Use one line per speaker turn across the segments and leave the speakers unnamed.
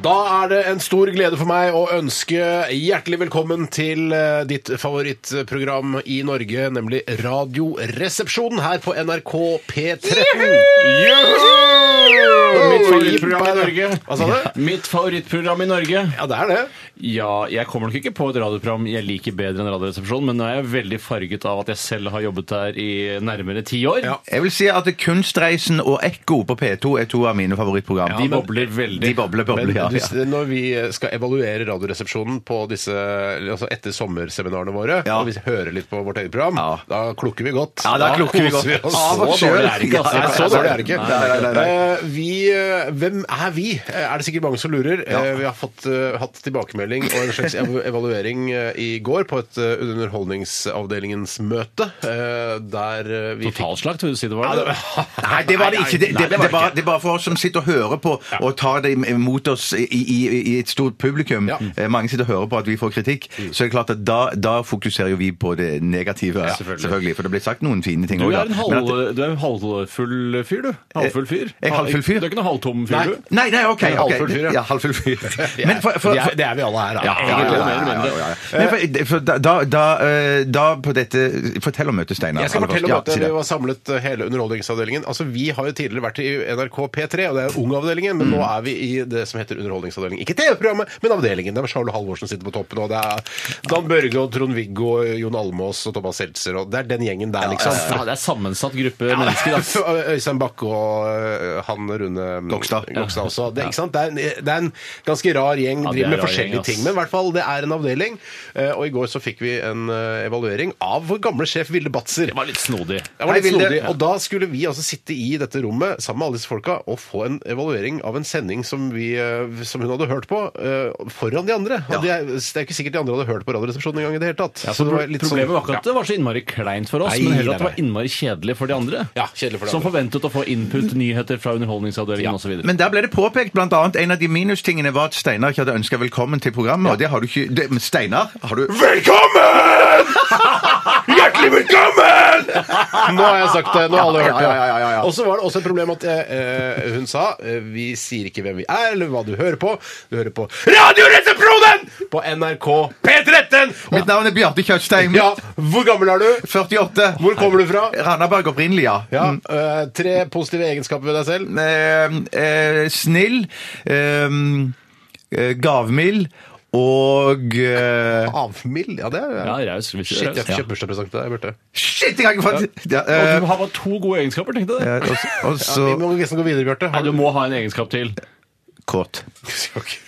Da er det en stor glede for meg å ønske hjertelig velkommen til eh, ditt favorittprogram i Norge, nemlig Radioresepsjonen her på NRK P13.
Mitt
Jippa,
favorittprogram i
ja.
Norge.
Hva sa du?
Mitt favorittprogram i Norge.
Ja, det er det.
Ja, jeg kommer nok ikke på et radioprogram jeg liker bedre enn Radioresepsjonen, men nå er jeg veldig farget av at jeg selv har jobbet der i nærmere ti år.
Ja.
Jeg vil si at Kunstreisen og Ekko på P2 er to av mine favorittprogram.
De bobler veldig.
De bobler, bobler,
Men
ja,
du-
ja.
når vi skal evaluere Radioresepsjonen på disse, altså etter sommerseminarene våre,
Ja.
og vi hører litt på vårt eget program,
Ja.
da klukker vi godt.
Ja, da klukker vi
koser
godt.
oss.
Av oss
Så dårlig
selv.
er det ikke. altså.
Ja,
Nei, så dårlig er det ikke.
Nei, nei, nei, nei.
Eh, Vi, eh, hvem er vi? Eh, Er det sikkert mange som lurer. Eh, Vi har fått, eh, hatt tilbakemelding og en slags ev- evaluering eh, i går på et eh, underholdningsavdelingens møte, eh, der eh, vi fikk
Totalslakt, vil du si det var? det?
Nei, det var det ikke. Det,
Nei,
det, det, var, det er bare for oss som sitter og hører på og tar det mot oss i, i, i et stort publikum.
Ja.
Eh, Mange sitter og hører på at vi får kritikk. Så er det klart at da, da fokuserer jo vi på det negative. selvfølgelig. For det blir sagt noen fine ting
Du
også,
er
da.
en,
Men at-
halv, du er en halvfull fyr, du. Halvfull fyr.
Jeg er halvfull fyr.
Du er ikke noen halvtom
Nei.
fyr, du.
Nei, nei, OK.
En
ok.
halvfull fyr, ja.
ja. halvfull fyr.
Vi er-
Men for, for,
vi er, det er vi alle her, da.
Ja, ja,
egentlig,
ja,
mer eller
ja,
mindre.
ja, ja. Eh, Men for, for da, da, da, eh, da på dette Fortell om møtet, Steinar.
Jeg skal
aller
fortelle om
først.
at
Ja, si
vi var samlet eh, hele underholdningsavdelingen. Altså, Vi har jo tidligere vært i NRK P3, og det er Ung-avdelingen,
Mm.
men nå er vi i det som heter Underholdningsavdelingen. Ikke TV-programmet, men avdelingen. Det er Charlo Halvorsen sitter på toppen, og det er Dan Børge og Trond-Viggo, og Jon Almås og Thomas Seltzer, og det er den gjengen der, liksom.
Ja, det er sammensatt gruppe mennesker. ass.
Øystein Bakke og eh, han Rune
Gokstad.
Gokstad også. Det, er- ikke sant? Det, er en, det er en ganske rar gjeng,
Ja, det er
driver med
rar
forskjellige
gjeng, ass.
ting. Men i hvert fall, det er en avdeling. Eh, Og i går så fikk vi en eh, evaluering av vår gamle sjef Vilde Batzer.
Det var litt snodig.
Det var litt
Hei, Vilde.
snodig, og Da skulle vi altså sitte i dette rommet sammen med alle disse folka og få en evaluering av en sending som, vi, eh, som hun hadde hørt på, eh, foran de andre. Og det, er, det er ikke sikkert de andre hadde hørt på Radioresepsjonen engang i det hele tatt. Så det var litt sånn-
Problemet var ikke at det var så innmari kleint for oss,
Nei,
men heller at
nei,
det var innmari kjedelig for de andre.
Ja, kjedelig for de
som
andre.
forventet å få input, nyheter fra underholdningsavdelingen og
det.
osv.
Men der ble det påpekt blant annet en av de minustingene var at Steinar ikke hadde ønska velkommen til programmet. og det har du ikke... Det, men Steinar, har du
Velkommen! Hjertelig velkommen! Nå har jeg sagt det. Nå har alle
Ja,
hørt det.
ja, ja, ja, ja, ja.
Og så var det også et problem at eh, hun sa eh, Vi sier ikke hvem vi er, eller hva du hører på. Du hører på Radioresepsjonen! På NRK P13!
Mitt navn er Bjarte Tjøstheim.
Ja, hvor gammel er du?
48.
Hvor kommer du fra?
Randaberg opprinnelig, ja.
Ja,
Mm.
eh, Tre positive egenskaper ved deg selv.
Eh, eh, snill. Eh, eh, gavmild. Og eh,
Avmild? Ja, det er
Ja, raus. hvis du
Shit,
er
jeg
raus.
fikk
Ja.
kjøpebursdagspresang til deg, Bjarte.
Shit, jeg har ikke fått ja,
Og
eh,
Du har bare to gode egenskaper, tenkte jeg.
eh, og så- Og
Ja,
så
vi må nesten gå videre, Bjarte.
Nei,
Har
du
du
må ha en egenskap til.
Kåt.
Ok.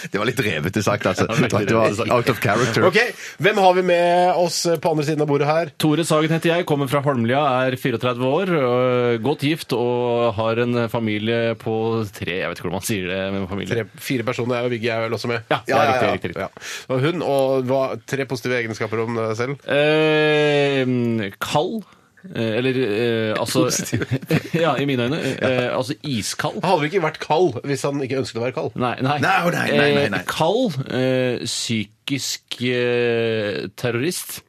Det var litt revete sagt, altså.
Ja, veldig
Det var
revete sagt.
out of character.
OK, hvem har vi med oss eh, på andre siden av bordet her?
Tore Sagen heter jeg, kommer fra Holmlia, er 34 år, øh, godt gift og har en familie på tre Jeg vet ikke hvordan man sier det med familie.
Tre, fire personer. Jeg og Viggy er vel også med.
Ja,
ja, ja,
riktig,
ja.
riktig, riktig.
Ja. Og hun og hva, tre positive egenskaper om deg selv.
Eh, kald. eh, Eller eh, altså Ja, i mine øyne. Eh, altså iskald.
Han hadde vel ikke vært kald hvis han ikke ønsket å være kald.
Nei, nei.
Nei, nei, nei, nei, nei.
Eh, Kald, eh, psykisk eh, terrorist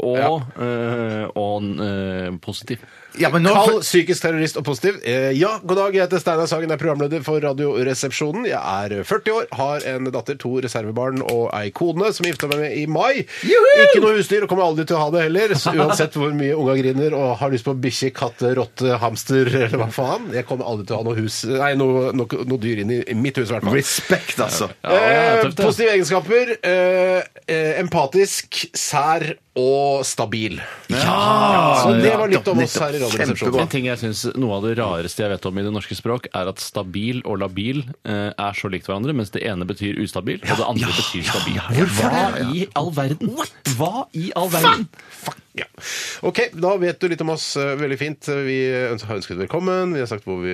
og, eh, og eh, positiv.
Ja, men nå,
Kald, psykisk terrorist og positiv. Eh, ja, god dag, jeg heter Steinar Sagen, jeg er programleder for Radioresepsjonen. Jeg er 40 år, har en datter, to reservebarn og ei kone som gifta meg med i mai. Ikke noe husdyr, og kommer aldri til å ha det heller. Så uansett hvor mye unga griner og har lyst på bikkje, katt, rotte, hamster eller hva faen. Jeg kommer aldri til å ha noe, hus, nei, noe, noe, noe dyr inn i i mitt hus, i hvert fall.
respekt, altså.
ja,
Eh,
tøft, ja.
positive egenskaper. Eh, eh, empatisk, sær og stabil. Så det var litt om oss her i
Kjempebra.
Radioresepsjonen.
En ting jeg synes Noe av det rareste jeg vet om i det norske språk, er at stabil og labil eh, er så likt hverandre, mens det ene betyr ustabil, og det andre betyr stabil. Hva i all verden? Hva i all verden?
Ja. Ok, da vet du litt om oss eh, veldig fint. Vi øns- har ønsket velkommen, vi har sagt hvor vi,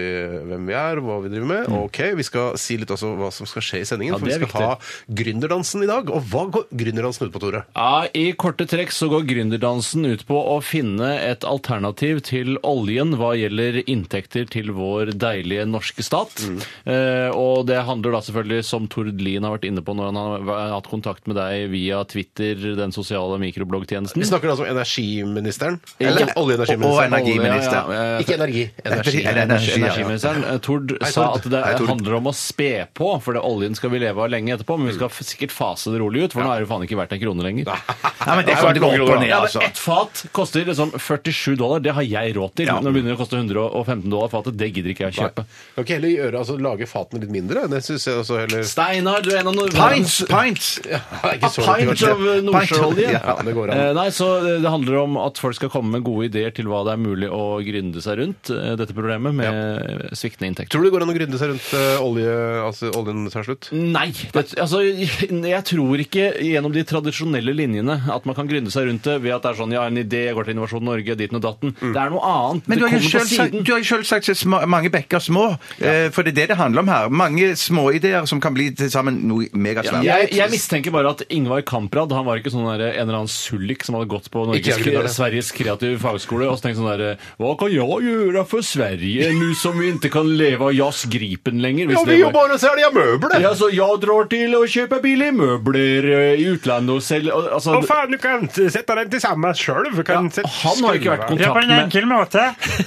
hvem vi er, og hva vi driver med. Ok, Vi skal si litt også hva som skal skje i sendingen,
Ja,
for
det
vi
er
skal ha gründerdansen i dag. Og hva går gründerdansen ut på, Tore?
Ja, I korte trekk så går gründerdansen ut på å finne et alternativ til oljen hva gjelder inntekter til vår deilige norske stat. Eh, og det handler da selvfølgelig, som Tord Lien har vært inne på når han har væ- hatt kontakt med deg via Twitter, den sosiale mikrobloggtjenesten.
Vi snakker altså om energiministeren.
Eller-
Eller
Og
oljeenergiministeren.
energiminister.
Ja, ja, ja.
Ikke energi. Energi.
Er det energi, ja?
Energiministeren eh, Tord sa
Tord.
at det
Hei, Tord.
handler om å spe på, for det oljen skal vi leve av lenge etterpå, men vi skal f- sikkert fase det rolig ut, for nå er det jo faen ikke verdt en krone lenger.
Nei, men det kommer til å gå opp og ned,
Ja, men
altså.
Ett fat koster liksom 47 dollar. Det har jeg råd til. Når det begynner å koste 115 dollar fatet, det gidder ikke jeg å kjøpe.
Kan ikke heller gjøre, altså, lage fatene litt mindre? Det syns jeg også heller
Steinar, du er en av nord-
Pints! Pints!
Ja, ikke så
A
lett å
pint
gjøre.
of eh, nordsjøolje.
Ja, det går an.
Eh, Nei, så eh, det handler om at folk skal komme med gode ideer til hva det er mulig å gründe seg rundt eh, dette problemet med eh, sviktende inntekter.
Tror du det går an å gründe seg rundt eh, olje, altså, oljen tar slutt?
Nei. Det, altså, jeg tror ikke gjennom de tradisjonelle linjene at man kan gründe seg rundt det ved at det er sånn ja, en idé jeg går til Innovasjon Norge, dit og datten. Det er noe annet.
Men du
det
har jo
kommer på
selv sagt,
siden.
du har jo selv sagt at sma- mange bekker små, eh, for det er det det handler om her. Mange småideer som kan bli til sammen noe megasvært.
Jeg, jeg mistenker bare at Ingvar Kamprad han var ikke sånn der, en eller annen sullik som hadde gått på
Ikke
Norges,
jeg grunner det.
Sveriges kreative fagskole og så tenkte sånn der Hva kan jeg gjøre for Sverige nå som vi ikke kan leve av Jazz Gripen lenger? Hvis det var-
bare selger møbler!
ja, så jeg drar til å kjøpe billige møbler eh, i utlandet og selge og- altså,
faen, du kan sette dem til sammen sjøl.
ja, Han har ikke vært i
Det er på
kontakt
en
med
enkel måte.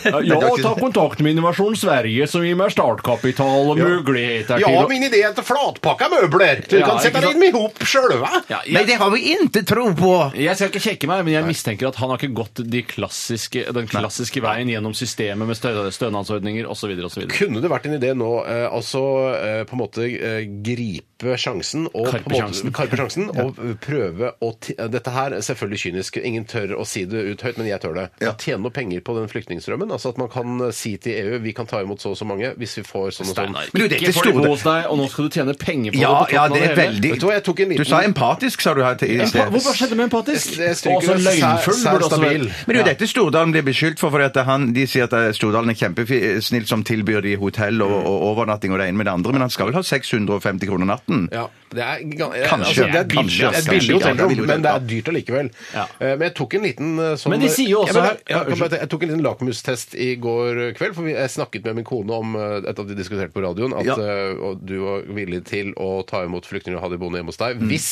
Ja, ta kontakt med Innovasjon Sverige, som gir meg startkapital og muligheter
Ja,
til å
min idé er til flatpakka møbler. Du
Ja,
kan
ikke
sette
sant?
dem i hop sjøl.
Ja, jeg-
Nei, det har vi ikke tro på!
Jeg skal ikke sjekke meg, men jeg mistenker at han har ikke gått de klassiske, den klassiske veien gjennom systemet med stø stønadsordninger osv. osv.
Kunne det vært en idé nå eh, altså eh, på en måte eh, gripe sjansen og
Karpe
på en måte,
sjansen.
karpe sjansen og eh, prøve å ti eh, Dette her er selvfølgelig kynisk, ingen tør å si det ut høyt, men jeg tør det. Å Tjene noe penger på den flyktningstrømmen. Altså at man kan eh, si til EU vi kan ta imot så og så mange hvis vi får sånn og sånn.
Men du, dette
ikke får de
store-
bo hos deg, og nå skal du tjene penger på
Ja,
det. på
ja,
toppen av
det er
hele.
veldig
Vet du hva, jeg tok en liten
Du sa empatisk, sa du her til i
Hva,
sted.
hva skjedde med empatisk?
Jeg- jeg stryker
Og også
det.
løgnfull.
Sær-
burde også
særstabil.
være-
Men det er jo dette Stordalen blir beskyldt for, for at han, de sier at eh, Stordalen er kjempesnill som tilbyr de hotell og, og overnatting og det ene med det andre, men han skal vel ha 650 kroner natten?
Ja, det er, gan- eh,
Kanskje.
altså, det er billig,
Kanskje,
det er billig
kanskje.
hotellrom,
Ja, det er billig
men det er
hotell,
dyrt allikevel.
Ja.
Eh, Men jeg tok en liten eh, sånn
Men de sier jo også
jeg,
her-
jeg, jeg,
ja,
kan bare- jeg tok en liten lakmustest i går kveld, for vi- jeg snakket med min kone om eh, etter at vi diskuterte på radioen at
Ja.
eh, og du var villig til å ta imot flyktninger og ha de boende hjemme hos deg
Mm.
hvis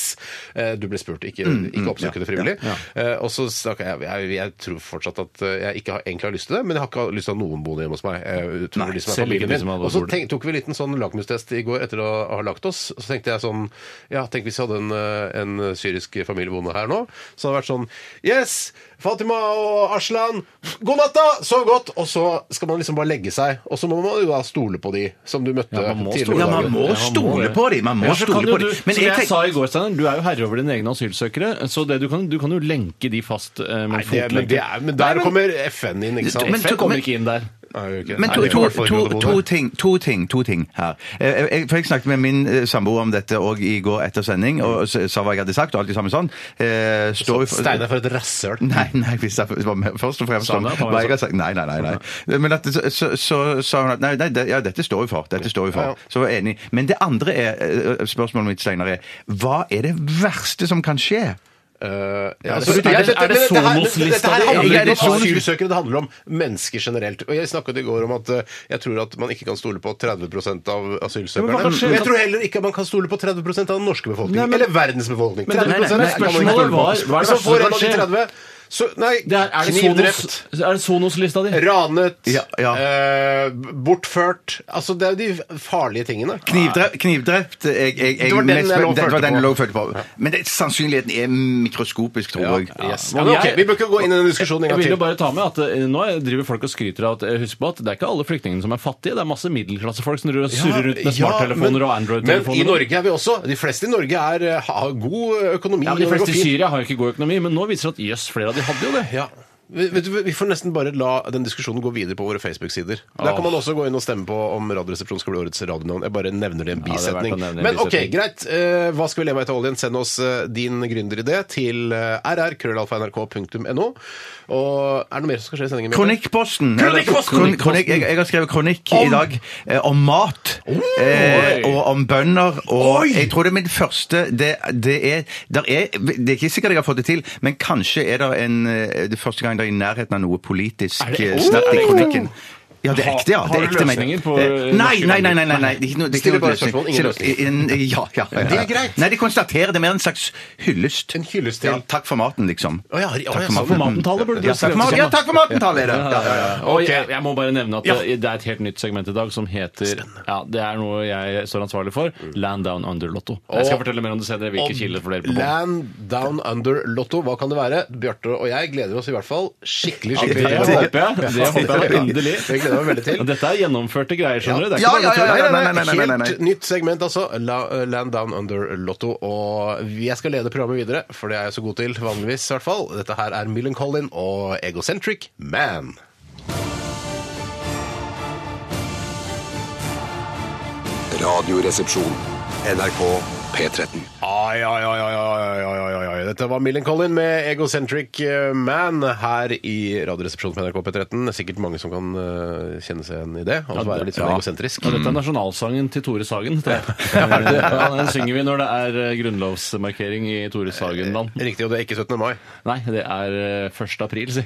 eh, du ble spurt, ikke, ikke oppsøke det frivillig. Eh, Og så snakka jeg, jeg Jeg tror fortsatt at eh, jeg ikke har, egentlig har lyst til det, men jeg har ikke lyst til å ha noen boende hjemme hos meg. eh, utover de som er
selv ikke
familien
de
min.
som hadde
Og så
bodd.
tenk, tok vi en liten sånn lakmustest i går etter å ha lagt oss. Så tenkte jeg sånn Ja, tenk hvis vi hadde en, eh, en syrisk familie boende her nå. Så hadde det vært sånn Yes! Fatima og Aslan, god natta! Sov godt! Og så skal man liksom bare legge seg. Og så må man jo da stole på de som du møtte
Ja, man må stole.
tidligere.
Ja,
på
man
dagen.
må
Ja, man må
stole
det.
på dem! Man må
Ja, så kan
stole
jo
på
du,
dem.
som jeg,
tenk-
sa i går, Steinar, du er jo herre over dine egne asylsøkere, så det du kan, du kan jo lenke de fast eh, med
Nei, det,
fotlenke.
men, det er, men der
Nei, men-
kommer FN inn, ikke sant?
Men-
FN
men-
kommer ikke inn der.
Nei, gjør ikke det.
Men
Nei,
to,
det er
to,
i hvert fall ikke lov
to,
til å bo
to,
der.
ting, to ting to ting her. Eh, Jeg, for jeg snakket med min eh, samboer om dette og i går etter sending, og s- sa hva jeg hadde sagt, og alt det samme sånn. Eh, Står vi for-
Steinar for et rasshøl.
Nei, nei, hvis jeg, det var mer- først og fremst
Sa
om
han det?
hva jeg har sagt. Nei, nei, nei. nei. Men at, så, så, så sa hun at nei, nei, det- ja, dette står vi for. Dette står vi
Ja, ja.
for. Så var jeg enig. Men det andre er, eh, spørsmålet mitt, Steinar, er hva er det verste som kan skje?
Eh, ja,
det-
altså,
er det-
jeg- dette-
er det
dette her-
Sonos-lista
dette her
det
handler
handler
ikke
om?
om asylsøkere, det handler om mennesker generelt. Og Jeg snakket i går om at eh, jeg tror at man ikke kan stole på 30 av
Men hva kan
asylsøkerne.
skje-
Men jeg tror heller ikke at man kan stole på 30 av den norske befolkningen.
Nei, men-
eller verdens befolkning.
Men det- nei, nei,
30% kan man ikke
spørsmålet
stole på.
var- hva er det
Så
verste
får
som
en av de
kan skje?
30 så, Nei,
Det er, er det
knivdrept,
Sonos- er det Sonos-lista di?
ranet,
Ja, ja.
eh, bortført Altså, det er jo de farlige tingene.
Knivdrept, knivdrept jeg, jeg, jeg,
Det var den jeg
mest-
lå og
Ah. det var
følte
den jeg
på.
lå og følte på. Men det, sannsynligheten er mikroskopisk, tror jeg.
Yes. Ja, men ok, vi bør ikke gå inn i den diskusjonen en
Jeg
gang
vil jo
til.
bare ta med at eh, Nå driver folk og skryter av at eh, Husk på at det er ikke alle flyktningene som er fattige. Det er masse middelklassefolk som driver og surrer rundt med
ja,
smarttelefoner
men-
og
Men i
Android-telefoner.
Norge er vi også. De fleste i Norge er, eh, har god økonomi.
Ja, men De
Norge går
fleste i
fint.
Syria har jo ikke god økonomi, men nå viser det at jøss, flere av de hadde jo det.
Ja. Vi, vet du, vi får nesten bare la den diskusjonen gå videre på våre Facebook-sider. Der kan man også gå inn og stemme på om Radioresepsjonen skal bli årets radionavn. Jeg bare nevner det i en
det er verdt å
bisetning.
nevne i en
Men OK,
bisetning.
greit. Eh, hva skal vi leve av etter oljen? Send oss eh, din gründeridé til eh, rr.krøllalfa.nrk.no. Og er det noe mer som skal skje i sendingen? Bjørte?
Kronikkposten! eller-
Kronikkposten!
Kronikk- kronikk- jeg, jeg har skrevet kronikk i dag eh, om mat. eh, og om bønder. Og jeg tror det er min første det, det, er, der er, det er ikke sikkert jeg har fått det til, men kanskje er det en, eh, det første gang det er i nærheten av noe politisk
Er det-
eh,
Oh!
snakk i
Er det-
kronikken. Ja, det er ekte, ja.
Har- har
Det er
du
ekte mening.
løsninger på,
Eh,
eh,
Nei,
norske
nei, nei. nei, nei, nei. Det er ikke noe- det er ikke noe
Stiller bare
løsning.
spørsmål, ingen
Stiller- in- Ja, ja, ja, ja.
Det er greit.
Nei, de konstaterer det er mer en slags hyllest.
En hyllest til-
Ja, takk for maten, liksom.
Å ja, å ja,
Takk for
sånn,
maten.
ja.
Matentaler burde du
Ja, takk for maten, ja, takk for maten, Tale, er det. Ja, ja, ja.
Og jeg, jeg må bare nevne at eh,
Ja.
det, det er et helt nytt segment i dag som heter ja, Det er noe jeg står ansvarlig for. Land Down Under-lotto. Jeg skal
Og-
fortelle mer om det senere.
Om
Hvilke kilder får dere på bånd?
Land Down Under Lotto, hva kan det være? Bjarte og jeg gleder oss i hvert fall skikkelig,
Det
skikkelig.
håper jeg. Det håper jeg inderlig.
Det gleder jeg meg veldig til.
Og Dette er gjennomførte greier, skjønner du. Det er
Ja,
ikke bare
ja, ja,
tull.
ja,
Nei, nei,
nei, nei, nei, nei, nei, nei.
Helt nytt segment, altså. La- Land Down Under Lotto. Og jeg skal lede programmet videre, for det er jeg så god til vanligvis, i hvert fall. Dette her er Millen Collin og Egocentric Man.
Radioresepsjon. NRK P13.
Ai, ai, ai, ai, ai, ai, ai, ai, ai. Dette var Millen Collin med Egocentric eh, Man her i Radioresepsjonen på NRK P13. Sikkert mange som kan eh, kjenne seg igjen i det, og
Ja,
være litt sånn
ja.
egosentrisk.
Og dette er nasjonalsangen til Tore Sagen. Det. Ja, den synger vi når det er eh, grunnlovsmarkering i Tore Sagen-land.
Mm. Riktig, og det er ikke 17. mai.
Nei, det er eh, 1. april, si.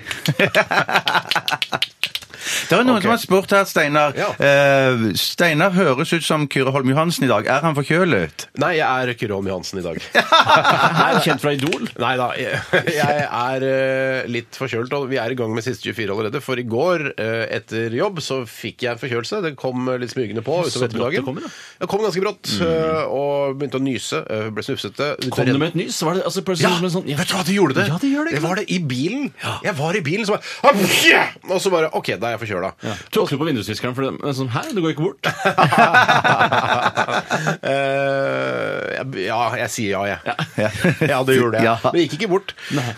Det er noen som har spurt her, Steinar.
Ja.
Eh, Steinar høres ut som Kyrre Holm Johansen i dag. Er han forkjølet?
Nei, jeg er Kyrholm Johansen i dag.
Her, kjent fra Idol.
Nei da, jeg jeg er eh, litt forkjølt, og vi er i gang med siste 24 allerede. For i går eh, etter jobb så fikk jeg en forkjølelse. Det kom eh, litt smygende på utover
Så brått det
ettermiddagen.
kommer, da.
Det kom ganske brått, eh, og begynte å nyse. eh, Ble snufsete. begynte å
Kom
redde-
du med et nys? Var det, altså, plutselig
ja,
som en sånn, ja.
vet du hva, det gjorde det.
Ja, det gjør det,
Jeg
ikke
var det i bilen. Jeg var i bilen, så bare ah, Og så bare OK, da er jeg forkjøla.
Ja. Tok du på vindusviskeren for det? Men sånn, hæ, det går ikke bort.
Eh, jeg- ja, jeg sier ja, jeg. Ja, det gjorde jeg.
Ja.
Men det gikk ikke bort.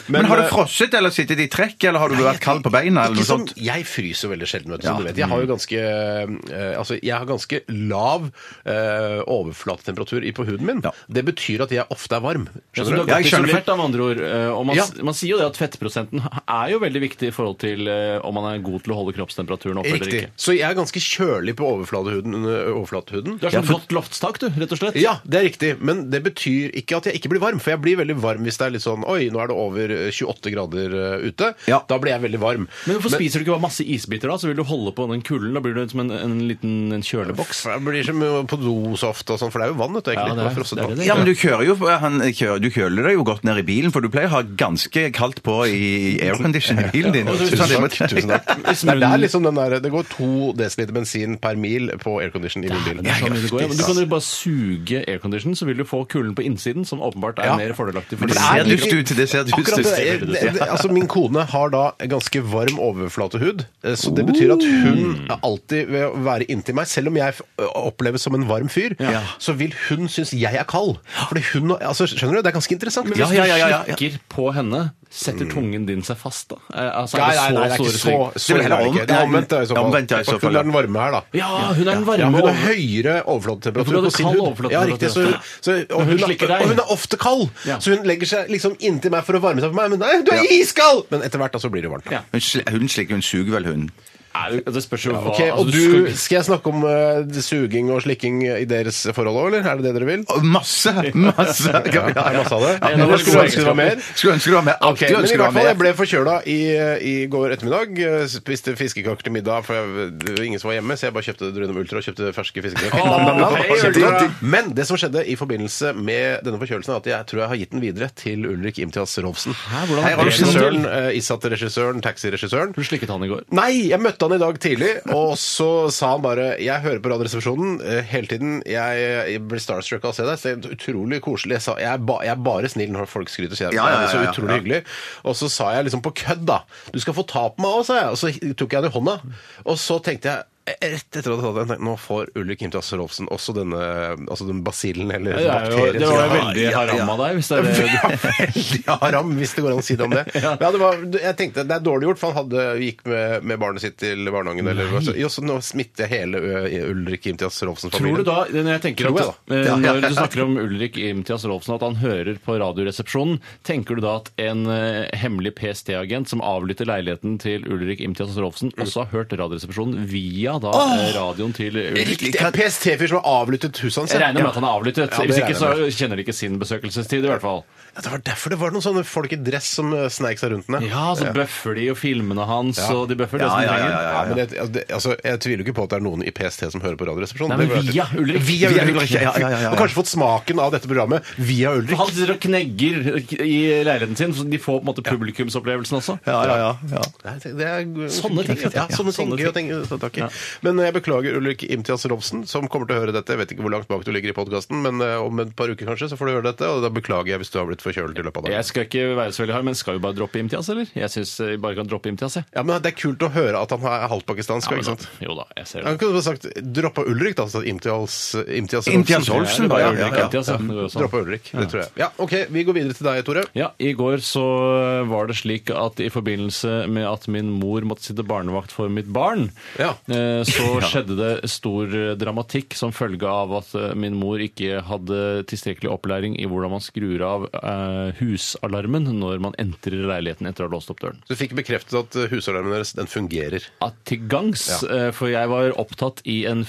Men, har
eh,
du frosset eller sittet i trekk, eller har du vært kald på beina? eller
Ikke
noe
sånn,
sånt?
jeg fryser veldig sjelden, vet du. Som
Ja.
du vet. Jeg har jo ganske, eh, altså, jeg har ganske lav eh, overflatetemperatur i- på huden min.
Ja.
Det betyr at jeg ofte er varm.
Så du
Skjønner
har
du?
Ja,
godt
jeg skjønner.
isolert, da, med andre ord. eh, Og man,
Ja.
man sier jo det at fettprosenten er jo veldig viktig i forhold til eh, om man er god til å holde kroppstemperaturen oppe eller
Riktig.
ikke.
Så jeg er ganske kjølig på overflatehuden. under overflatehuden.
Du har sånn godt loftstak, du, rett og slett.
Ja, det er riktig, men det betyr ikke at jeg ikke blir varm. For jeg blir veldig varm hvis det er litt sånn Oi, nå er det over 28 grader eh, ute.
Ja.
Da blir jeg veldig varm.
Men hvorfor spiser du ikke bare masse isbiter da? Så vil du holde på den kulden, da blir du som en, en liten en kjøleboks.
Jeg blir som eh, på do så ofte og sånn, for det er jo vann, vet du.
Ja,
egentlig.
det er-
Bare frosset
det er det
vann.
det.
Ja, men du kjører jo eh, han, kjører, Du kjøler deg jo godt ned i bilen, for du pleier å ha ganske kaldt på i aircondition i bilen din.
Tusen
Sånn, det må-
takk. Tusen takk.
Hvis
Det, er der
munnen-
liksom den der, det går to desiliter bensin per mil på aircondition i min bil.
Det er så mye Sånn det går, ja. Men du kan jo bare suge aircondition, så vil du få kulden på innsiden, som åpenbart er
Ja.
mer fordelaktig for
Det
dine
ser
er-
dust ut. Det ser dust
Akkurat
ut.
det, der, det, det, altså Min kone har da en ganske varm overflatehud, eh, så det betyr at
Mm.
hun er alltid ved å være inntil meg, selv om jeg f- oppleves som en varm fyr, så vil hun synes jeg er kald. Fordi hun, altså, skjønner du, det er ganske interessant.
Men hvis
Ja, ja, ja, ja, ja.
du slikker på henne, setter tungen din seg fast da? Eh, Altså,
Mm. Nei,
er det
nei,
så
nei, det er
store
ikke så,
sving?
så ille er det ikke. Det er omvendt, da, i så fall.
Omvendt, ja, i så fall,
Hun
ja.
er den varme her, da.
Ja, hun er den varme
Ja, hun har
over-
høyere
Ja, for hun
overflatetemperatur på
hadde
sin
kald
hud.
overflatetemperatur.
Ja, riktig, så, hun- så, og,
hun
hun
slikker
er,
deg.
og hun er ofte kald,
Ja.
så hun legger seg liksom inntil meg for å varme seg på meg. Men nei, du er iskald! Men etter hvert da så blir det varmt.
Ja.
Hun sl- Hun slikker, hun suger vel, hun.
Er det- Det spørs jo hva
Ok,
altså,
og
skal-
du, Skal jeg snakke om eh, suging og slikking i deres forhold òg, eller? Er det det dere vil?
Å, Masse! Masse! Ja, ja,
Er det masse av det?
Ja,
nå
men
skulle jeg
Skulle ønske det var mer. Skulle ønske det var mer.
Ok,
Alltid
men i
ønske det
hvert
var
fall, Jeg
mer.
ble forkjøla i, i går ettermiddag. eh, Spiste fiskekaker til middag, for jeg, det var ingen som var hjemme, så jeg bare kjøpte Drunum Ultra og kjøpte ferske fiskekaker. Nam, nam, nam.
hei,
Kjempegodt.
Ultra.
Men det som skjedde i forbindelse med denne forkjølelsen, er at jeg tror jeg har gitt den videre til Ulrik Imtias Rovsen.
Hæ, hvordan
Hei,
ble det sånn
regissøren,
til?
eh, issatte-regissøren, taxiregissøren.
Hun slikket han i går.
Nei, jeg møtte han i dag tidlig, og så sa han bare Jeg hører på Radioresepsjonen eh, hele tiden. Jeg, jeg blir starstruck av å se deg. Så det er utrolig koselig. Jeg, sa, jeg, er ba, jeg er bare snill når folk skryter, sier jeg.
Ja, ja, ja,
Det er
ja,
så utrolig
ja.
hyggelig. Og så sa jeg liksom på kødd, da. Du skal få ta på meg òg, sa jeg. Og så tok jeg han i hånda. Og så tenkte jeg rett etter at jeg hadde tatt den, tenkte jeg, nå får Ulrik Imtas Rolfsen også denne altså den basillen eller
Det, er jo,
bakterien.
det var jo
som-
veldig haram av deg, hvis det er det
Ja, veldig haram, hvis det går an å si det om det. Ja. det var, jeg tenkte det er dårlig gjort, for han hadde, gikk med, med barnet sitt til barnehagen. Eller, hva, så, jo, så nå smitter jeg hele ø, Ulrik Imtias Rolfsens
Tror du
familie.
da, når, jeg tenker at,
Tror jeg, da.
eh,
Ja.
når du snakker om Ulrik Imtias Rolfsen, at han hører på Radioresepsjonen, tenker du da at en eh, hemmelig PST-agent som avlytter leiligheten til Ulrik Imtias Rolfsen, også har hørt Radioresepsjonen via da eh, radioen til Ulrik?
Riktig! En PST-fyr som har avlyttet huset hans.
Jeg
ja.
regner med at han er avlyttet.
Ja, det
Hvis ikke så
regner jeg
kjenner de ikke sin besøkelsestid, i hvert fall.
Ja, Det var derfor det var noen sånne folk i dress som ø, sneik seg rundt henne.
Ja, så bøffer de jo filmene hans, og de bøffer det
Ja,
som de
ja, ja,
trenger.
ja, ja.
Ja, men jeg, altså, det- altså, jeg tviler jo ikke på at det er noen i PST som hører på Radioresepsjonen.
Nei, men
Det ville vært-
via Ulrik.
Via
Via
Ulrik.
Ulrik, ja, ja, ja, ja, ja.
Og kanskje fått smaken av dette programmet via Ulrik.
Han sitter og knegger i leiligheten sin, så de får på en måte publikumsopplevelsen også.
Ja, ja, ja. ja.
Nei, Det det er
Sånne ting,
Ja,
ja.
sånne ting.
Sånne
Gøy å tenke å ta tak i. Men eh, jeg beklager Ulrik Imtias Robsen, som kommer til å høre dette. Jeg vet ikke hvor langt bak du ligger i podkasten, men eh, om et par uker kanskje så får du høre dette. Og da beklager jeg hvis du har blitt forkjølet i løpet av
Jeg
dagen.
skal ikke være så veldig hard, men skal vi bare droppe Imtias, eller? Jeg syns vi bare kan droppe Imtias, jeg.
Ja, men Det er kult å høre at han er halvt pakistansk.
Ja, men
ikke sant?
da- Jo da, jeg ser
Han
det.
kunne bare sagt 'droppa Ulrik', da. Så Imtias, Imtias Robsen.
Imtias Robsen.
Det var
Ja,
Ulrik
ja, ja.
Imtias, ja. Det var jo sånn.
Droppa Ulrik. Det tror jeg. Ja, OK. Vi går videre til deg, Tore.
Ja, I går så var det slik at i forbindelse med at min mor måtte sitte barnevakt for mitt barn,
Ja.
eh, så skjedde det stor eh, dramatikk som følge av at eh, min mor ikke hadde tilstrekkelig opplæring i hvordan man skrur av eh, husalarmen når man entrer leiligheten etter å ha låst opp døren.
Du fikk bekreftet at eh, husalarmen deres den fungerer.
at til gangs, eh, for jeg var opptatt i en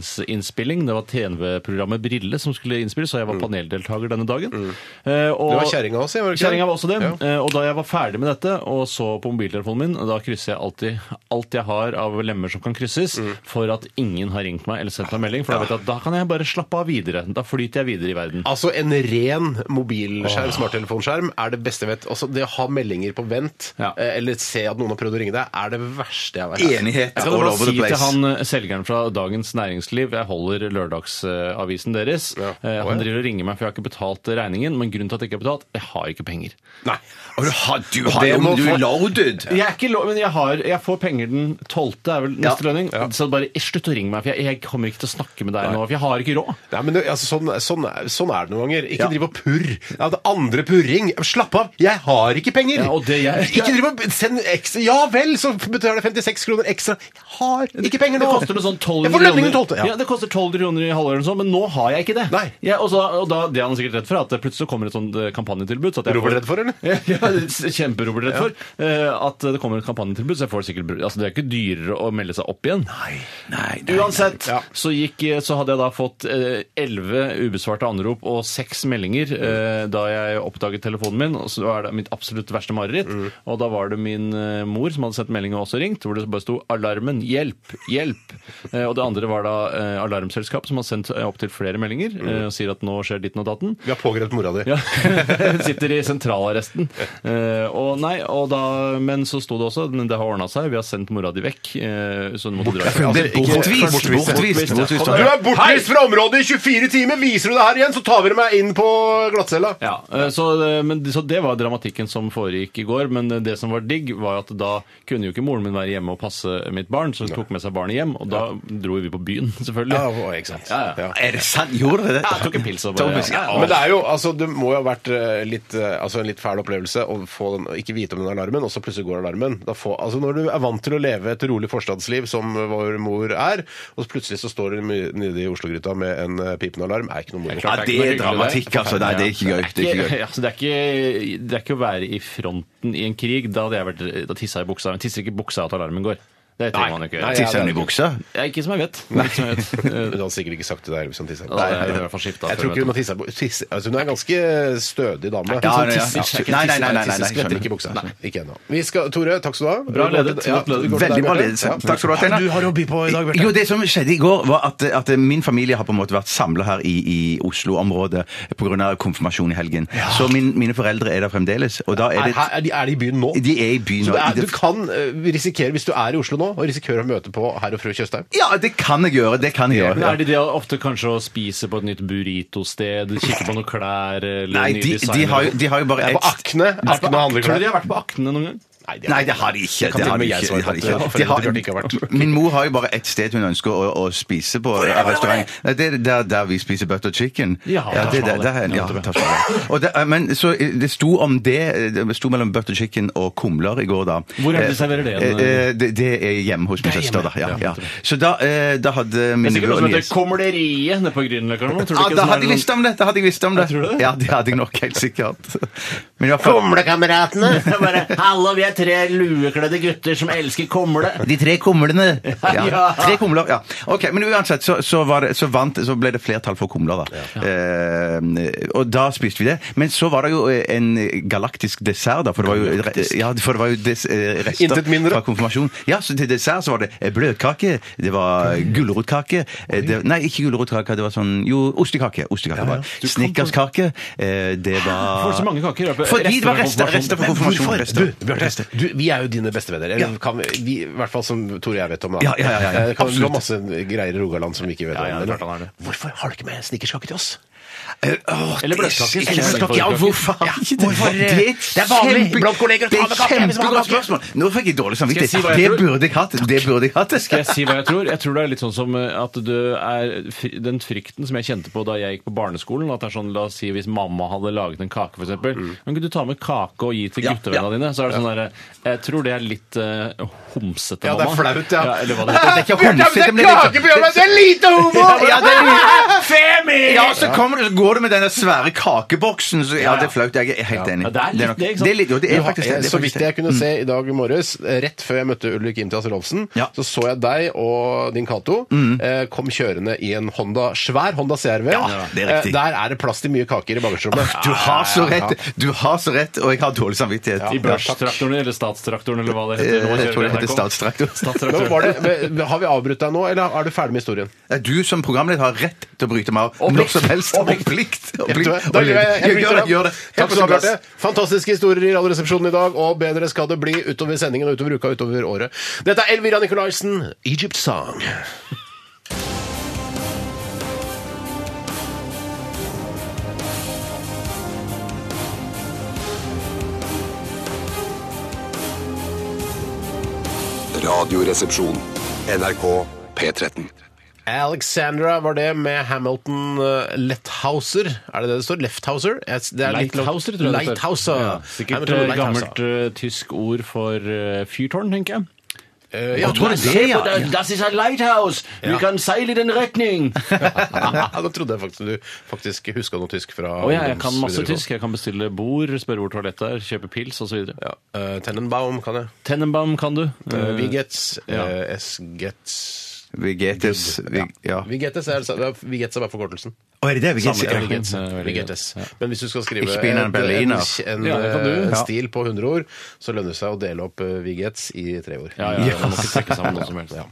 fjernsynsinnspilling. Det var TV-programmet Brille som skulle innspilles, og jeg var paneldeltaker denne dagen. Eh, og-
Det Mm. var kjerringa også, var det ikke det?
Kjerringa var også det.
Ja.
Eh, Og da jeg var ferdig med dette og så på mobiltelefonen min, da krysser jeg alltid alt jeg har av lemmer som kan krysses,
Mm.
for at ingen har ringt meg eller sendt
Ah,
meg melding. For da vet jeg at da kan jeg bare slappe av videre. Da flyter jeg videre i verden.
Altså En ren mobilskjerm, smarttelefonskjerm, er det beste jeg vet. Altså Det å ha meldinger på vent,
Ja.
eh, eller se at noen har prøvd å ringe deg, er det verste jeg vet.
Enighet
Jeg skal
all
bare
over
si
the
til
place.
han eh, selgeren fra Dagens Næringsliv Jeg holder lørdagsavisen deres.
Ja.
Eh,
Å, ja.
Han driver og ringer meg, for jeg har ikke betalt regningen. Men grunnen til at jeg ikke har betalt, jeg har ikke penger.
Nei.
Og du har, du har
Det
jo-
må
du
få-
er loaded!
Jeg er ikke lov, men jeg, har, jeg får penger den 12. er vel neste lønning. Så bare eh, slutt å ringe meg, for jeg, jeg kommer ikke til å snakke med deg nå. For jeg har ikke råd.
Nei, men det, altså, sånn, sånn, er- sånn er det noen ganger. Ikke driv og purr. Ja, det andre purring. Slapp av, jeg har ikke penger!
Ja, og det jeg-
Ikke driv og send ekstra Ja vel, så betaler jeg 56 kroner ekstra. Jeg har ikke penger
Det
nå!
koster noe sånn 12
Jeg får lønning den 12., ja.
Ja. det koster 12 kroner i halvåret, eller sånn, men nå har jeg ikke det.
Nei.
Ja, og, så, og da, Det er han sikkert redd for, at det plutselig kommer et sånt eh, kampanjetilbud. Så at jeg
Robert
får-
redd for, eller?
Ja, ja Kjempe-Robert redd for. eh, At det kommer et kampanjetilbud, så jeg får sikkert bru- altså Det er ikke dyrere å melde seg opp igjen.
Nei, nei.
Uansett,
Ja.
så, gikk, eh, så hadde jeg da fått eh, elleve ubesvarte anrop og seks meldinger eh, da jeg oppdaget telefonen min. Og så var det mitt absolutt verste mareritt. Og da var det min eh, mor som hadde sendt melding og også ringt, hvor det bare sto 'alarmen', 'hjelp', 'hjelp'. Eh, og det andre var da eh, alarmselskap som har sendt eh, opptil flere meldinger eh, og sier at nå skjer ditten og datten.
Vi har pågrepet mora di.
Ja. Sitter i sentralarresten. Eh, og nei, og da, men så sto det også men det har ordna seg, vi har sendt mora di vekk. eh, så du måtte dra
Ja, altså, ikke-
Bortvist,
Bortvist, ja.
bortvist, bortvist.
Du er bortvist fra området i 24 timer! Viser du det her igjen, så tar vi meg inn på glattcella!
Ja, eh, så, eh, men, så det var dramatikken som foregikk i går. Men eh, det som var digg, var at da kunne jo ikke moren min være hjemme og passe mitt barn, så hun tok med seg barnet hjem, og da dro vi på byen, selvfølgelig.
Ja, og- ikke sant.
Ja, ja.
Ja.
Er det sant? Gjorde dere det?
Jeg tok en pils og bare
Thomas, ja.
Men det er jo, altså, det må jo ha vært eh, litt, eh, altså, en litt fæl opplevelse å få den, å ikke vite om den alarmen, og så plutselig går alarmen. Da får, altså, når du er vant til å leve et rolig forstadsliv, som vår mor er, og så plutselig så står du my- nede i Oslo-gryta med en eh, pipende alarm, er ikke noe moro.
Ja, det er dramatikk, altså. Nei, det er ikke gøy. Det er ikke gøy.
Ja, altså, det, er ikke, det er ikke å være i fronten i en krig. Da hadde jeg vært Da tissa jeg i buksa. Men tisser ikke i buksa at alarmen går. Det trenger man jo ikke
Nei,
gjøre.
ja,
Tisser hun i
det er-
buksa?
Ja, Ikke som jeg vet. Ikke som jeg vet. Eh,
Hun hadde sikkert ikke sagt det der hvis han tisser.
da hadde jeg i hvert fall skiftet
Jeg
før,
tror ikke
vet
hun har tissa på tisse, altså, Hun er en ganske stødig dame.
Ja, ja,
Sånn
ja.
tisser-
Absolutt. Nei, nei, nei, nei, nei, nei,
Skvetter ikke i buksa. Ikke ennå. Vi skal- Tore, takk skal du ha.
Bra ledet.
Ja, vi går til deg,
Veldig bra
Bjarte.
ledelse.
Ja.
Takk skal du ha, Steinar.
Du har å by på i dag, Bjarte.
Jo, det som skjedde i går, var at, at min familie har på en måte vært samla her i, i Oslo-området pga. konfirmasjon i helgen. Så min, mine foreldre er der fremdeles. Og da
Er,
er det
her- er, de, er de i byen nå?
De er i byen
Så
nå.
det er,
Det-
du kan eh, risikere, hvis du er i Oslo nå, og risikerer å møte på herr og fru Tjøstheim
Ja, det kan jeg gjøre! Det kan jeg gjøre.
Men er det det ofte kanskje å spise på et nytt burrito-sted, kikke på noen klær eller
Nei,
nye
de, de,
designer?
har, jo- de har jo bare
På
ett
Akne. Akne handler
Tror du de
det
har vært på Akne noen gang?
Nei, det har de ikke.
Det
det
kan til
har
og med
de
jeg
ikke,
svare
det har de
på at
ikke.
foreldre
De har-
burde ikke ha vært.
Min mor har jo bare ett sted hun ønsker å, å spise på av restaurant. Nei, Det er der, der vi spiser butter chicken.
Ja, Taj
det, er der-
Mahal.
der- ja,
Ja,
Taj Mahal. Og det, eh, men så det sto om det eh, Det sto mellom butter chicken og kumler i går, da.
Hvor er det de serverer det?
Eh, eh, Det, det er hjemme hos min søster, da. Ja, ja. Så da, eh, da hadde
Det
min
er sikkert noe
mor
som heter Komleriet nede på Grünerløkka. eller noe. Tror du
ja,
ikke
da
sånn er
hadde jeg
noen-
visst om det! Da hadde jeg visst om det.
tror det.
Ja, det hadde jeg nok helt sikkert. Men i hvert fall
Komlekameratene! Bare, Hallo, vi er tre luekledde gutter som elsker kumle.
De tre kumlene. Ja.
Ja.
Tre kumler, ja. Ok, Men uansett så, så, var det, så, vant, så ble det flertall for kumler, da. Eh, og da spiste vi det. Men så var det jo eh, en galaktisk dessert, da. For det var jo, ja, for det var jo des, eh, rester
Intet mindre.
fra konfirmasjon. Ja, så til dessert så var det eh, bløtkake, det var gulrotkake eh, det, Nei, ikke gulrotkake, det var sånn Jo, ostekake. ostekake var det. Snickerskake. eh, det var
Får så mange kaker, da, på-
Fordi
rester
det var
fra
rester,
konfirmasjon.
rester fra
Men
konfirmasjon.
Hvorfor?
rester.
Du, Bjarte, du, vi er jo dine bestevenner. Eller kan vi, vi, I hvert fall som Tore og jeg vet om. Da.
Ja, ja, ja, ja, ja.
Eh, Kan du ha
Absolutt.
masse greier i Rogaland som vi ikke vet
ja,
om.
det er
eller?
klart han er det.
Hvorfor har du ikke med snickerskake til oss?
Eh, åh,
Eller
det er
bløtkake.
så-
Eller
Eller bløtkake.
bløtkake.
Ja, hvorfor har ikke det?
hvorfor,
Det er
eh, det er vanlig
kjempe-
blant kolleger å ta
Det er
med kake hvis man har
kjempegodt
kake.
spørsmål. Nå fikk jeg dårlig
Skal jeg si hva
samvittighet.
jeg
det
tror?
burde jeg hatt. Det burde jeg hatt.
Skal jeg si hva jeg tror? Jeg tror det er litt sånn som eh, at du er fri- den frykten som jeg kjente på da jeg gikk på barneskolen. At det er sånn, la oss si hvis mamma hadde laget en kake, f.eks. Mm. Kan ikke du ta med kake og gi til
Ja,
guttevennene dine?
ja.
Så er det sånn derre Jeg tror det er litt eh, homsete,
Ja, det er flaut, ja.
eller hva det heter.
er ikke homsete, men det er litt-
kakeprogrammet! Det er lite homo!
Ja, det er litt-
Femi!
ja, så kommer du, så går du med den der svære kakeboksen. Så, ja, det er flaut. Jeg er helt enig.
Ja, det er litt
nok-
det, ikke sant?
Det er litt, jo, det
Du
er
har-
faktisk det. det. er Mm.
Så
faktisk
vidt jeg kunne se i dag morges, eh, rett før jeg møtte Ulrik Imtias Rolfsen,
Ja. Mm.
så så jeg deg og din Cato eh, kom kjørende i en Honda, svær Honda CRV.
Ja, det er riktig. Ah,
Eh, Der er det plass til mye kaker i bagasjerommet.
Du har så rett, du har så rett, og jeg har dårlig samvittighet.
I børstraktoren eller statstraktoren eller hva det heter. Nå
Eh,
kjører
Jeg tror det
NRK.
heter statstraktor.
Nå
Statstraktoren.
var det, men har vi avbrutt deg nå, eller er du ferdig med historien?
Nei, Du som programleder har rett til å bryte meg av
Og
når
plikt.
som helst.
Og
Og
plikt.
plikt. Og
Vet du
plikt.
hva?
Og
Da gjør jeg, jeg,
gjør gjør det. gjør det.
Helt
Takk
bra,
skal du ha.
Bjarte. Fantastiske historier i Radioresepsjonen i dag, og bedre skal det bli utover sendingen og utover uka utover året. Dette er Elvira Nicolaisen, Egypt Song.
Radioresepsjon. NRK P13.
Alexandra var det med Hamilton eh, Lethauser. Er det det det står? Lefthauser? Jeg- Det er litt
Lighthouser, tror jeg det heter.
Lighthouser.
Ja, sikkert
Hamilton
eh,
Lighthouser.
gammelt eh, tysk ord for eh, fyrtårn, tenker jeg.
Eh, ja,
tror det er det, ja.
Das ist ein Lighthouse! Vi
Ja.
kan seile i den retning!
ja, da trodde jeg faktisk du faktisk huska noe tysk fra
Å ja, jeg kan masse
ungdomsvideregående.
tysk. Jeg kan bestille bord, spørre hvor toalettet er, kjøpe pils osv. videre
Ja. eh, Tenenbaum kan jeg.
Tenenbaum kan du.
Uh,
Eh,
Vigets.
ja.
eh, S-Gets.
Vegetus. Vi- Ja.
Vigetes er, Vigets er bare forkortelsen.
Å, er det det? Vegetus?
Samme
Ja.
kranken.
Vigetes.
Ja, veldig
Vigetes. Men hvis du skal skrive
Ich bin ein
et-
Berliner.
en, en,
Ja, det kan du.
eh,
Ja.
stil på 100 ord, så lønner det seg å dele opp eh, Vigets i tre ord.
Ja, ja, ja, man må ikke trekke sammen noe som helst.
Ja.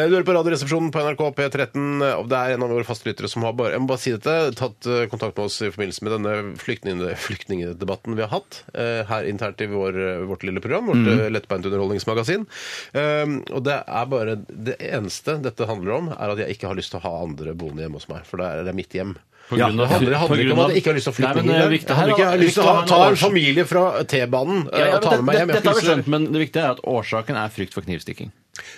Eh, Du hører på Radioresepsjonen på NRK P13. eh, og Det er en av våre fastlyttere som har bare jeg må bare si dette, tatt eh, kontakt med oss i forbindelse med denne flyktning- flyktningdebatten vi har hatt eh, her internt i vår, eh, vårt lille program, vårt
Mhm.
eh, lettbeint underholdningsmagasin. Um, Og det er bare det eneste dette handler om, er at jeg ikke har lyst til å ha andre boende hjemme hos meg, for det er, det er mitt hjem.
På grunn
Det
av-
handler, det handler
på
ikke om
grunn
at jeg ikke har lyst til å
Nei,
flytte
men,
inn
eh,
der.
viktig-
Jeg hadde ikke
her-
lyst til å
viktig
ha,
en
ta en
årsak.
familie fra T-banen eh,
Ja, ja,
og ta
men
med meg
det-
hjem. Jeg
Dette har vi
har ikke lyst
skjønt, men det viktige er at årsaken er frykt for knivstikking.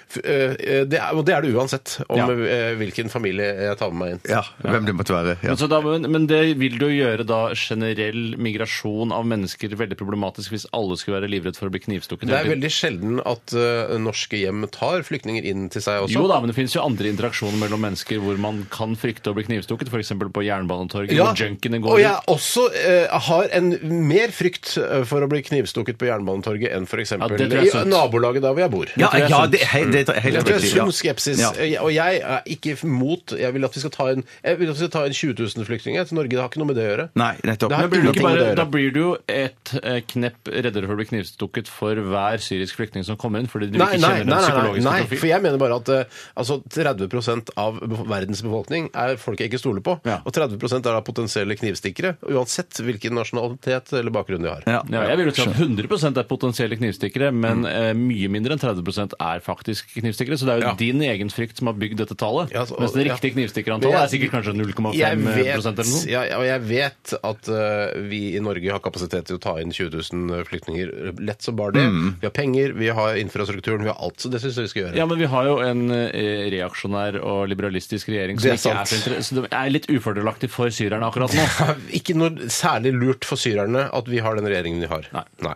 F- eh, det er, og det er det uansett om
Ja.
eh, hvilken familie jeg tar med meg inn.
Ja, hvem det måtte være. Ja.
Men, så da, men, men det vil jo gjøre da generell migrasjon av mennesker veldig problematisk hvis alle skulle være livredd for å bli knivstukket.
Det er veldig sjelden at eh, norske hjem tar flyktninger inn til seg også.
Jo da, men det finnes jo andre interaksjoner mellom mennesker hvor man kan frykte å bli knivstukket, f.eks. på Jernbanetorget,
Ja,
hvor junkiene
og
går.
jeg også eh, har en mer frykt eh, for å bli knivstukket på Jernbanetorget enn f.eks.
Ja, det tror jeg er
i
sunt.
nabolaget der hvor jeg bor.
Ja,
tror jeg er
ja,
sunt.
det er helt, det er helt
Jeg tror det
riktig,
er
ja.
sunn skepsis.
Ja.
Eh, Og jeg er ikke mot Jeg vil at vi skal ta inn, jeg vil at vi skal ta inn 20 000 flyktninger til Norge. Det har ikke noe med det å gjøre.
Nei, nettopp.
Det
Men blir du ikke
Ingenting med
bare,
det å
da
gjøre.
blir du jo et eh, knepp reddere for å bli knivstukket for hver syrisk flyktning som kommer inn, fordi du
Nei,
ikke
nei, nei,
kjenner den
nei,
psykologiske
nei,
profilen.
for jeg mener bare at eh, altså, 30 av bef- verdens befolkning er folk jeg ikke stoler på.
Ja.
Og 30 er da potensielle knivstikkere, uansett hvilken nasjonalitet eller bakgrunn de har.
Ja.
Mm.
Ja, jeg vil jo si at 100 er potensielle knivstikkere, men eh, mye mindre enn 30 er praktiske knivstikkere, så det er jo
Ja.
din egen frykt som har bygd dette tallet.
Ja, så-
mens det
ja.
riktige knivstikkerantallet er sikkert kanskje 0,5
Jeg
eh, prosent eller
vet,
noe.
ja, ja, og jeg vet at eh, vi i Norge har kapasitet til å ta inn 20 000 flyktninger lett som bare det.
Mm.
Vi har penger, vi har infrastrukturen, vi har alt. Så det syns jeg vi skal gjøre.
Ja, men vi har jo en eh, reaksjonær og liberalistisk regjering som ikke
Det er
er så
sant.
interessert, så det er litt ufordelaktig for syrerne akkurat nå.
Ikke noe særlig lurt for syrerne at vi har den regjeringen vi har.
Nei.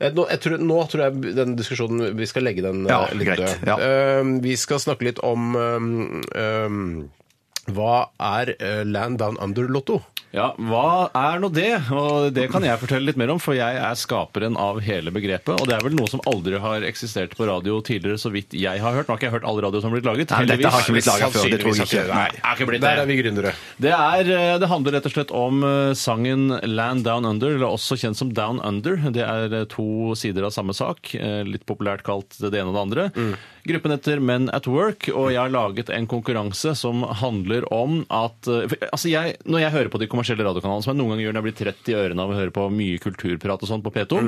Eh, Nå, jeg tror, nå tror jeg den diskusjonen Vi skal legge den eh,
Ja,
litt
greit,
død.
ja.
Eh, vi skal snakke litt om eh, eh, hva er eh, Land Down Under-lotto?
Ja, hva er nå det? Og det kan jeg fortelle litt mer om, for jeg er skaperen av hele begrepet. Og det er vel noe som aldri har eksistert på radio tidligere, så vidt jeg har hørt. Nå har ikke jeg hørt all radio som har blitt laget.
Nei, dette har ikke blitt laget før. Det tror
Sannsynligvis
jeg ikke. Nei.
har ikke det.
Nei, har ikke blitt
Der
det.
er vi gründere.
Det, er, eh, det handler rett og slett om eh, sangen Land Down Under, eller også kjent som Down Under. Det er eh, to sider av samme sak, eh, litt populært kalt det ene og det andre. Gruppen heter Men at Work, og jeg har laget en konkurranse som handler om at eh, for, altså jeg, Når jeg hører på de kommersielle radiokanalene, som jeg noen ganger gjør når jeg blir trett i ørene av å høre på mye kulturprat og sånn på P2,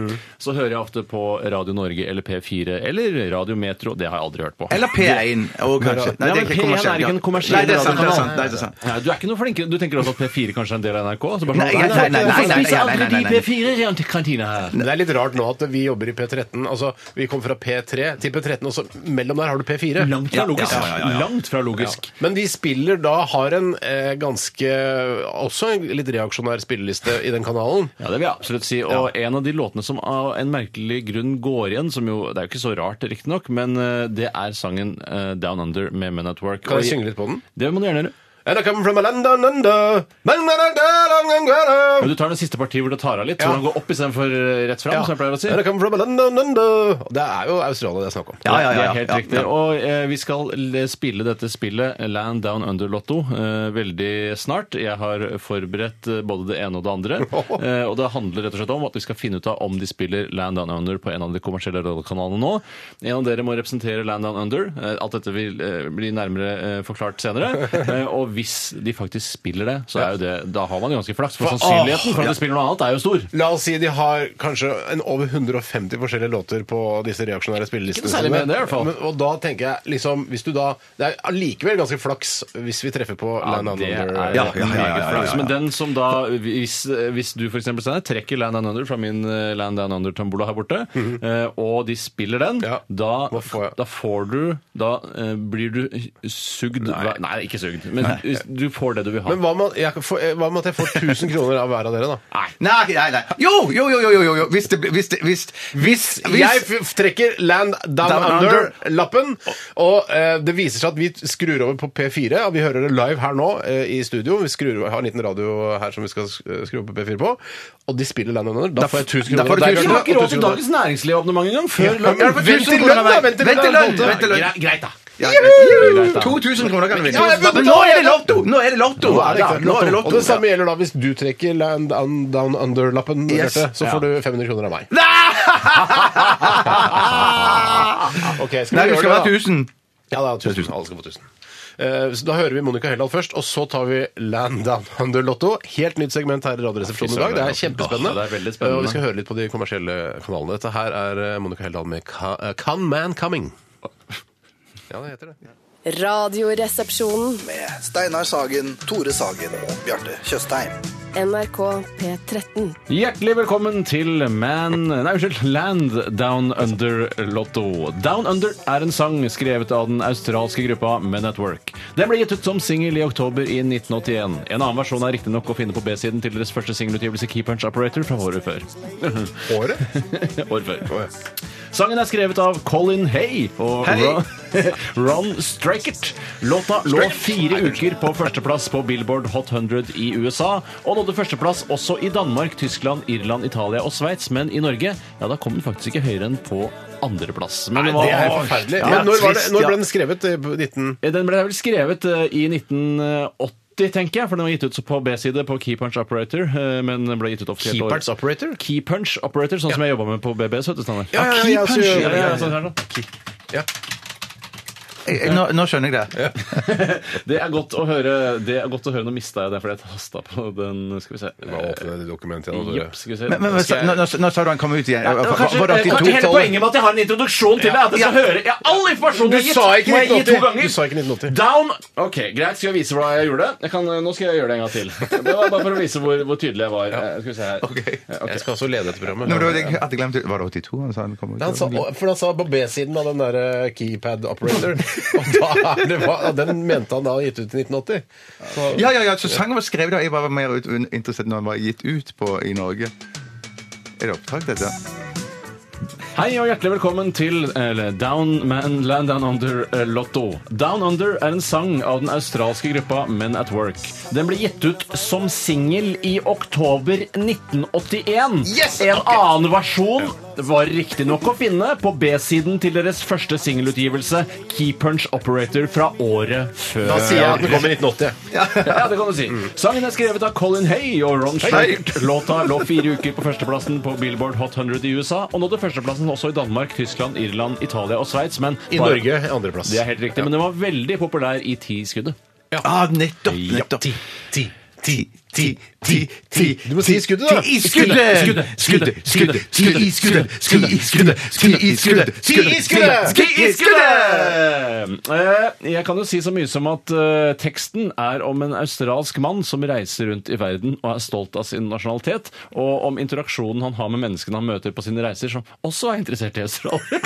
så hører jeg ofte på Radio Norge eller P4 eller Radio Metro. Det har jeg aldri hørt på.
Eller P1. Og kanskje.
Nei, men P1 er ikke en kommersiell
Nei, det er sant. Det er
radiokanal.
sant, det er sant.
Nei, du er ikke noe flinkere. Du tenker også at P4 kanskje er en del av NRK? Så bare
Nei, jeg- nei, nei, nei, nei, nei, nei, nei, nei, nei.
Hvorfor spiser aldri de P4 i kantina her?
Men Det er litt rart nå at vi jobber i P13. Altså, vi kom fra P3 til P13, og så mellom der har du P4.
Langt fra
Ja,
logisk.
ja, ja, ja, ja.
Langt fra logisk.
Men de spiller da har en eh, ganske Også en litt reaksjonær spilleliste i den kanalen.
Ja, det vil jeg absolutt si. Og en av de låtene som av en merkelig grunn går igjen, som jo Det er jo ikke så rart, riktignok, men eh, det er sangen eh, Down Under med Men at Work.
Kan
Og-
jeg synge litt på den?
Det må du gjerne gjøre.
And I come from a land down under. Man, man, man, man, man, man,
Men
man.
du tar det siste partiet hvor det tar av litt,
Ja.
så den går opp istedenfor eh, rett fram,
Ja.
som jeg pleier å si.
And I come from a land down under. Og Det er jo Australia det er snakk om.
Ja, ja, ja,
Det
ja,
er helt
ja,
riktig.
ja.
Og eh, vi skal le- spille dette spillet, Land Down Under Lotto, eh, veldig snart. Jeg har forberedt eh, både det ene og det andre. Eh, og det handler rett og slett om at vi skal finne ut av om de spiller Land Down Under på en av de kommersielle radiokanalene nå. En av dere må representere Land Down Under. Eh, alt dette vil eh, bli nærmere eh, forklart senere. Eh, og hvis de faktisk spiller det, så er jo det Da har man jo ganske flaks, for
For-
sannsynligheten for
Åh,
at de spiller noe annet, er jo stor.
La oss si de har kanskje en over 150 forskjellige låter på disse reaksjonære spillelistene.
Ikke noe særlig mer enn det, i hvert fall.
Men, og da tenker jeg liksom hvis du da, Det er allikevel ganske flaks hvis vi treffer på
Ja,
Land
det er
Under.
meget
ja, ja, ja, ja, ja.
flaks. Men den som da, hvis, hvis du f.eks. trekker Land Down Under fra min eh, Land Down Under-tambola her borte, eh, og de spiller den,
Ja.
da,
Hva får jeg?
da får du Da eh, blir du sugd Nei, Nei ikke sugd, men du får det du vil ha.
Men hva med, jeg, får- eh, hva med at jeg får 1000 kroner av hver av dere, da?
Nei, nei, nei. Jo, jo, jo, jo, jo, jo, jo. Hvis det blir Hvis, det- hvis, hvis,
Jeg f- trekker Land Down,
Down
Under-lappen, og eh, det viser seg at vi skrur over på P4. Og vi hører det live her nå eh, i studio. Vi skrur, har en liten radio her som vi skal sk- skru over på P4 på. Og de spiller Land Under. Da får jeg 1000
da
kroner.
får du
Der
du
1000
kan
har
kroner.
du-
ikke råd til
1000 kroner.
dagens næringsliv abonnement engang før
Ja, men Vent til lønn, da! Vent til
Vent til
lønn!
lønn, vent til lønn.
Greit, Greit, da.
Juhu! 2000 kroner kan du vinne.
Ja, jeg vunnet
Men nå er det lotto! Nå er det lotto!
Nå er det
Ja,
ikke
nå er det
lotto. Og det samme
lotto.
gjelder da hvis du trekker Land Un- Down Under-lappen,
Yes.
Bjarte, så
Ja.
får du 500 kroner av meg. Ok, skal
Nei,
vi
du skal
gjøre
ha
det, da?
1000.
Ja, det er 1000. Alle skal få 1000. Eh, så da hører vi Monica Helland først, og så tar vi Land Down Under Lotto. Helt nytt segment her i Radioresepsjonen i dag. Det er kjempespennende.
Åh, det er veldig spennende.
Eh, Og vi skal høre litt på de kommersielle kanalene. Dette her er eh, Monica Helland med Ca- eh, Can Man Coming. Ja, det heter det.
Radioresepsjonen.
Med Steinar Sagen, Tore Sagen og Bjarte Tjøstheim.
NRK P13.
Hjertelig velkommen til Man Nei, unnskyld. Land Down Under Lotto. Down Under er en sang skrevet av den australske gruppa Men At Work. Den ble gitt ut som singel i oktober i 1981. En annen versjon er riktignok å finne på B-siden til deres første singelutgivelse Key Punch Operator fra året før.
Håret?
År før. Sangen er skrevet av Colin Hay og Ron, Ron Strakert. Låta lå fire uker på førsteplass på Billboard Hot 100 i USA, og nådde førsteplass også i Danmark, Tyskland, Irland, Italia og Sveits. Men i Norge ja, da kom den faktisk ikke høyere enn på andreplass. Men det var-
Det er helt forferdelig.
Ja,
Men når, var det,
trist,
når
ja.
ble den skrevet? Eh, på 19...
Den ble vel skrevet eh, i 1980. tenker jeg, for Den var gitt ut på B-side på Key Punch Operator. eh, men den ble gitt ut offisielt
Key
år-
Punch Operator?
Key Punch Operator, sånn som jeg jobba med på BBS. vet du, Steinar.
Ja, ja, ja,
Key
jeg også
Punch,
gjør det.
ja, ja, sånn her da.
Ja.
Eh, Nå, nå skjønner jeg det.
Det er godt å høre. Det er godt å høre. Nå mista jeg det fordi jeg hasta på den. Skal vi se.
Bare åpne det dokumentet igjen. og
Jepp,
så-
skal vi se.
Men, men, men
Skal jeg-
nå, nå, nå sa du han kom ut igjen.
Det var
Var-
Kanskje,
var det
eh, kanskje
82-tallet?
hele poenget med at jeg har en introduksjon til det, er at jeg skal høre ja, all informasjonen
Du
jeg har gitt,
sa ikke
må jeg gi
1980.
to ganger.
Du sa ikke 1980.
Down! Ok, Greit, skal jeg vise hvordan jeg gjorde det? Jeg kan, nå skal jeg gjøre det en gang til. Det var Bare for å vise hvor, hvor tydelig jeg var. Eh, Skal vi se her. Eh, ok.
Jeg skal også lede dette programmet.
Nå, men det var det jeg hadde glemt. Var det 82 han sa han kom ut?
Han sa, og- for han sa på B-siden av den der eh, keypad operator. Og da er det, hva- den mente han da gitt ut i 1980. Så,
Ja, ja, ja, så sangen var skrevet da. Jeg bare var mer ut, interessert når den var gitt ut på, i Norge. Er det opptak, dette?
Hei og hjertelig velkommen til eller, Down Man Land Down Under eh, Lotto. Down Under er en sang av den australske gruppa Men At Work. Den ble gitt ut som singel i oktober 1981.
Yes!
En annen versjon var riktignok å finne på B-siden til deres første singelutgivelse, Key Punch Operator, fra året før.
da sier jeg at den kom i 1980.
Ja, det kan du si.
Mm.
Sangen er skrevet av Colin Hay og Ron Stewart. Låta lå fire uker på førsteplassen på Billboard Hot 100 i USA, og nådde førsteplassen også i Danmark, Tyskland, Irland, Italia og Sveits. Men
I
bare-
Norge andreplass.
Det er helt riktig, men den var veldig populær i ti skuddet.
Ah, nettopp! nettopp.
Ti, ti, ti.
Ti, ti, ti
Du må si skuddet, da.
Ti i skuddet!
Skuddet, skuddet, skuddet,
Ti i skuddet! Ti i skuddet! Ti i skuddet!
Ti i skuddet!
Ti i skuddet!
Eh, Jeg kan jo si så mye som at eh, teksten er om en australsk mann som reiser rundt i verden og er stolt av sin nasjonalitet, og om interaksjonen han har med menneskene han møter på sine reiser, som også er interessert i Australia.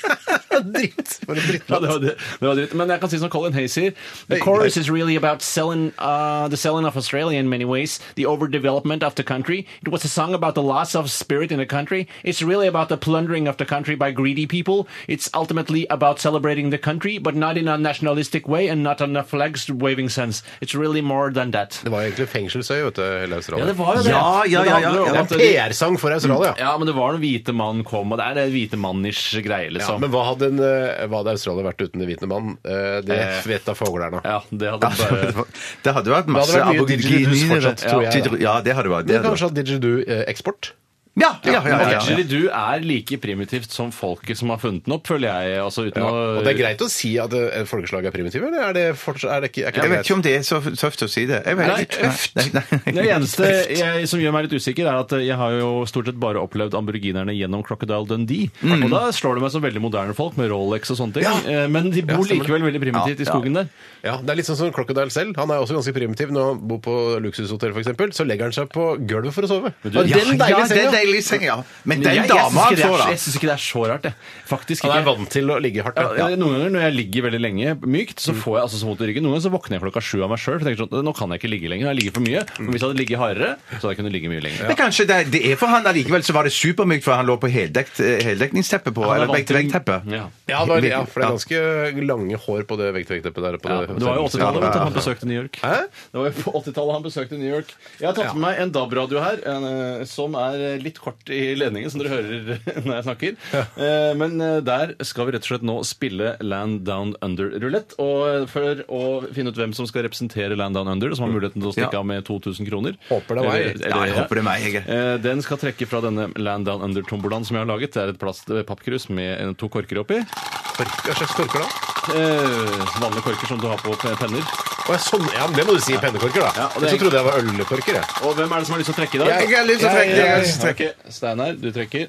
Dritt! For en dritt.
Ja, det var, det, det var dritt. Men jeg kan si som Colin Hay sier The chorus is really about selling, uh, the selling of Australia in many ways. The overdevelopment of the country. It was a song about the loss of spirit in the country. It's really about the plundering of the country by greedy people. It's ultimately about celebrating the country, but not in a nationalistic way and not on a flags waving sense. It's really more than that.
Det var egentlig fengselsøy, vet du, hele Australia.
var jo
det. Ja, ja, ja, ja.
Det handler
Det er en
om at de-
PR-sang for Australia.
Ja, men det var den hvite mannen kom, og det er det hvite mannish greie,
Ja,
liksom.
men hva hadde, en, eh, hva hadde Australia vært uten den hvite mann? Eh,
Eh.
Det vet da foglerna.
Ja, det hadde bare...
Det hadde vært masse
Det hadde vært mye didgeridoos
aboriginer.
fortsatt, tror jeg, da.
Ja, det hadde vært det. Hadde vært.
Men kanskje at eh, didgeridoo-eksport?
Ja, ja, ja, ja, ja.
Didgeridoo er like primitivt som folket som har funnet den opp, føler jeg. Altså, uten
Ja.
å...
Og det er greit å si at eh, folkeslag er primitive, eller er det, fortsatt, er det ikke, er ikke
Jeg
det
vet
greit?
ikke om det er så tøft å si det. Jeg vet
Nei,
ikke. Nei, nei, nei.
Det eneste jeg, som gjør meg litt usikker, er at jeg har jo stort sett bare opplevd amboriginerne gjennom Crocodile Dundee.
Mm.
Og da slår det meg som veldig moderne folk med Rolex og sånne ting. Eh, Men de bor likevel veldig primitivt i skogen der.
Ja, Det er litt sånn som Crocodile selv. Han er også ganske primitiv når han bor på luksushotell, for eksempel, Så legger han seg på gulvet for å sove. Og
Ja,
den
ja,
deilige
det er
senga!
deilig seng, ja. Men den
jeg, jeg
dama
syns
han
ikke, det
får,
er-
da
jeg syns ikke det er så rart, jeg. Faktisk
Han
ikke.
er vant til å ligge hardt.
Ja,
Ja. Mm.
eh, Noen ganger når jeg ligger veldig lenge mykt, så får jeg altså så vondt i ryggen. Noen ganger så våkner jeg klokka sju av meg sjøl og tenker sånn Nå kan jeg ikke ligge lenger. Jeg ligger for mye.
Mm.
Men hvis jeg hadde ligget hardere, så hadde jeg kunnet ligge mye lenger.
Men kanskje det, det er for han allikevel så var det supermykt, for han lå på heldekt, heldekningsteppet på,
Han er
eller
vant til-
vegg-til-vegg-teppet.
Ja.
Ja, det var, ja, for det er ganske lange hår på det vegg-til-vegg-teppet der. På
Ja,
det,
det var jo 80-tallet vet du, han
Ja.
besøkte New York. Det var jo på 80-tallet han besøkte New York. Jeg har tatt med meg en DAB-radio her, en, eh, som er eh, litt kort i ledningen, som dere hører når jeg snakker. Eh, Men eh, der skal vi rett og slett nå spille Land Down Under rulett. Og eh, for å finne ut hvem som skal representere Land Down Under, som har muligheten til å stikke
Ja.
av med 2000 kroner
Håper det var jeg.
Eller-
Ja, jeg
eller-
håper det er meg, jeg.
Eh, Den skal trekke fra denne Land Down Under-tombolaen som jeg har laget. Det er et plast eh, pappkrus med eh, to korker oppi.
Hva slags korker da?
Eh, Vanlige korker som du har på pe- penner.
Å, ja, sånn, ja, men Det må du si pennekorker, da.
Ja, og det er-
Jeg så trodde jeg var ølkorker. jeg.
Og hvem er det som har lyst til å trekke i dag?
Jeg har lyst til å trekke, jeg har lyst til å trekke.
Ok, Steinar, du trekker.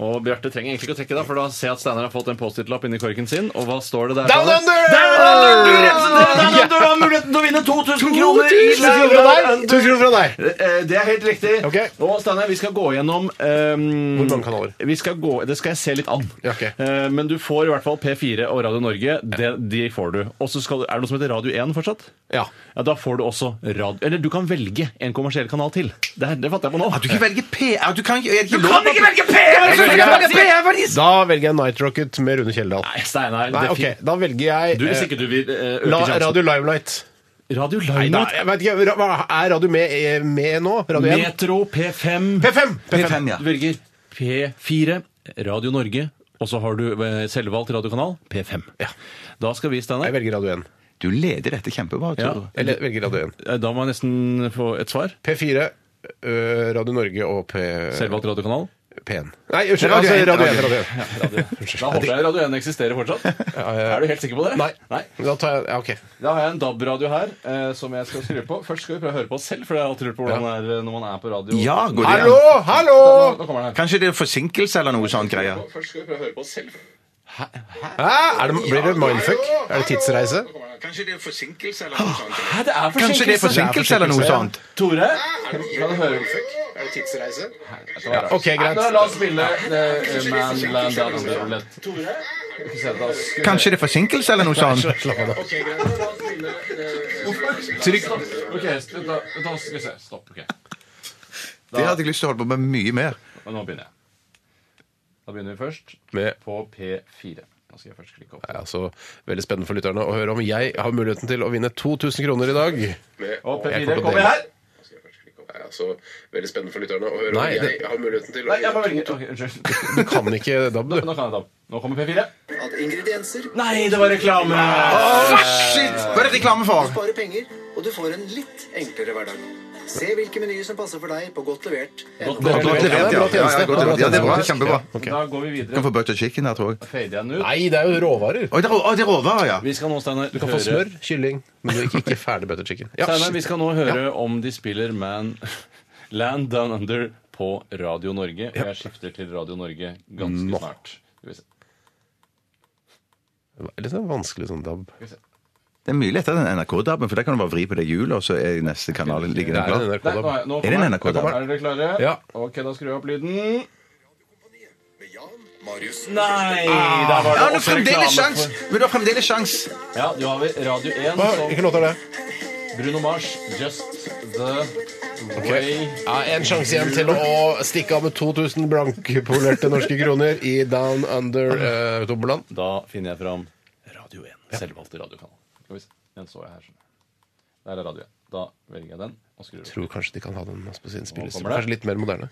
Og Bjarte trenger egentlig ikke å trekke, da, for da ser jeg at Steinar har fått en Post-It-lapp inni korken sin. Og hva står det der?
Down
Steinar?
Under!
Du representerer Down Under og har muligheten til å vinne 2000 kroner! i
1000 kroner fra
Down
deg!
Under.
1000 kroner fra deg!
Eh, Det er helt riktig.
Ok.
Og Steinar, vi skal gå gjennom ehm,
Hvor mange kanaler?
Vi skal gå, det skal jeg se litt an.
Ja, ok.
Eh, men du får i hvert fall P4 og Radio Norge. De, de får du. Og så skal du- Er det noe som heter Radio 1 fortsatt?
Ja.
Ja, Da får du også radio... Eller du kan velge en kommersiell kanal til. Det, her- det fatter jeg på nå.
At Ah, du ikke velger P... At du kan ikke, er det ikke lov å-
velge P1!
Du kan ikke velge P, hva er det?
Da velger jeg Night Rocket med Rune Kjeldal.
Nei, Steinar.
Nei,
det er
ok,
fint.
Da velger jeg
Du, hvis
eh,
ikke du vil eh, øke
La,
sjansen.
Radio Limelight.
radio
Nei, da,
Limelight,
jeg vet ikke, ra- hva- Er Radio med, eh, med nå? Radio 1?
Metro, P5
P5!
P5, ja.
Du velger P4, Radio Norge, og så har du eh, selvvalgt radiokanal, P5. Da skal vi,
Jeg
Steinar
velger Radio 1.
Du leder dette kjempebra,
Ja.
tror jeg.
Eller velger Radio 1.
Eh, Da må jeg nesten få et svar.
P4, ø, Radio Norge og P...
Selvvalgt radiokanal.
P1. Nei, unnskyld.
Radio
Altså,
1,
Radio 1.
Radio
Radio 1.
Da håper jeg Radio 1 eksisterer fortsatt. Er du helt sikker på det?
Nei. Da tar jeg, ja, ok.
Da har jeg en DAB-radio her eh, som jeg skal skru på. Først skal vi prøve å høre på oss selv, for jeg har alltid lurt på hvordan det er eh, når man er på radio.
Ja, går det
Hallo!
an?
Hallo!
Nå, nå kommer den her.
Kanskje det er forsinkelse eller noe sånt greier.
Først skal vi prøve å høre på oss selv.
Hæ? Er det, blir det mindfuck? Er det tidsreise?
Kanskje det er forsinkelse eller noe sånt greier.
Hæ, det er
Ah, Kanskje det er forsinkelse eller noe sånt.
Tore, kan du høre?
Er det tidsreise? Ja, OK,
Nei,
greit.
da, la oss spille eh, Man Land Down Under Roulette. Skal vi se, da skal-
Kanskje det er forsinkelse eller noe sånt.
Slapp av, da.
Trykk Ok, vent da, vent da, skal vi se. Stopp. ok.
Det hadde jeg lyst til å holde på med mye mer.
Men nå begynner jeg. Da begynner vi først
Med-
på P4. Da skal jeg først klikke opp.
Det er altså veldig spennende for lytterne å høre om jeg har muligheten til å vinne 2000 kroner i
Og
dag. Jeg
P4
kommer
kommer her!
veldig spennende for lytterne å høre
Nei, det-
jeg har muligheten til
Nei, jeg bare velger. Ok, unnskyld.
Du kan ikke DAB, du.
Nå kan jeg ta opp. Nå kommer P4.
At ingredienser
Nei, det var reklame!
Shit! Hva er det reklame for?
sparer penger, og du får en litt enklere hverdag. Se hvilke menyer som passer for deg på godt levert.
Godt
Godt
levert.
levert, ja.
Ja, ja,
Bra
ja,
tjeneste.
godt levert. Ja, det er bra. Kjempebra.
Ok.
Da går vi videre.
Kan få butter chicken der, tror jeg.
Fader jeg den ut?
Nei, det er jo råvarer.
Oi, det er rå- å, det er råvarer, ja.
Vi skal nå, Steinar,
Du kan få smør, kylling, men du er ikke, ikke ferdig butter chicken. Ja,
Steinar, vi skal nå høre om de spiller Man Land Down Under på Radio Norge. Og jeg skifter til Radio Norge ganske snart. Skal vi se.
Det er litt sånn vanskelig sånn DAB.
Det er mye lettere enn NRK-dabben, for der kan du bare vri på det hjulet, og så er neste kanal ligger
Det
den
er en
klar.
Nei, nå er, nå
NRK-DAB.
Er det en
kommer den.
NRK der?
Er dere klare?
Ja.
Ok, da skrur jeg opp lyden.
Mariussen.
Nei! Der var
Ja,
det
du har
også
fremdeles
reklame.
sjans! Men du har fremdeles sjans.
for- Ja, du har vi Radio 1
Hva,
som
Hvilken låt er det?
Bruno Mars, Just The Way
Ja, En sjanse igjen til å stikke av med 2000 blankpolerte norske kroner i Down Under uh, Tomboland.
Da finner jeg fram Radio 1. Selvvalgte radiokanal. Skal vi se. Den så jeg her. skjønner jeg. Der er Radio 1. Da velger jeg den og skrur opp.
Tror kanskje de kan ha den på sin spilleliste.
kommer det.
Kanskje litt mer moderne.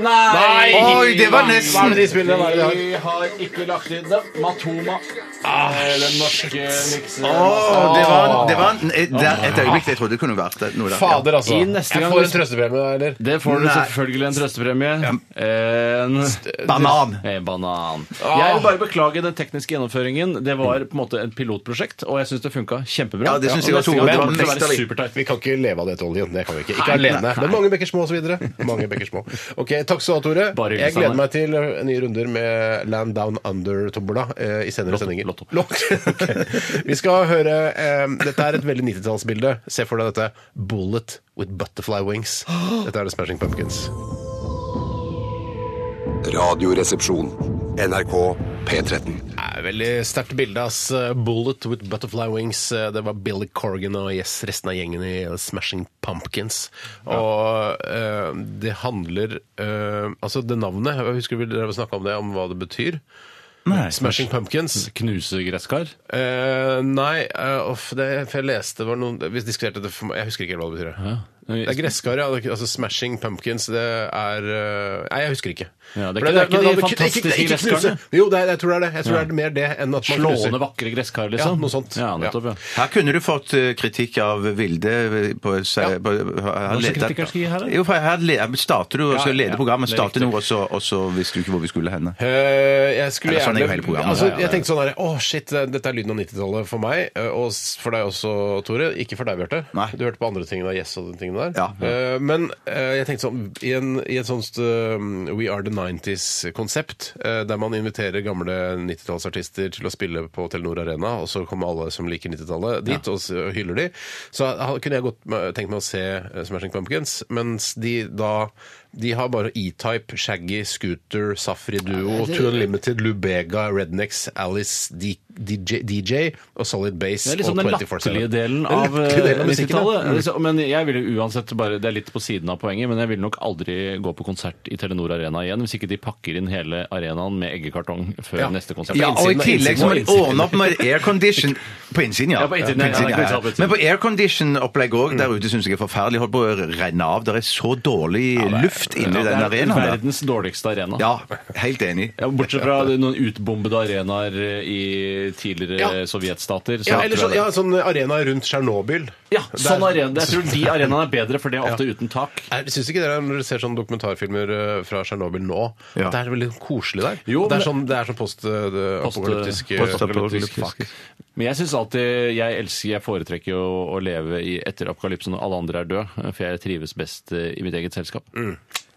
Nei!
Oi, det var nesten.
Hva er det de spiller? Hva er det de har? Vi har ikke lagt inn det. Matoma. Eh, den norske miksen.
Å, det var, det var en- eh, det er et øyeblikk jeg trodde det kunne vært det- noe der. ja.
Fader, altså!
I neste
Jeg
gang
får
du-
en trøstepremie, eller?
Det får du
Nei.
selvfølgelig en trøstepremie. En
Banan.
Eh, banan. Jeg vil bare beklage den tekniske gjennomføringen. Det var på en måte et pilotprosjekt, og jeg syns det funka kjempebra.
Ja, det
og
synes jeg
neste
også.
gang
Det var
kommer det til å være
mesterlig.
supertight.
Vi kan ikke leve av det til oljen. Det kan vi ikke. Ikke alene. Men mange bekker små, og så videre. Mange bekker små. Ok, Takk skal du ha, Tore.
Bare hyggelig,
Jeg gleder
Sanne.
meg til eh, nye runder med Land Down Under-tombola eh, i senere
Lotto,
sendinger.
lotto.
Ok. Vi skal høre eh, Dette er et veldig 90-tallsbilde. Se for deg dette. Bullet with butterfly wings. Dette er The Smashing Pumpkins.
Radioresepsjon. NRK P13.
Det er veldig sterkt bilde, ass. Bullet with butterfly wings. Det var Billy Corgan og yes, resten av gjengen i Smashing Pumpkins. Og eh, det handler eh, Altså, det navnet Jeg husker vi snakka om det, om hva det betyr.
Nei.
Smashing Pumpkins.
Mm. Knuse gresskar.
Eh, nei, eh, uff, det, for jeg leste det var noen Vi diskuterte det for meg. Jeg husker ikke helt hva det betyr. Det er gresskar, ja. Det er ikke- Altså Smashing Pumpkins, det er eh, Nei, jeg husker ikke.
Ja, det er
For
ikke- det er ikke
men
de
da- det-
fantastiske
ikke- ikke knuse.
gresskarene.
Jo, det er, jeg tror det er det. Jeg tror
Ja.
det er mer det enn at man knuser.
Slående vakre gresskar, liksom.
Ja, noe sånt.
Ja, nettopp, ja.
Her kunne du fått eh, kritikk av Vilde eh, på, se-
Ja.
på Hva
slags kritikk skal jeg gi her, da?
Jo, for her le- her starter du, og så
Ja,
leder
ja,
programmet.
det er
Starter
riktig.
noe, og så, og så visste du ikke hvor vi skulle henne.
Eh, jeg skulle
Eller sånn er jo
gjerne
hele programmet.
altså,
Ja, ja, ja.
Jeg tenkte sånn her Å, shit, dette er lyden av 90-tallet for meg. eh, Og s- for deg også, Tore. Ikke for deg, Bjarte.
Nei.
Du hørte på andre tingene av Yes og de tingene der.
Ja, ja.
Eh, men eh, jeg tenkte sånn I, en, i et sånt eh, We Are The 90s-konsept, eh, der man inviterer gamle 90-tallsartister til å spille på Telenor Arena, og så kommer alle som liker 90-tallet dit og s- og hyller de, så ha- kunne jeg godt me- tenkt meg å se eh, Smashing Pumpkins, mens de da de har bare E-Type, Shaggy, Scooter, Safri Duo, To Unlimited, Lubega, Rednecks, Alice, D DJ, DJ og Solid Base.
Det er liksom
og
den
24/7.
latterlige delen
Den
av eh,
latterlige delen av musikken, ja.
90-tallet. Så- sånn- Men jeg ville uansett bare, Det er litt på siden av poenget, men jeg ville nok aldri gå på konsert i Telenor Arena igjen hvis ikke de pakker inn hele arenaen med eggekartong før
Ja.
neste konsert.
Ja,
Ja, og i
Innsiden er
tillegg så må de
innsiden.
ordne opp med aircondition På innsiden, ja.
Ja, på innsiden, ja. Ja, det er Mm. ikke utsiden.
Men på aircondition-opplegg òg, der ute syns jeg er forferdelig. Holdt på å renne av. Det er så dårlig luft inne i den arenaen. der.
verdens dårligste arena.
Ja, helt enig.
Ja, bortsett fra noen utbombede arenaer eh, i tidligere sovjetstater. så
Ja, eller
tror
sånn,
jeg
ja, sånn arena rundt Tsjernobyl.
det- ja, sånn arena. Jeg tror de arenaene er bedre, for det er ofte uten tak.
Syns ikke dere når dere ser sånne dokumentarfilmer eh, fra Tsjernobyl nå,
Ja.
at det er veldig koselig der?
Jo,
det er
men-
sånn, det er sånn post, eh, det
Post-
apokalyptisk eh,
postapokalyptisk.
fuck.
Men jeg synes alltid Jeg elsker, jeg foretrekker jo å leve i etter apokalypsen når alle andre er døde, for jeg trives best eh, i mitt eget selskap.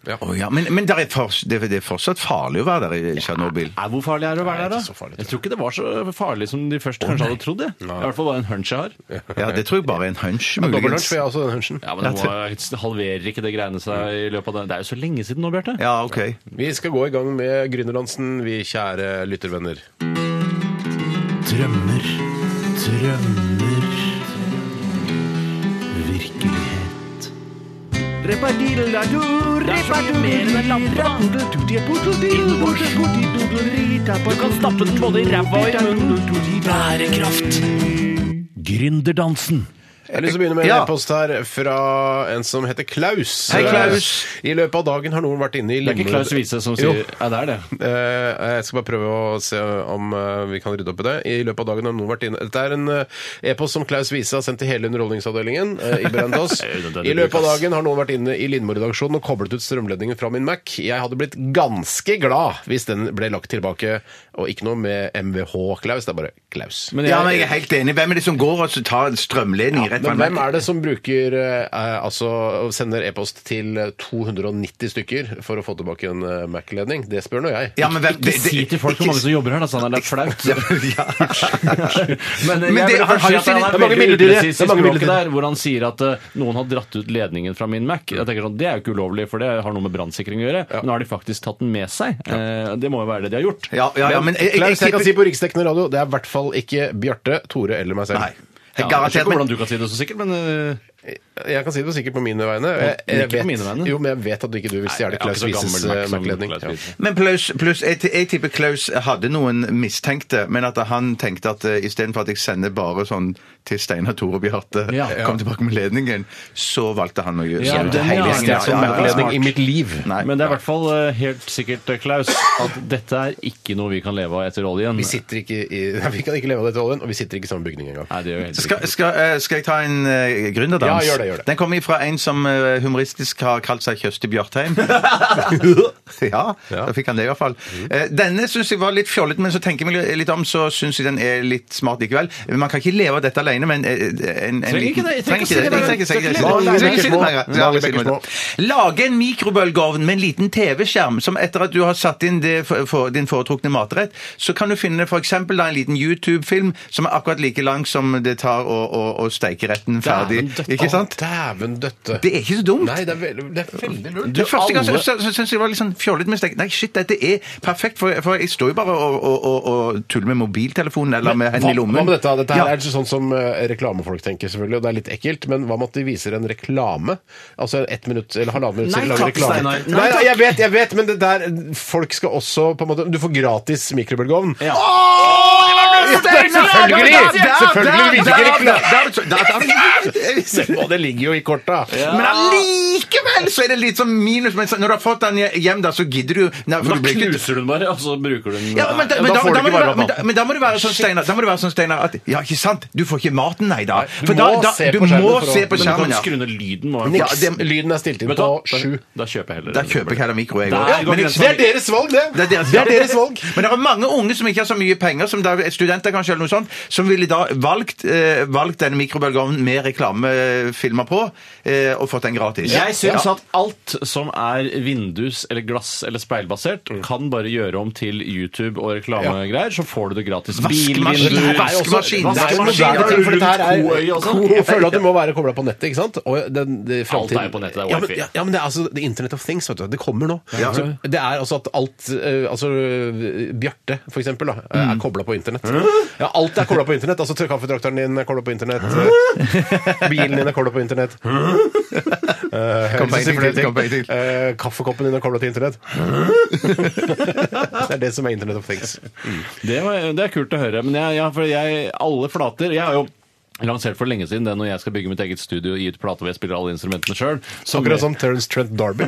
Å ja. Men, men der er for, det, det er fortsatt farlig å være der i Tsjernobyl.
Er hvor farlig er det å være der,
ikke
da?
så farlig, tror jeg.
jeg tror ikke det var så farlig som de først kanskje hadde trodd. jeg. Det er I hvert fall bare en hunch jeg har.
Ja, det tror jeg bare er en hunch,
Dobbeltlunsj
muligens.
får jeg også, den hunchen.
Ja, men det må, Halverer ikke det greiene seg i løpet av det? Det er jo så lenge siden nå, Bjarte.
Ja, ok.
Vi skal gå i gang med Gründerdansen, vi kjære lyttervenner.
Drømmer, drømmer Virkelighet Du kan stappe den både i ræva og i munnen Bærekraft Gründerdansen
Jeg har lyst til å begynne med en
Ja.
e-post her fra en som heter Klaus.
Hei, Klaus.
Eh, I løpet av dagen har noen vært inne i
Det er ikke Klaus Wiese som sier
Jo.
Ja, det er det
Eh, Jeg skal bare prøve å se om eh, vi kan rydde opp i det. I løpet av dagen har noen vært inne Dette er en eh, e-post som Klaus Wiese har sendt til hele Underholdningsavdelingen eh, i Brandås.
Det er unødvendig,
I løpet av
Klaus.
dagen har noen vært inne i Lindmo-redaksjonen og koblet ut strømledningen fra min Mac. Jeg hadde blitt ganske glad hvis den ble lagt tilbake, og ikke noe med MVH Klaus, det er bare Klaus.
Men
Ja, men
jeg,
jeg er helt enig. Hvem er det som går og så tar strømledning rett
Men hvem er det som bruker eh, altså, og sender e-post til eh, 290 stykker for å få tilbake en eh, Mac-ledning? Det spør nå jeg.
Ja, men hvem,
ikke si til folk hvor mange som jobber her, da, Sander. Det er flaut. Men jeg
Men det-
vil
han
først si
har jo
at han
sine-
er
det er
veldig
mange bilder i det.
upresis i
Det er mange
språket
bilder i
der, hvor han sier at eh, noen har dratt ut ledningen fra min Mac. Jeg tenker sånn, Det er jo ikke ulovlig, for det har noe med brannsikring å gjøre. Men har de faktisk tatt den med seg? Eh, Det må jo være det de har gjort.
Ja, ja, ja, men jeg, jeg,
Klaus, jeg kan si
tipper-
på Riksdekkende radio det er i hvert fall ikke Bjarte, Tore eller meg selv.
Nei. Jeg
Ja, jeg vet
garantert,
ikke hvordan
men
du kan si det så sikkert, men eh,
Jeg kan si det sikkert på mine vegne. Jeg,
Men ikke på
vet,
mine vegne.
Jo, men jeg vet at ikke du vil stjele
jeg er ikke
Klaus
så
Wieses
gammel
eh,
Mac som
Mac-ledning.
Klaus
Ja.
Wiese.
men plus, plus, jeg, jeg tipper Klaus hadde noen mistenkte, men at han tenkte at eh, istedenfor at jeg sender bare sånn til Steinar Tore og Bjarte,
Ja.
kom tilbake med ledningen, så valgte han å gjøre
Ja,
sånn.
den,
Hele
ja.
gjengen,
Stjert som
Mac-ledning i mitt liv.
Nei.
Men det er i hvert fall eh, helt sikkert, eh, Klaus, at dette er ikke noe vi kan leve av etter oljen.
Vi sitter ikke i Nei, Vi kan ikke leve av dette oljen, og vi sitter ikke i samme bygning engang.
Nei, det gjør vi heller ikke.
Skal, skal, eh, skal jeg ta en eh, gründerdans?
Ja, gjør det, gjør det.
Den kommer fra en som eh, humoristisk har kalt seg Kjøsti Bjartheim. ja, da fikk han det i hvert fall. Eh, Denne syns jeg var litt fjollete, men så tenker jeg meg litt om, så syns jeg den er litt smart likevel. Man kan ikke leve av dette alene, men eh, en, en
Trenger ikke det, jeg trenger ikke si det.
Jeg trenger ikke si
Skal ikke
det. Jeg
leve av
trenger ikke si det.
Mange
Ja,
bekker små. Mange
jeg trenger ikke si
bekker
det. Lage en mikrobølgeovn med en liten TV-skjerm, som etter at du har satt inn det for, for din foretrukne matrett, så kan du finne for eksempel da en liten YouTube-film som er akkurat like lang som det tar å, å, å steike retten ferdig.
Dæven døtte.
Ikke sant?
Dæven døtte.
Det er ikke så dumt.
Nei, det er veldig, det er veldig lurt.
det første gang så,
alle-
så, så syntes jeg det var litt sånn fjollete, men så tenkte jeg, nei, shit, dette er perfekt, for, for jeg står jo bare og, og, og, og tuller med mobiltelefonen eller med
Hva,
hendene i lommen.
hva med dette? Dette her
Ja.
er sånn som eh, reklamefolk tenker, selvfølgelig, og det er litt ekkelt, men hva med at de viser en reklame? Altså en ett minutt eller halvannet minutt
Nei
lang
takk,
reklame.
Steinar.
Nei,
Nei
nei,
takk.
jeg vet, jeg vet, men det der Folk skal også på en måte Du får gratis mikrobølgeovn.
Ja.
Åh, det var lurt, Selvfølgelig!
Der, der, der,
Selvfølgelig vil ikke
der,
reklame!
der, der, der, der.
Og det ligger jo i korta.
Men allikevel så er det litt sånn minus. Men så- når du har fått den hjem, da, så gidder du Nei, for
Da
du blir ikke-
knuser du den bare, og så bruker du den.
Ja, men, da,
Ja,
men,
da
da,
får du
da,
ikke
må det
varme
være- men,
mat.
da, men da må det være sånn, Steinar, da må det være sånn, Steinar at Ja, ikke sant? Du får ikke maten, nei da.
du
For da,
må
da,
se
du
på skjermen
må
for å-
se på
Men du
skjermen,
kan
ja.
skru ned lyden. må jeg-
Niks.
Ja, det-
Lyden er stilt inn
Vet du
på
hva? Da-
sju.
Da kjøper jeg heller
Da
den.
kjøper jeg heller mikro, jeg
Der
òg.
går grensen.
Det er deres valg, det!
Det er deres,
det er deres valg.
Men det er mange unge som ikke har så mye penger, som da, studenter kanskje, eller noe sånt, som ville da valgt, eh, valgt denne mikrobølgeovnen med reklamefilmer på, eh, og fått den gratis.
Jeg syns at alt som er vindus- eller glass- eller speilbasert,
Mm.
kan bare gjøre om til YouTube og reklamegreier, så får du det gratis.
Vaskemaskin.
Bilvinduer
Nei, også- Vaskemaskin.
Det er jo
Vaskemaskin.
moderne ting, for dette her er
Koøy og sånn.
Jeg føler at du må være kobla på nettet, ikke sant? Og den, det, fremtiden-
er jo på nettet, det er
Ja, men,
wifi.
ja, ja, men det er altså the Internet of Things, vet du. Det kommer nå. Så
Mm.
det er altså at alt eh, Altså eh, Bjarte, for eksempel, da, er kobla på internett. Ja, alt er kobla på internett. Altså til kaffetrakteren din er kobla på internett. Eh, Bilen din er kobla på internett. Eh,
Kom på en ting til, kom på en ting til.
Eh, Kaffekoppen din er kobla til internett. Det er det som er Internet of Things.
Det, var, det er kult å høre. Men jeg, ja, for jeg, alle flater Jeg har jo lansert for lenge siden det når jeg skal bygge mitt eget studio og gi ut plate hvor jeg spiller alle instrumentene sjøl.
Akkurat som Terence Trent Darby.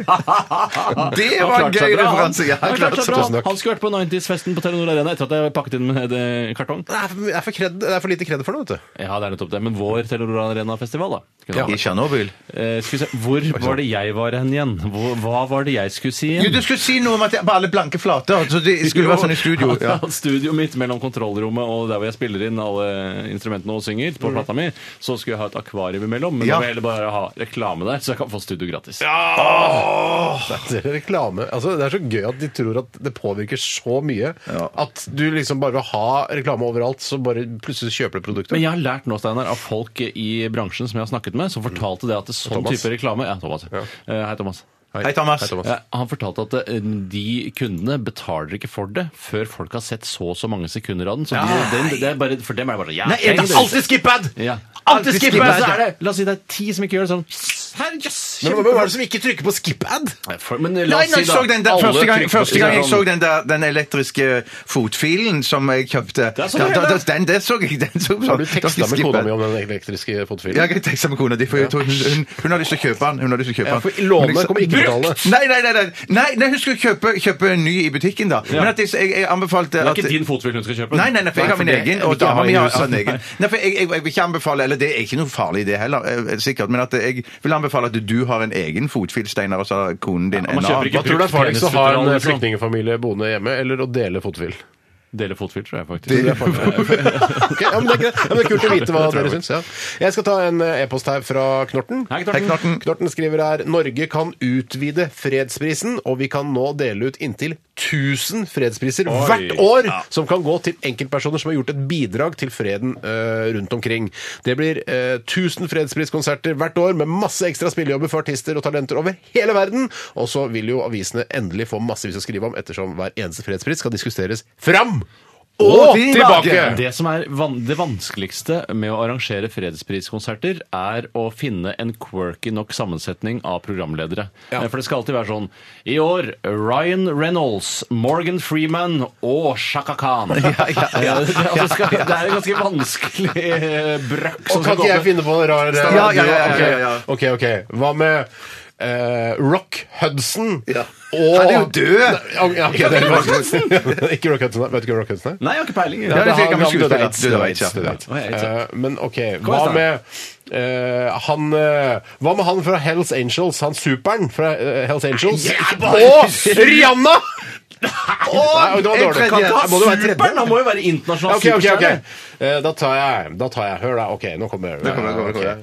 Det var en gøy referanse, ja,
Han,
klart
klarte
så
seg bra.
tusen takk.
han skulle vært på 90s-festen på Telenor Arena etter at jeg pakket inn med eh, kartong.
Det er for, det er for, kred, det er for lite kred for det, vet du.
Ja, det er nettopp det. Men vår Telenor Arena-festival, da. Kunne
Ja.
vært.
I Tsjernobyl.
Eh, skal vi se, Hvor var det jeg var hen igjen? Hvor, hva var det jeg skulle si
Jo,
igjen?
du skulle si noe om at det var alle blanke flater. Så det skulle være sånn i studio.
At-
Ja.
at Studioet mitt mellom kontrollrommet og der hvor jeg spiller inn alle instrumentene og synger, på plata mi, så skulle jeg ha et akvarium imellom. Men
Mm.
nå
Ja.
vil jeg heller bare ha reklame der, så jeg kan få studio gratis.
Det er reklame. Altså, det er så gøy at de tror at det påvirker så mye
Ja.
at du liksom bare vil ha reklame overalt, så bare plutselig kjøper du produktet.
Men jeg har lært nå, Steinar, av folk i bransjen som jeg har snakket med, som fortalte det at det sånn
Thomas.
type reklame Ja, Thomas. Eh, Hei, Thomas.
Hei, Thomas.
Ja, han fortalte at eh, de kundene betaler ikke for det før folk har sett så og så mange sekunder av den. Så de, den, det er bare, for dem er det bare ja,
Nei, er det
ok, du-
alltid skip-ad?
ja.
Alltid skip ad,
Så
ja.
er det, la oss si det er ti som ikke gjør det sånn. Her, yes,
Men hva er det som ikke trykker på skip-ad?
For, men la
Nei,
oss
når jeg
si
så
da,
den der,
alle
første, gang,
trykker på
første gang jeg
sånn-
så den der den elektriske fotfilen som jeg kjøpte
er sånn det
da- da-
heter.
Den der så jeg. Den så sånn.
Har du teksta med
Skip
kona
ad.
mi om den elektriske fotfilen?
Ja, jeg teksta med kona di, for jeg tror hun, hun, hun har lyst til å kjøpe den. Hun har lyst til å kjøpe
Ja,
den.
for låne
Men jeg sa-
kommer ikke betale.
Nei, nei, nei, nei, nei, nei, hun skulle kjøpe, kjøpe en ny i butikken, da. Men at jeg, jeg, jeg
Det
anbefalte
er
at
ikke din fotfil hun skal kjøpe.
Nei, nei, nei, for jeg har min
det
egen,
vil
og
ikke jeg
dama
ha
mi
i
har
huset.
en egen. Nei, for jeg, jeg, jeg vil ikke anbefale, eller det er ikke noe farlig det heller, eh, sikkert, men at jeg vil anbefale at du har en egen fotfil, Steinar, og så har konen din en
man kjøper
annen.
ikke
Hva tror du er farligst å ha en
Penisfutteral, liksom.
flyktningfamilie boende hjemme, eller å dele fotfil?
Dele fotfil, tror jeg faktisk.
Det er farlig. Ok, ja, men det er greit. Ja, men det er kult å vite hva dere syns. Ja. Jeg skal ta en eh, e-post her fra Knorten.
Hei,
Hei,
Knorten.
Knorten.
Knorten skriver her Norge kan utvide fredsprisen, og vi kan nå dele ut inntil 1000 fredspriser hvert år, som kan gå til enkeltpersoner som har gjort et bidrag til freden eh, rundt omkring. Det blir eh, 1000 fredspriskonserter hvert år, med masse ekstra spillejobber for artister og talenter over hele verden. Og så vil jo avisene endelig få massevis å skrive om, ettersom hver eneste fredspris skal diskuteres fram! Og
Og tilbake!
tilbake!
Det som er van det vanskeligste med å arrangere fredspriskonserter, er å finne en quirky nok sammensetning av programledere. Eh, For det skal alltid være sånn I år Ryan Reynolds, Morgan Freeman og Shaka Khan. Eh, det, altså, skal, det er en ganske vanskelig eh, brøkk. som
Og
skal
kan ikke jeg
gå opp.
finne på en rar
Ja, ja, ja, ja, ja, ja.
Ok, ok. ok. Hva med eh, Rock Hudson?
Han er jo død!
Nei, ok, ok, det er Rock Hudson. ikke Rock Hudson, nei. Vet du ikke Rock Hudson er?
Nei, jeg har ikke peiling.
Ja, det er
han-
sikkert han
han
skuespiller.
døde av aids,
Døde av
døde av
aids,
aids,
ja.
døde av aids.
Å, ja, aids, ja.
Eh, Men ok, hva
Kom igjen,
med eh, han, eh, hva med han fra Hells Angels? Han superen fra eh, Hells Angels? Og Rihanna! Nei, det var
en
dårlig.
tredje.
Kan, må det være tredje?
Superen! Han må jo være internasjonal
Ok, ok, ok.
superstjerne.
Eh, Da tar jeg, da tar jeg. Hør da, ok, nå kommer det.
kommer, kommer, kommer.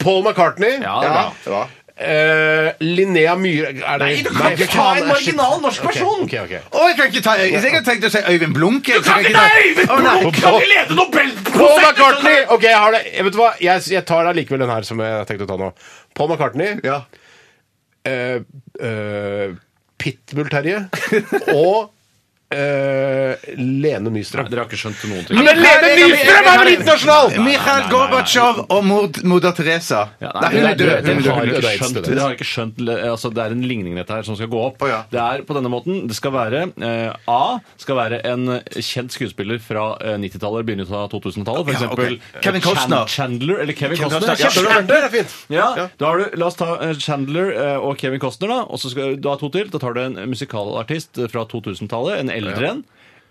Paul McCartney.
Ja, det er bra.
Ja.
Eh, Linnea Myhre er det,
Nei, du kan ikke ta en marginal norsk person!
Ok, ok, ok.
Å, jeg kan ikke ta Jeg har tenkt å si Øyvind Blunk. Du
Kan ikke ta Øyvind Blunk! Kan ikke lede
Paul
Nobelprosenten!
McCartney! Ok, jeg har det. Jeg vet du hva? Jeg, jeg tar allikevel den her som jeg tenkte å ta nå. Paul McCartney.
Ja.
eh, eh, Pitbull-Terje. Og eh, Lene Nystrøm.
Dere har ikke skjønt noen ting.
Men Lene Nystrøm er vel internasjonal?!
Mikhail Gorbatsjov og mor- moder Teresa.
Ja,
Nei, hun er
det-
død.
det-
Hun
det
er
har
død.
jeg
død,
ikke
død,
skjønt.
død.
Det har jeg ikke skjønt. Altså, det er en ligning dette her som skal gå opp.
Å, ja.
Det er på denne måten. Det skal være eh, A skal være en kjent skuespiller fra eh, 90-tallet, begynnelsen av 2000-tallet. For
Ja,
eksempel
ok. Kevin Costner.
Chan- Chandler eller Kevin,
Costner,
Costner.
ja.
Skjønner du? Det er fint.
Ja, da har du, La oss ta eh, Chandler eh, og Kevin Costner. Da og så skal du ha to til. Da tar du en musikalartist fra 2000-tallet. En eldre en.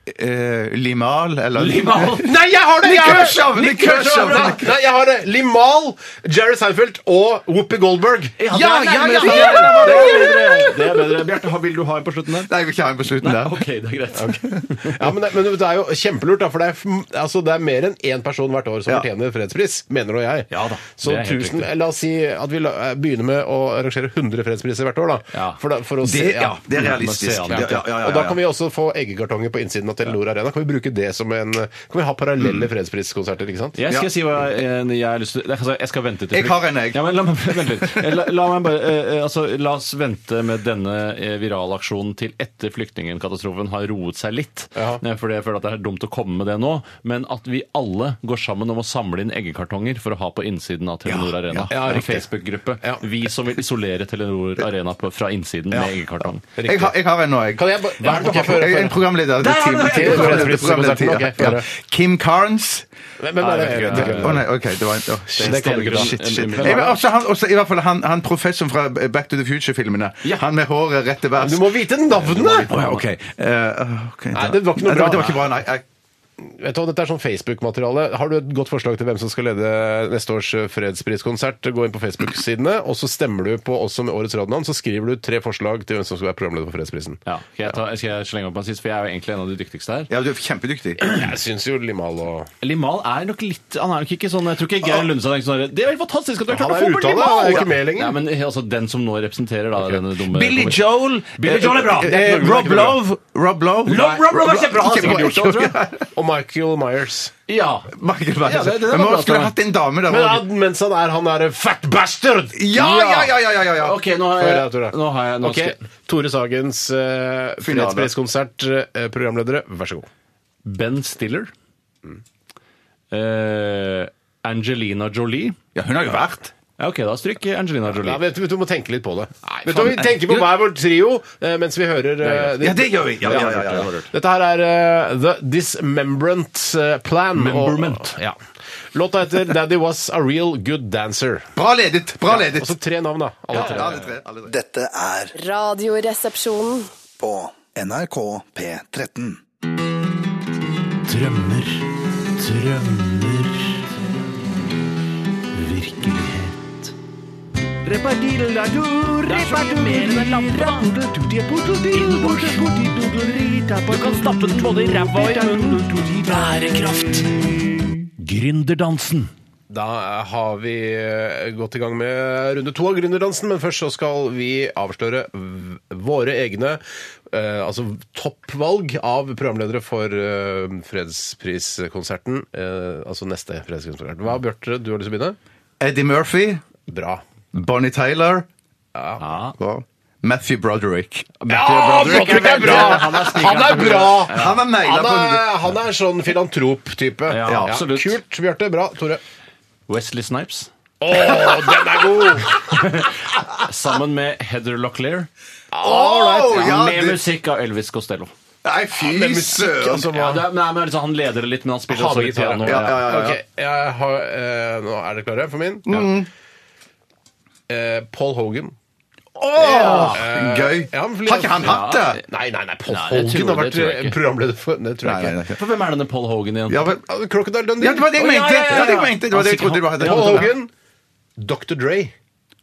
Eh, Limal, eller
Limal.
Nei, jeg har det! Jeg har det!
Kurshav! Nick Kurshav!
Nei, Nei, jeg har det. Limal, Jerry Seinfeld og Whoopi Goldberg.
Ja,
Ja,
det er
ja,
nærmere.
ja,
Det
ja,
er bedre.
ja,
Det er bedre. Bjarte, har- vil du ha en på slutten der?
Nei, jeg vil ikke ha en på slutten der.
Ok, det er greit.
Ja, men det, men det er jo kjempelurt, da, for det er, f- altså, det er mer enn én person hvert år som
Ja.
fortjener fredspris, mener nå jeg.
Ja da,
Så
det er helt
tusen,
riktig.
La oss si at vi la, eh, begynner med å arrangere 100 fredspriser hvert år, da.
Ja.
For, da, for å
Det,
se,
ja, det er
Ja,
realistisk.
man ser
Ja,
han,
ja, ja, ja, ja.
Og da kan vi også få eggekartonger på innsiden siden av Telenor Arena. Kan vi bruke det som en eh, Kan vi ha parallelle fredspriskonserter, ikke sant?
Jeg skal
Ja.
si hva jeg, jeg har lyst til altså, Jeg skal vente til
Jeg har en, jeg.
Ja, men la meg vent litt. La, la meg bare eh, eh, altså, La oss vente med denne eh, viralaksjonen til etter flyktningkatastrofen har roet seg litt.
Ja.
Eh, Fordi jeg føler at det er dumt å komme med det nå. Men at vi alle går sammen om å samle inn eggekartonger for å ha på innsiden av Telenor Arena.
ja,
en
riktig.
Facebook-gruppe.
Ja.
Vi som vil isolere Telenor Arena på, fra innsiden med eggekartong.
Jeg har, jeg har en nå, jeg.
Kan jeg bare Hva er det du
Jeg
har for
er en
for-
programleder.
Der har du det!
Team-
Programleder,
programleder,
programleder,
ja.
ok, gjør det.
Kim Carnes.
Hvem- hvem er det?
Nei, jeg vet ikke.
Å nei, OK. Det var en å, shit.
Det kan du ikke da.
Shit, shit.
Hvem er
Jeg vil også, han, også, i hvert fall han, han professoren fra Back to the Future-filmene.
Ja.
Han med håret rett til værs.
Du må vite navnet!
Å ja, OK. Eh, ok,
Nei, det var ikke noe bra.
Det var ikke bra, nei. nei.
Vet du hva, Dette er sånn Facebook-materiale. Har du et godt forslag til hvem som skal lede neste års fredspriskonsert, gå inn på Facebook-sidene, og så stemmer du på oss som årets radionavn. Så skriver du tre forslag til hvem som skal være programleder for fredsprisen.
Ja, skal jeg, ta, skal jeg slenge opp en sist, for jeg er jo egentlig en av de dyktigste her.
Ja, du er kjempedyktig.
Jeg syns jo Limal og
Limal er nok litt Han er nok ikke sånn Jeg tror ikke Geir Lundsand er ikke sånn der, Det er helt fantastisk at du har klart å
Ah. Han er
få bort
utdannet,
Limal!
han er jo ikke med lenger.
Nei, men altså den som nå representerer da denne dumme
Billy Joel.
Billy Joel er bra. Det er
Eh,
ikke noe-
Rob
det er ikke noe
Love. Rob Love.
Rob- Rob Love er kjempebra, han har
Ikke
sikkert gjort det, tror jeg.
Og Michael Myers.
Ja.
Michael Myers.
Ja, det- det var
Men
bra,
man skulle
Stein.
hatt en dame der
Men
også.
han- mens han er han derre fat bastard!
Ja, ja, ja, ja, ja, ja.
OK, nå har
Få høre,
jeg
Tore.
Nå har jeg nå
Ok,
skal-
Tore Sagens uh,
Finale.
fredspriskonsert, eh, programledere, vær så god.
Ben Stiller. Eh, Angelina Jolie.
Ja, hun har jo vært.
Ja, OK, da stryk Angelina Jolie.
Ja, vet du, vet du, vi må tenke litt på det.
Nei,
vet du,
faen,
vi
nei.
tenker på
Jo.
hver vår trio eh, mens vi hører eh, de-
Ja, det gjør vi. Ja, ja, ja, ja, ja.
Dette her er eh, The Dismembrant eh, Plan.
Memberment.
Og, ja. Låta heter Daddy Was A Real Good Dancer.
Bra ledet. Bra ledet.
Altså tre navn, da. Alle tre.
Alle tre, alle tre.
Dette er
Radioresepsjonen.
på NRK P13.
Drømmer, drømmer, virkelighet. Du kan stappe den både i ræva og i munnen. Bærekraft. Gründerdansen.
Da har vi eh, gått i gang med runde to av Gründerdansen, men først så skal vi avsløre v- våre egne eh, altså toppvalg av programledere for eh, fredspriskonserten. eh, altså neste fredspriskonserten. Hva, Bjarte, du har lyst til å begynne?
Eddie Murphy.
Bra.
Bonnie Tyler.
Ja.
og Matthew Broderick.
Ja, Broderick er bra! Han er, bra!
Han er naila
Han
på
er, han er sånn filantrop-type.
Ja, absolutt.
Kult, Bjarte. Bra. Tore.
Wesley Snipes.
Å, den er god!
Sammen med Heather Locklear.
Ålreit. Ja,
med
det-
musikk av Elvis Costello.
Nei,
Men
fy
musikk,
søren.
altså.
Ja,
hva-
det er, nei, men liksom, han leder det litt, men han spiller
Han
også
har
litt piano.
gitar,
Ja, ja, ja, Mm. ja.
Ok, jeg har, eh, nå er dere klare for min? Eh, Paul Hogan.
Åh, Gøy.
ja, men fordi-
Har ikke han hatt det?
Nei, nei, nei, Paul
Nei, det
Hogan
tror-
har
det tror jeg
vært
ikke.
programleder for Det tror jeg
Nei, nei,
ikke.
nei.
For hvem er denne Paul Hogan igjen?
Ja, vel,
Ja, Crocodile Dundee.
ja, det var det jeg
Å, ja,
mente!
ja, ja,
Det var det jeg
ja.
mente. Det var det jeg trodde du hadde.
Paul Hogan, Dr. Dre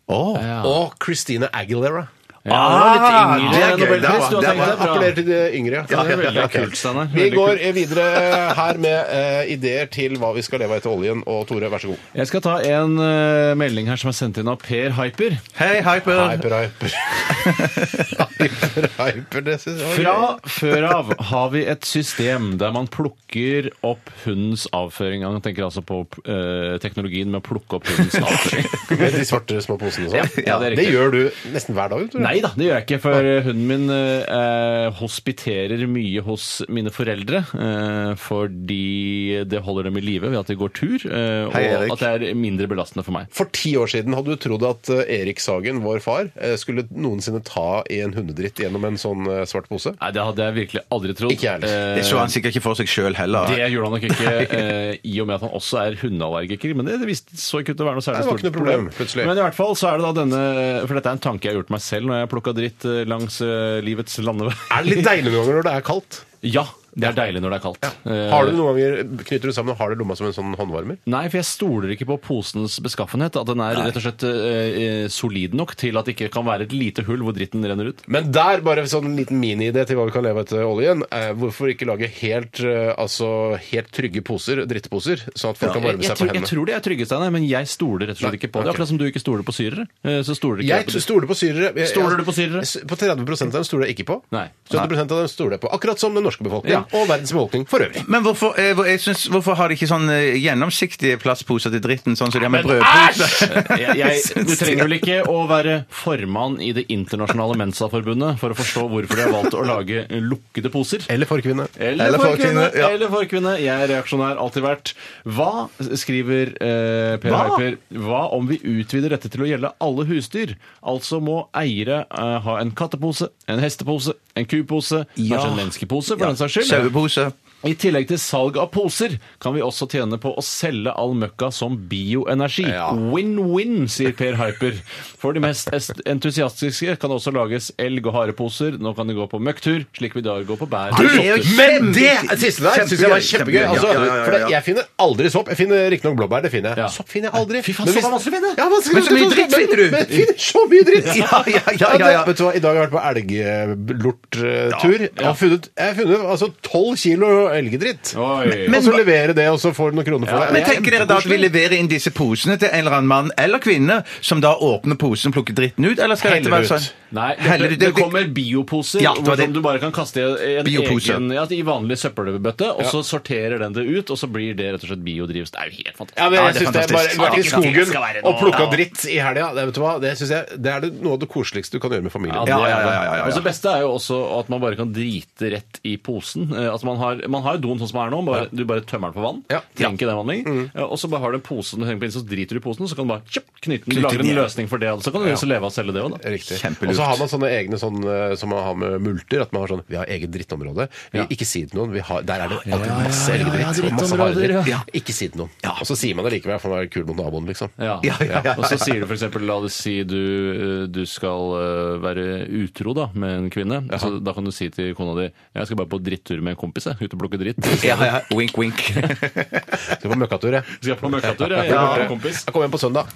Åh.
og Christina Aguilera.
Ja, det var litt
Ah,
yngre
det er gøy.
Nobelpris, du har
Det er
tenkt
bra.
deg. Bra.
Appellerer til de eh, yngre.
Ja, det er veldig
Ok.
kult, Steinar.
Vi
Veldig
går videre her med eh, ideer til hva vi skal leve av etter oljen. Og Tore, vær så god.
Jeg skal ta en eh, melding her som er sendt inn av Per Hyper.
Hei, Hyper.
Hyper, hyper. hyper, hyper, det synes jeg var
Fra
gøy.
før av har vi et system der man plukker opp hundens avføring. Han tenker altså på eh, teknologien med å plukke opp hundens avføring.
Med de svarte små posene og sånn.
Ja, det er
det,
riktig.
gjør du nesten hver dag. Tror jeg.
Nei da, det gjør jeg ikke, for hunden min eh, hospiterer mye hos mine foreldre. Eh, fordi det holder dem i live ved at de går tur, eh,
Hei, Erik.
og at det er mindre belastende for meg.
For ti år siden hadde du trodd at eh, Erik Sagen, vår far, eh, skulle noensinne ta i en hundedritt gjennom en sånn eh, svart pose.
Nei, Det hadde jeg virkelig aldri trodd.
Ikke jeg heller.
Eh,
Det så han sikkert ikke for seg sjøl heller.
Det gjorde han nok ikke, eh, i og med at han også er hundeallergiker. Men det, det visste, så ikke ut til å være noe særlig
Det var
stort
ikke noe problem, plutselig.
Men i hvert fall så er det da denne For dette er en tanke jeg har gjort meg selv når jeg har plukka dritt eh, langs eh, livets landevei.
Er det litt deilig noen ganger når det er kaldt?
Ja, det er deilig når det er kaldt. Eh,
Har du noen ganger, Knytter du sammen og har det i lomma som en sånn håndvarmer?
Nei, for jeg stoler ikke på posens beskaffenhet. At den er rett og slett eh, eh, solid nok til at det ikke kan være et lite hull hvor dritten renner ut.
Men der, bare sånn liten mini-idé til hva vi kan leve etter oljen. Eh, hvorfor ikke lage helt, eh, altså, helt trygge poser, drittposer, sånn at folk kan
Jeg,
varme
jeg,
seg på
tror, jeg
hendene?
tror det er trygge, Steinar, men jeg stoler rett og slett ikke på det.
ok.
Akkurat som du ikke stoler på syrere. eh, så stoler ikke
Jeg
jeg på det.
stoler på syrere. Jeg-
Stoler du
jeg-
på syrere?
s- På 30 av dem stoler jeg ikke på.
Nei.
70 av dem stoler jeg på. Akkurat som den norske befolkningen.
Ja.
og verdens befolkning for øvrig.
Men hvorfor, eh, hvor- jeg synes, hvorfor har de ikke sånn eh, gjennomsiktige plastposer til dritten, sånn som de har med
Ah!
brødposer?
Jeg, jeg, du trenger vel ikke å være formann i Det internasjonale Mensaforbundet for å forstå hvorfor de har valgt å lage lukkede poser.
Eller forkvinne.
Eller
Eller
for
for
kvinne.
kvinne, ja.
Eller for kvinne. Jeg er reaksjonær, alltid vært. Hva, skriver eh, Per
Hva?
Harper, hva om vi utvider dette til å gjelde alle husdyr? Altså må eiere eh, ha en kattepose, en hestepose, en kupose,
Ja.
kanskje en menneskepose, for den saks skyld.
Sauepose.
I tillegg til salg av poser kan vi også tjene på å selge all møkka som bioenergi.
Ja.
Win-win, sier Per Hyper. For de mest est- entusiastiske kan det også lages elg- og hareposer. Nå kan de gå på møkktur, slik vi i dag går på bær.
Du! Det er jo
Men det
kjempe-
siste der syns jeg var kjempegøy.
kjempegøy.
Altså,
Ja, ja, ja, ja,
For det,
ja.
jeg finner aldri sopp. Jeg finner riktignok blåbær. det finner jeg.
Ja.
Sopp finner jeg aldri.
Fy faen,
Men
sopp
hvis-
er vanskelig å finne.
Ja, vanskelig
Men
å
så mye
finne.
dritt finner du.
Men jeg finner så mye dritt!
Ja, ja, ja, ja, ja.
det- Vet du hva, I dag har jeg vært på elglorttur. Jeg har funnet, jeg har funnet altså 12 kilo elgedritt.
Oi.
og så levere det, og så får du noen kroner for
Men
det. det. er
tenker dere da at vi leverer inn disse posene til en eller annen mann eller kvinne, som da åpner posen og plukker dritten ut, eller skal dette
Heller
være
ut.
sånn?
Nei,
Heller
det,
ut.
det kommer bioposer
Ja, det var det.
som du bare kan kaste i en
Biopose.
egen ja, i vanlig søppelbøtte, og så sorterer den det ut, og så blir det rett og slett biodrivstoff. Det er jo helt fantastisk.
Ja, men
Ja,
jeg
det er
synes det er bare
fantastisk.
Vært
Ja,
i
det skal være
skogen og
noe-
plukka
ja.
dritt i helga. Det, vet du hva? det, synes jeg, det er det, noe av det koseligste du kan gjøre med familien.
Ja, det
ja,
er
ja,
Altså, det.
ja, ja, ja.
Og så beste er jo også at man bare kan drite rett i posen. Eh, Altså man har, man har jo doen sånn som er nå, bare, du bare tømmer den for vann.
Ja.
Trenger ikke den vanlig.
Mm.
Eh, Og så bare har du en pose du henger på inn, så driter du i posen, så kan du bare tjopp, knytte den,
Knytte
lage
den
en
igjen.
løsning for det. og Så kan du også leve av å selge det òg, da.
Riktig.
Kjempelurt.
Og så har man sånne egne sånn, eh, som man har med multer. At man har sånn Vi har eget drittområde. Vi
Ja.
Ikke si det til noen. Vi har, der er det alltid
ja,
masse
ja, ja,
elgdritt. og masse
drittområder,
haredritt.
ja.
Ikke si det til noen. Og så sier man det likevel for å være kul mot naboen, liksom.
Ja.
Ja, ja, ja.
Og så sier du f.eks. la oss si du, du skal eh, være utro da, med en kvinne. Så da kan du si til kona di jeg skal bare på drittur med en kompis. jeg, Ut og plukke dritt. Så
Ja, ja. Wink, wink.
Skal på møkkatur, jeg.
Skal jeg på møkkatur jeg,
Ja.
med en kompis.
Jeg kommer hjem på søndag.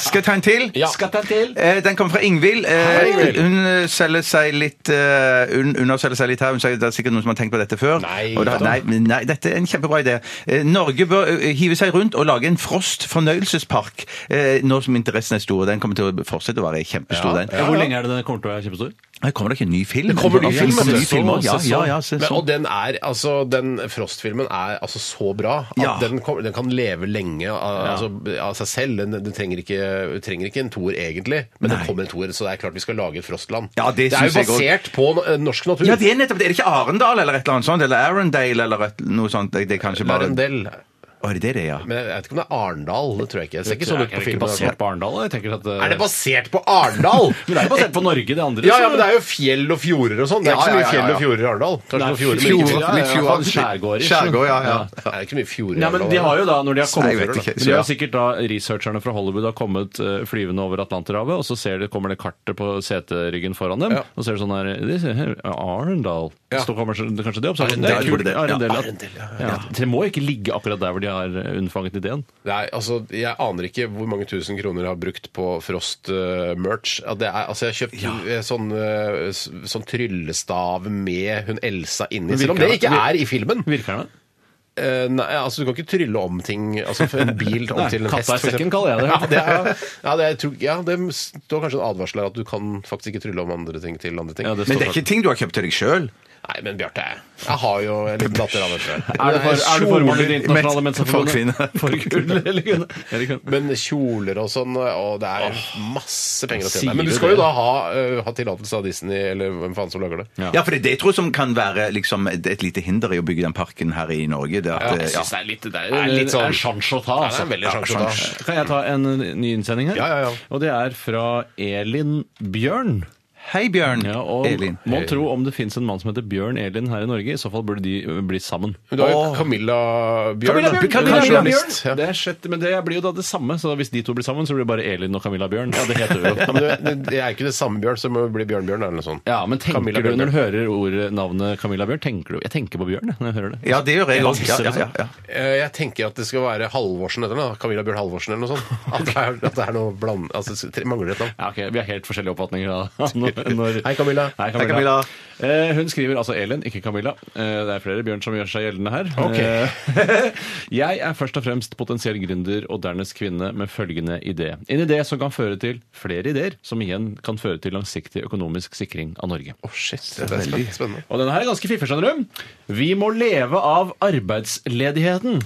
Skal jeg ta en til?
Skal ta til.
Eh, Den kommer fra Ingvild. Eh,
Hei, Ingvild.
Hun eh, selger seg litt eh, Hun underselger seg litt her. Hun sier det er sikkert noen som har tenkt på dette før.
Nei,
og da,
da.
nei, men nei, dette er en kjempebra idé. Eh, Norge bør eh, hive seg rundt og lage en Frost fornøyelsespark. eh, Nå som interessen er stor. Den kommer til å fortsette å være kjempestor, den.
Ja, hvor lenge er det den kommer til å være kjempestor?
Her kommer det ikke en ny film?
Det kommer ny film,
Ja,
men
ny
sesong,
film også. ja, ja,
sesong.
ja,
Men,
sesong.
og den er, altså, den Frost-filmen er altså så bra at
Ja.
den, kom, den kan leve lenge av, altså, av seg selv. Den, den trenger, ikke, trenger ikke en toer egentlig, men
Nei.
det kommer en toer, så det er klart vi skal lage et Frostland.
Ja, det
er
synes
jo
jeg
basert på n- norsk natur.
Ja, det er nettopp det. Er det ikke Arendal eller et eller annet sånt? Eller Arendale eller et, noe sånt? Det er kanskje bare
Larendel.
Å, er det det det, er, ja?
Men jeg vet ikke om det er Arendal, det tror jeg ikke. Det ser ikke sånn
Er
ut på
det ikke
filmen. i hvert fall.
basert på altså. Arendal? Jeg tenker at, eh,
Er det basert på Arendal?!
Men det er jo basert på Norge, det andre.
Ja, ja, men det er jo fjell og fjorder og sånn. Det er ikke så
Ja, ja,
mye
ja,
fjell
ja,
og fjorder i Arendal. Kanskje
Nei,
noen fjorder, men
fjord,
ikke-
ja, ja, ja,
fjord.
Skjærgård, ikke?
Skjærgård, ja, ja.
Det er ikke mye fjorder i
Nei, men de har jo da, når de har
Nei,
kommet
jeg vet ikke.
De har sikkert da, Researcherne fra Hollywood har kommet eh, flyvende over Atlanterhavet, og så ser de, kommer det kartet på seteryggen foran dem.
Ja.
Og ser det sånn her "This is here, Arendal.
Ja.
Så kommer kanskje, kanskje det opp. Så er det,
Arendal,
"Nei, kult,
tror jeg det.
Arendal,
Ja,
ja. Ja. Det må ikke ligge akkurat der hvor de har eh, unnfanget ideen.
Nei, altså, Jeg aner ikke hvor mange tusen kroner jeg har brukt på Frost-merch. det er, altså, Jeg har kjøpt eh, sånn, eh, s- sånn tryllestav med hun Elsa inni, selv om
virker
det ikke
det-
er i filmen.
Virker det?
Eh, nei, altså, Du kan ikke trylle om ting, altså for en bil om
Nei,
til en
katta
hest.
i
for eksempel.
sekken kaller jeg det.
Ja, det, er, ja, det, er, jeg tror- ja, det står kanskje en advarsel her at du kan faktisk ikke trylle om andre ting til andre ting.
Ja, det
Men
står
det er
klart.
ikke ting du har kjøpt til deg sjøl?
Nei, men Bjarte, jeg har jo en liten datter av dette.
Er du for, er du for
Soler-
i Det internasjonale
men- for kvinner.
menseforbundet? For kvinner eller kvinner? Eller kvinner?
Men kjoler og sånn, og det er masse penger å
sier
tjene. Men du
du
skal
det?
jo da ha, eh, ha tillatelse av Disney, eller hvem faen som lager det.
Ja.
Ja, for det er det jeg tror som kan være liksom, et lite hinder i å bygge den parken her i Norge. Det at, eh,
Jeg
ja.
syns det er litt Det er,
er litt
det er
sånn-
en sjanse å ta. altså.
det er en veldig sjanse å ta.
Kan jeg ta en eh, ny innsending her?
Ja, ja, ja.
Og det er fra Elin Bjørn.
Hei, Bjørn.
Ja, og
Elin.
Må tro om det fins en mann som heter Bjørn Elin her i Norge. I så fall burde de eh, bli sammen.
Men du har jo Camilla Bjørn.
Camilla
da.
Bjørn!
Hun er
Camilla Bjørn!
journalist, ja.
Det er sjett, men det blir jo da det samme. Så hvis de to blir sammen, så blir det bare Elin og Camilla Bjørn. Ja, det heter vi
Ja,
jo.
men det, det er ikke det samme Bjørn som blir Bjørn-Bjørn, eller noe sånt.
Ja, men tenker
Camilla
du
Bjørn.
når du hører ordet, navnet Camilla Bjørn, tenker du Jeg tenker på Bjørn jeg, når jeg hører det.
Ja, det gjør jeg òg. Ja, ja, ja, ja.
Eh, Jeg tenker at det skal være Halvorsen etter henne. da. Camilla Bjørn Halvorsen, eller noe sånt. At det er, at det er noe bland... Altså, tre- mangler det et navn.
Ja, ok, Vi har helt forskjellige oppfatninger. da. Når...
Hei, Camilla.
Hei,
Hei, Camilla.
Eh, hun skriver altså Elin, ikke Camilla. Eh, det er flere Bjørn som gjør seg gjeldende her.
Ok.
Eh, jeg er først og fremst potensiell gründer og dernest kvinne med følgende idé. En idé som kan føre til flere ideer, som igjen kan føre til langsiktig økonomisk sikring av Norge.
Å, shit. Det er spennende. spennende.
Og denne her er ganske fiffig, skjønner du. Vi må leve av arbeidsledigheten.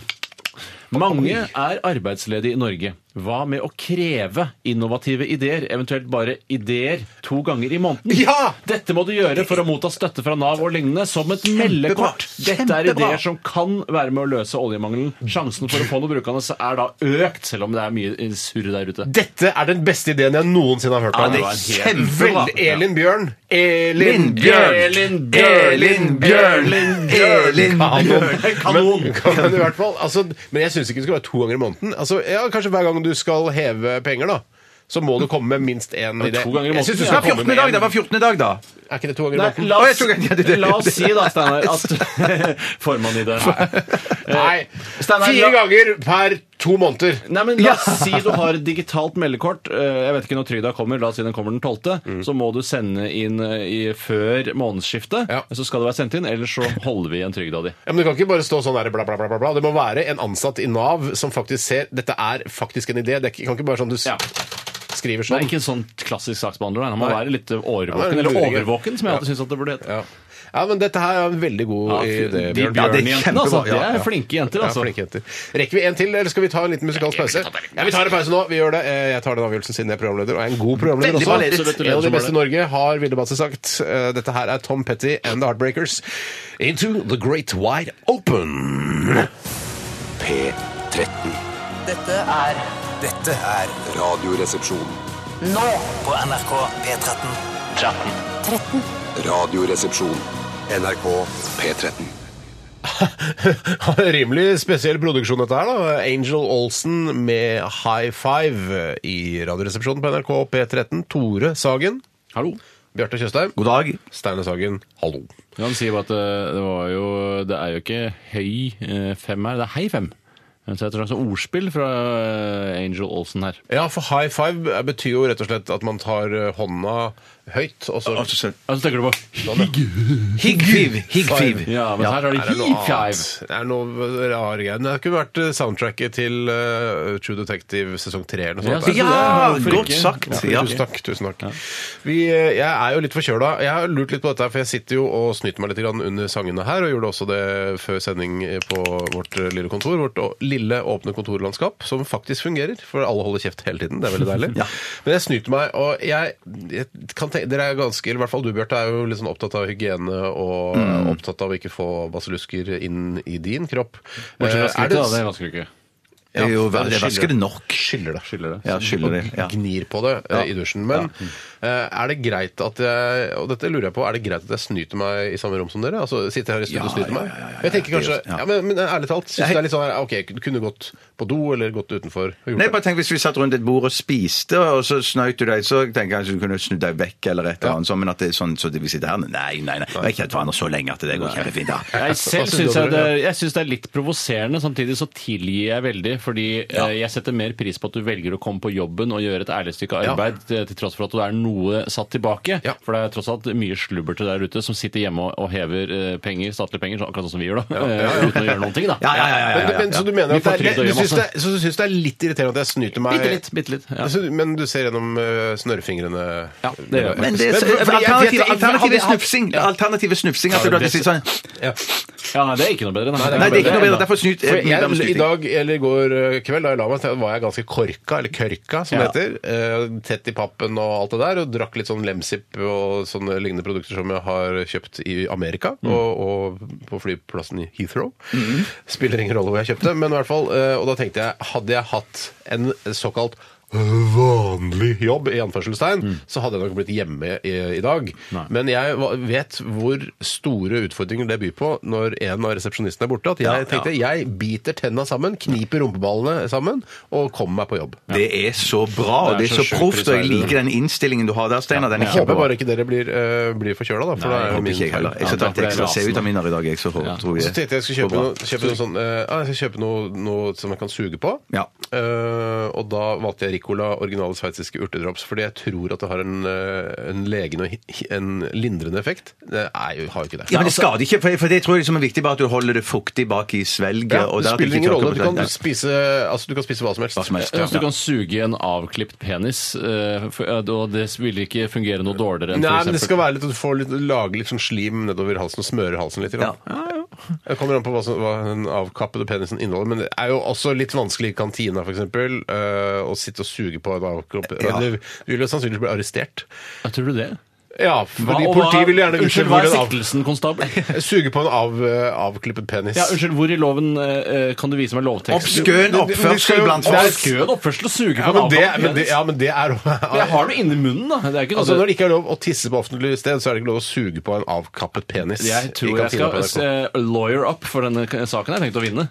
Mange er arbeidsledige i Norge. Hva med å kreve innovative ideer, eventuelt bare ideer, to ganger i måneden?
Ja!
Dette må du gjøre for å motta støtte fra Nav og lignende, som et meldekort. Dette er
Kjempebra!
ideer som kan være med å løse oljemangelen. Sjansen for å få noe brukende er da økt, selv om det er mye surr der ute.
Dette er den beste ideen jeg noensinne har hørt
Ja,
om.
det var en
kjempebra.
Vel, Elin Bjørn. Elin
Elin Bjørn!
Elin Bjørn!
Elin Bjørn!
Elin Bjørn!
Elin Bjørn!
Kanon!
Men, kan man i hvert fall, altså, men jeg syns ikke det skal være to ganger i måneden. Altså, ja, kanskje hver gang du skal heve penger, da. Så må du komme med minst én idé.
to ganger i
Jeg synes du
måneden,
Det
skal
var
komme
14.
med
dag, det
en.
var 14. dag, da.
Er ikke det to ganger i
Nei,
måneden?
la,
Å, jeg
oss,
tror ikke- ja, det- det-
la oss si da, Steinar, at Formann i det.
Nei.
Steinar,
Fire
la-
ganger per to måneder.
Nei, men La oss si du har et digitalt meldekort. eh, Jeg vet ikke når trygda kommer. La oss si den kommer den 12., så må du sende inn eh, i, før månedsskiftet.
Ja.
Så skal det være sendt inn, ellers så holder vi igjen trygda di.
Ja, men Du kan ikke bare stå sånn der, bla, bla, bla, bla, bla. Det må være en ansatt i Nav som faktisk ser dette er faktisk en idé. Det er ikke- kan ikke bare sånn du s-
Ja.
skriver
Det er
sånn.
ikke en sånn klassisk saksbehandler. nei. Han må
Nei.
være litt
Ja,
årvåken,
det er en
eller
luring, ja.
overvåken, som jeg alltid syns det burde hete.
Ja. ja, men dette her er en veldig god
Ja, fy-
idé,
de
Bjørn.
Ja, det er
bjørnjentene, altså.
kjempebra.
De
Ja,
er
ja.
flinke jenter,
Ja,
altså.
flinke jenter. Rekker vi en til, eller skal vi ta en liten musikalsk pause? Ja, Vi tar en pause nå. Vi gjør det. Eh, Jeg tar den avgjørelsen siden jeg er programleder, og jeg er en god programleder
Veldig bra ledet.
også.
Absolutt,
En av de
som
beste
er
i Norge, har Vilde Batse sagt. Eh, Dette her er Tom Petty and The Heartbreakers. Into the Great Wide Open.
P13.
Dette er
Dette er
Radioresepsjon.
nå
på NRK P13.
13.
Radioresepsjon. NRK P13.
Rimelig spesiell produksjon dette her, da. Angel Olsen med High Five i Radioresepsjonen på NRK P13. Tore Sagen.
Hallo.
Bjarte Tjøstheim.
God dag.
Steine Sagen, hallo.
Ja, han sier bare at eh, det var jo Det er jo ikke høy eh, fem her, det er hei fem. Så det er et slags ordspill fra eh, Angel Olsen her.
Ja, for high five betyr jo rett og slett at man tar eh, hånda høyt, og så
Og så tenker du på higg.
Higgfiv. Higgfiv.
Ja, men her er det
Er det noe
higg
annet?
five.
Det er noe rare greier. Men Det har ikke vært eh, soundtracket til eh, True Detective sesong 3 eller noe
Ja,
sånt.
så-
Det er-
Ja,
Hvorfor
godt
ikke?
sagt. Ja.
Tusen takk. tusen takk. Vi, eh, jeg er jo litt forkjøla. Jeg har lurt litt på dette, her, for jeg sitter jo og snyter meg litt grann under sangene her, og gjorde også det før sending eh, på vårt eh, lille kontor. Vårt å- lille, åpne kontorlandskap, som faktisk fungerer. For alle holder kjeft hele tiden. Det er veldig deilig. Men jeg snyter meg, og jeg, jeg kan tenke Dere er ganske, eller i hvert fall du, Bjarte, er jo litt sånn opptatt av hygiene og
Mm.
eh, opptatt av å ikke få basillusker inn i din kropp.
Bortsett fra
Eh, er det-
skrittet, da. Det vasker du ikke.
Det er jo
Ja, det
det vasker det nok.
Skylder det.
Skiller det.
Ja, skylder det. Ja.
gnir på det eh, i dusjen. Men eh, er det greit at jeg Og dette lurer jeg på, er det greit at jeg snyter meg i samme rom som dere? Altså sitter jeg her i studio og snyter meg? jeg tenker kanskje ja. men, men ærlig talt, syns
Jeg-
det er litt sånn her OK, kunne du gått på do, eller gått utenfor og gjort
Nei,
det?
bare tenk Hvis vi satt rundt et bord og spiste, og så snøyt du deg, så tenker jeg kanskje du kunne snudd deg vekk. eller et eller annet sånn, Men at det er sånn så vi sitter her Nei, nei, nei. Vi har kjent hverandre så lenge at det går kjempefint. da.
Jeg selv
Hva synes
syns
dere?
jeg, det, jeg synes det er litt provoserende. Samtidig så tilgir jeg veldig, fordi eh, jeg setter mer pris på at du velger å komme på jobben og gjøre et ærlig stykke arbeid, eh, til, til tross for at du er noe satt tilbake.
Ja.
For det er tross alt mye slubber til der ute som sitter hjemme og, og hever eh, penger, statlige penger, så akkurat sånn som vi gjør, da. eh, Uten å gjøre noen ting, da.
Ja, ja, ja, ja,
Men,
ja, ja.
men, så du mener
Vi
at det
får
er, lett-
trygd å
du
gjøre
syns det, så du syns det er litt irriterende at jeg snyter meg
Bitte litt. Bitte litt. Ja.
Så du- Men du ser gjennom eh, snørrfingrene
Ja, det gjør jeg.
Men det er
Men- men-
alternative,
jeg- jeg-
alternative
hadde-
snufsing. Alternative snufsing. At du alltid sier sånn
Ja, nei, det er ikke noe bedre.
Nei, det er ikke noe bedre. Derfor snyt.
For
mye bedre med
jeg, I
snyting.
dag, eller i går eh, kveld, da jeg la meg, så var jeg ganske korka, eller kørka, som
Ja.
det heter. eh, Tett i pappen og alt det der, og drakk litt sånn Lemsip og sånne lignende produkter som jeg har kjøpt i Amerika, og, og på flyplassen i Heathrow. Spiller ingen rolle hvor jeg kjøpte, men i hvert fall, eh, og da tenkte jeg, hadde jeg hatt en såkalt vanlig jobb, i anførselstegn, så hadde jeg nok blitt hjemme i, i dag. Men jeg va- vet hvor store utfordringer det byr på når en av resepsjonistene er borte. At jeg tenkte jeg biter tenna sammen, kniper rumpeballene sammen og kommer meg på jobb.
Det er så bra, og det er så
sjukt
proft, og jeg
prisverdig.
liker den innstillingen du har der, Steinar. Den er
Jeg håper
kjempebra.
bare ikke dere blir, uh, blir forkjøla, da. For
Nei,
det er
jeg
jo
håper
min
Ikke jeg
feil.
heller. Jeg skal ta et
Ja,
ekstra
det er
C-vitaminer i dag, jeg, så får- tror
Så
jeg.
tenkte jeg skulle
går
kjøpe,
bra.
noe, kjøpe, noe, sånn, eh, ah, jeg skal kjøpe noe, noe som jeg kan suge på.
Ja.
Eh, og da valgte jeg Ricola originale sveitsiske urtedrops, fordi jeg tror at det har en, eh, en legende og hi- en lindrende effekt. Det er jo, har jo ikke det.
Ja, men det skader ikke, for, for det tror jeg liksom er viktig bare at du holder det fuktig bak i svelget.
Ja,
og
det
da at
spiller
ikke
ingen
tråkker
rolle. Du
på
kan,
tennene.
spise, altså, du kan spise hva som helst.
Hva som helst, ja.
Hvis du kan suge i en avklipt penis, eh, for- eh, og det vil ikke fungere noe dårligere enn
Nei,
for
men
eksempel-
det skal være litt, Du får litt, lage litt sånn slim nedover halsen og smøre halsen litt.
Ja.
grann. Det kommer an på hva, som, hva den avkappede penisen inneholder, men det er jo også litt vanskelig i kantina, f.eks. Uh, å sitte og suge på en avkropp.
Ja.
Du vil jo sannsynligvis bli arrestert.
Ja, Tror du det?
Ja,
Hva-
fordi
og hva-
politiet vil gjerne vite
Unnskyld, hva
hvor
er
en av,
siktelsen, konstabel?
suge på en av, eh, avklippet penis.
Ja, unnskyld, hvor i loven eh, eh, kan du vise meg lovteksten?
Skøn
Men- men vi skal
oppførsel
jo-
blant
det er-
folk.
Skød oppførsel og suge på
Ja,
en
men det,
avklippet
men
penis.
det, ja, men det er
Men Jeg har det inni munnen, da. Det er ikke noe
Altså, Når det ikke er lov å tisse på offentlig sted, så er det ikke lov å suge på en avkappet penis.
Jeg
i
tror jeg
kantina på
skal
NRK.
eh, lawyer up for denne k- saken. Jeg tenkte å vinne.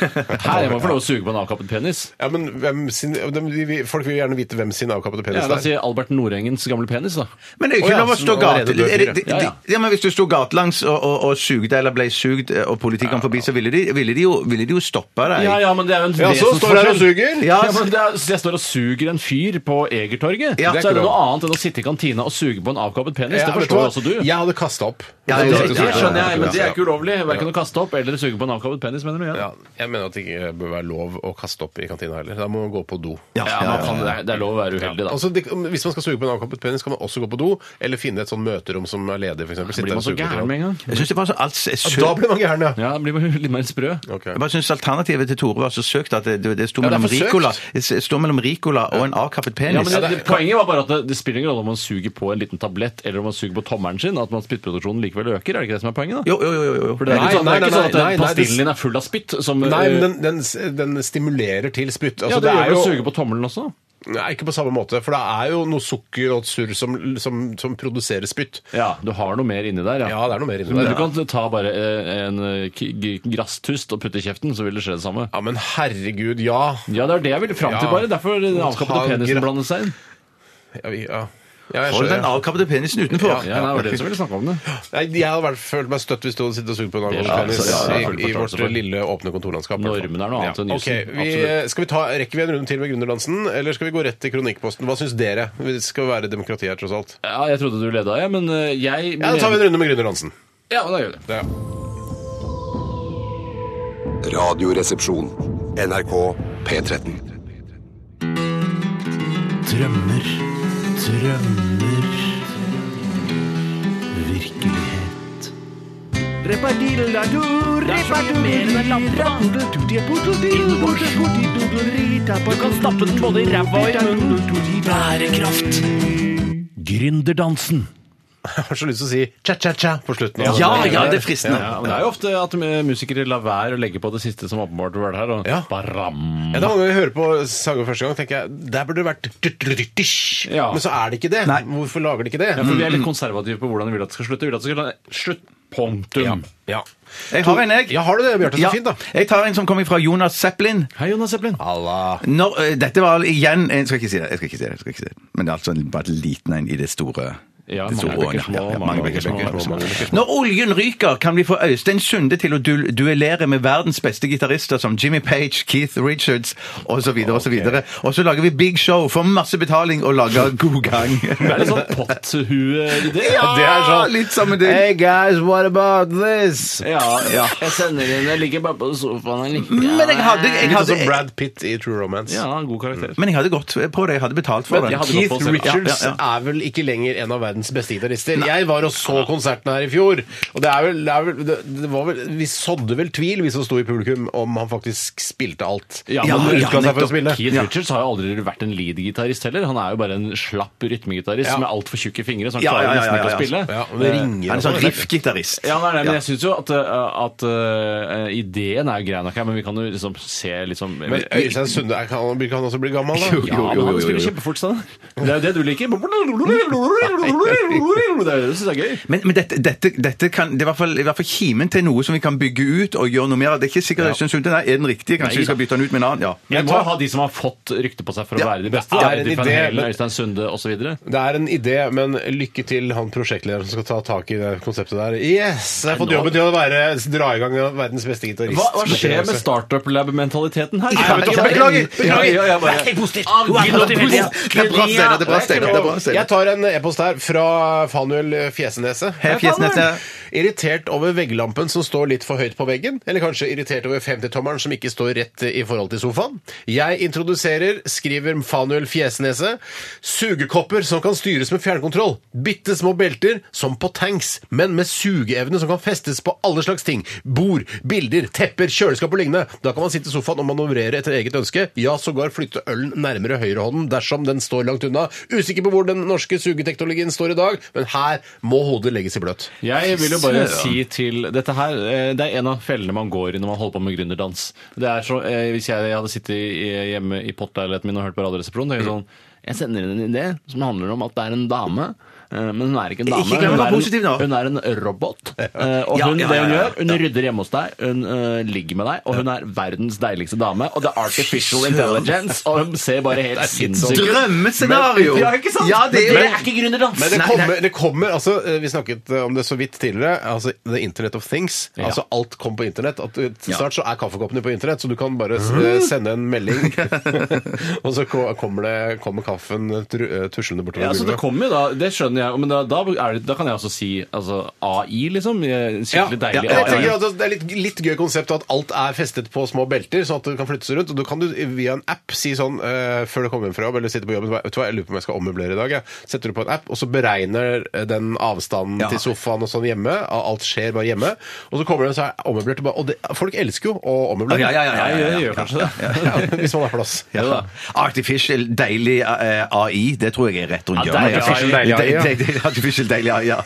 Her jeg må få lov å suge på en avkappet penis.
Ja, men hvem sin, de- de- vi- Folk vil gjerne vite hvem sin avkappede penis
Ja, la
er.
oss si Albert Nordengens gamle penis, da.
Men det er jo
Å
ikke
ja,
lov å
som
stå
allerede
gate...
død
er det-
fyr,
det-
ja. Ja, ja.
det- ja, men Hvis du sto gatelangs og, og, og sugde eller ble sugd, eh, og politiet kom forbi, så ville de, ville de, jo, ville de jo stoppe deg.
Ja, ja, men det er jo en
Ja, så står jeg her og suger!
Ja,
Ja, men det er, så jeg står og suger en fyr på Egertorget.
Ja, det er
så er det
ikke
noe
lov.
annet enn å sitte i kantina og suge på en avkappet penis.
Ja,
det
vet
forstår jo
hva?
også du.
Jeg hadde kasta opp.
Ja,
det,
det-
det, skjønner jeg, men det er
Ja.
ikke ulovlig. Verken å kaste opp eller suge på en avkappet penis, mener du?
Ja, jeg mener at det ikke bør være lov å kaste opp i kantina heller. Da må man gå på do.
Ja, man kan, det, er, det er lov å være uheldig, da.
Altså, det, hvis man skal suge på en avkappet penis, kan man også gå på do, eller finne et sånn møterom som er ledig, f.eks.
Blir man så gæren med en gang?
Jeg syns det var så alt
Da
søkt.
blir man gæren, ja.
Ja, det blir man litt mer sprø.
Ok.
Jeg bare synes Alternativet til Tore var så søkt at det, det, det sto
Ja, det er
mellom
for søkt.
Ricola Det sto mellom Ricola og en avkappet
Ja,
penis.
men det, det, poenget var bare at det, det spiller ingen rolle om man suger på en liten tablett eller om man suger på tommelen sin, at man spyttproduksjonen likevel øker. Er det ikke det som er poenget, da?
Jo, jo, jo, jo, jo.
For det er
Nei,
ikke sånn, det
nei,
er ikke
nei,
sånn at
nei,
den
nei, det-
pastillen din er full av spytt som
Nei,
eh,
men den, den, den stimulerer til spytt.
Ja,
Altså,
det, gjør
er
vel
jo
å suge på tommelen også?
Nei, ikke på samme måte, for det er jo noe sukker og et surr som, som, som produserer spytt.
Ja, du har noe mer inni der, ja.
Ja, det er noe mer inni
Men du
der.
kan ta bare eh, en eh, k- g- grasstust og putte i kjeften, så vil det skje det samme.
Ja, men herregud, ja.
Ja, det er det jeg ville fram til,
Ja.
bare. Derfor den
Ta
avkappede
gra-
penisen blandet seg inn.
ja, vi, ja. ja jeg
Hold den
skjønner.
avkappede penisen utenfor.
Ja, det var det som ville snakke om det.
Nei, jeg hadde vært, følt meg støtt hvis du hadde sittet og sugd på en
Det er
angolpenis
sant, ja, ja, ja.
i, i vårt lille, åpne kontorlandskap. i hvert fall.
Normen er noe annet enn
Ok,
jussen.
vi,
Absolutt.
skal vi ta, Rekker vi en runde til med Gründerdansen, eller skal vi gå rett til Kronikkposten? Hva syns dere? Det skal være demokrati her, tross alt.
Ja, jeg trodde du leda, jeg, men eh, jeg
Ja, Da tar vi en runde med Gründerdansen.
Ja, da gjør vi det.
Det, ja.
Radioresepsjon. NRK P13.
Drømmer, drømmer Virkelighet
Du kan stappe den både i ræva og i munnen. Bærekraft. Gründerdansen.
Jeg har så lyst til å si cha-cha-cha på slutten. av
Ja,
den.
ja,
det er fristende.
Ja, men det er jo ofte at eh, musikere lar være å legge på det siste som åpenbart var her. Og
Ja.
baram.
Ja, da mange ganger jeg hører på sanger første gang, tenker jeg der burde det vært dytteldyttisj.
Ja.
Men så er det ikke det. Hvorfor lager de ikke det?
Ja, for vi er litt konservative på hvordan vi vil at det skal slutte. Vi vil at det skal slutt. Punktum.
Ja.
Jeg har en, jeg.
Ja, har du det, Bjarte? Så
Ja.
fint, da.
Jeg tar en som kommer fra Jonas Zeppelin.
Hei, Jonas Zeppelin.
Allah.
Når, eh, dette var igjen Jeg skal ikke si det. jeg skal ikke si det, jeg skal ikke si det. Men det er altså en- bare en liten en i det store
Ja,
det store
mange bekker
året.
små, mange bekker
mange bekker
små,
bekker små.
mange bekker
Når oljen ryker, kan vi få Øystein Sunde til å du duellere med verdens beste gitarister som Jimmy Page, Keith Richards osv. videre Og så lager vi big show, får masse betaling og lager god gang.
Det er litt sånn potthue-idé.
det er sånn. Litt samme del.
guys, what about this?
Ja, jeg sender inn Jeg ligger bare på sofaen. Jeg ligger.
Men jeg hadde, jeg
Litt sånn
hadde,
som Brad Pitt i True Romance.
Ja, god karakter. Mm.
men jeg hadde gått på det. Jeg hadde betalt for
Men jeg
det.
hadde gått på
Keith
det selv.
Richards
Ja, ja,
er vel ikke lenger en av verdens beste gitarister. Jeg var og så konserten her i fjor, og det er vel, det er vel, det, det var vel Vi sådde vel tvil, vi som sto i publikum, om han faktisk spilte alt.
Ja,
Han
men-
utga seg for å spille.
Keith Richards har jo aldri vært en lead-gitarist heller. Han er jo bare en slapp rytmegitarist
Ja.
med altfor tjukke fingre, så han
Ja,
klarer
ja, ja,
nesten ikke
ja, ja.
å spille. Eh,
Ja, og det ringer
Han er sånn
og-
riff-gitarist.
Ja, nei, nei, men jeg syns jo at, uh, at uh, ideen er jo grei nok her, men vi kan jo liksom se liksom
Men Øystein Sunde, er- kan han, kan han også bli gammel, da?
Ja, men han spiller kjempefort, sånn. Det er jo det du liker. Det er det du syns er gøy.
Men, men dette, dette, dette kan, det er i hvert fall, i hvert fall kimen til noe som vi kan bygge ut og gjøre noe mer av. Det er ikke sikkert jeg synes, nei, er den riktige. Kanskje
Nei,
vi skal
da.
bytte den ut med en annen. Ja.
Men vi må jo ha de som har fått rykte på seg for å
Ja,
være de beste.
det
da.
er en
Edith Van
idé,
Halen,
men-
Øystein Sunde osv.
Det er en idé, men lykke til han prosjektlederen som skal ta tak i det konseptet der. Yes! Jeg har fått
Nei, nå-
jobben til å være, dra i gang verdens beste gitarist.
Hva, hva skjer med startup lab-mentaliteten her?
Nei, vet du, beklager!
Ja,
beklager.
ja, ja, bare-
Det er bra, Steinar. Det er bra, Steinar. Det er bra,
Jeg
Steinar.
tar en e-post her fra Fanuel Fjesnese.
Hei, Fjesnese.
Irritert over vegglampen som står litt for høyt på veggen, eller kanskje irritert over 50-tommeren som ikke står rett i forhold til sofaen. Jeg introduserer, skriver Fanuel Fjesnese, sugekopper som kan styres med fjernkontroll. Bitte små belter, som på tanks, men med sugeevne som kan festes på alle slags ting. Bord, bilder, tepper, kjøleskap og lignende. Da kan man sitte i sofaen og manøvrere etter eget ønske. Ja, sågar flytte ølen nærmere høyrehånden dersom den står langt unna. Usikker på hvor den norske sugeteknologien står i dag, men her må hodet legges i bløt.
Jeg vil jo bare
Søren.
si til dette her eh, Det er en av fellene man går i når man holder på med gründerdans. Det er så, eh, hvis jeg hadde sittet i- hjemme i pottleiligheten min og hørt på Radioresepsjonen, tenker jeg sånn Jeg sender inn en idé som handler om at det er en dame. eh, Men hun er ikke en dame.
Ikke glem å
hun,
være
er
positiv nå.
en, hun er en robot. Eh, Og
Ja,
hun,
ja,
det hun
ja, ja,
gjør, hun rydder hjemme hos deg, hun eh, ligger med deg, og hun er verdens deiligste dame. Og det er artificial intelligence, og hun ser bare helt sinnssyk ut.
Drømmescenario!
Ja, ikke sant?
Ja, det er jo
Men det
det.
er ikke gründerdans!
Men det
Nei,
kommer,
nei.
det kommer altså, eh, Vi snakket eh, om det så vidt tidligere. altså The Internet of Things.
Ja.
altså Alt kom på internett. At, eh,
Ja.
snart så er kaffekoppene på internett, så du kan bare
Mm.
eh, sende en melding, og så ko- kommer, det, kommer kaffen tru- eh, tuslende bortover
Ja, altså det
gulvet.
kommer jo da, det skjønner jeg, men da, da, er det, da kan jeg også si altså, AI, liksom. eh, Skikkelig
Ja,
deilig.
jeg
AI.
tenker at Det er litt, litt gøy konsept at alt er festet på små belter, sånn at det kan flyttes rundt. Og du kan du via en app si sånn eh, før du kommer hjem fra jobb eller sitter på jobben Vet du hva, jeg lurer på om jeg skal ommøblere i dag. Jeg. Setter du på en app, og så beregner eh, den avstanden til sofaen og sånn hjemme. Alt skjer bare hjemme. Og så kommer den og så er det ommøblert. Og, bare, og det, folk elsker jo å ommøblere.
Ja, ja, ja, ja,
Jeg
ja,
gjør,
ja.
gjør kanskje det.
Hvis man har plass.
Ja.
da.
Artificial deilig eh, AI, det tror jeg er rett rundt
Ja,
hjørnet.
artificial
deilig AI, ja.
De- de- de- Artificial deilig AI, ja.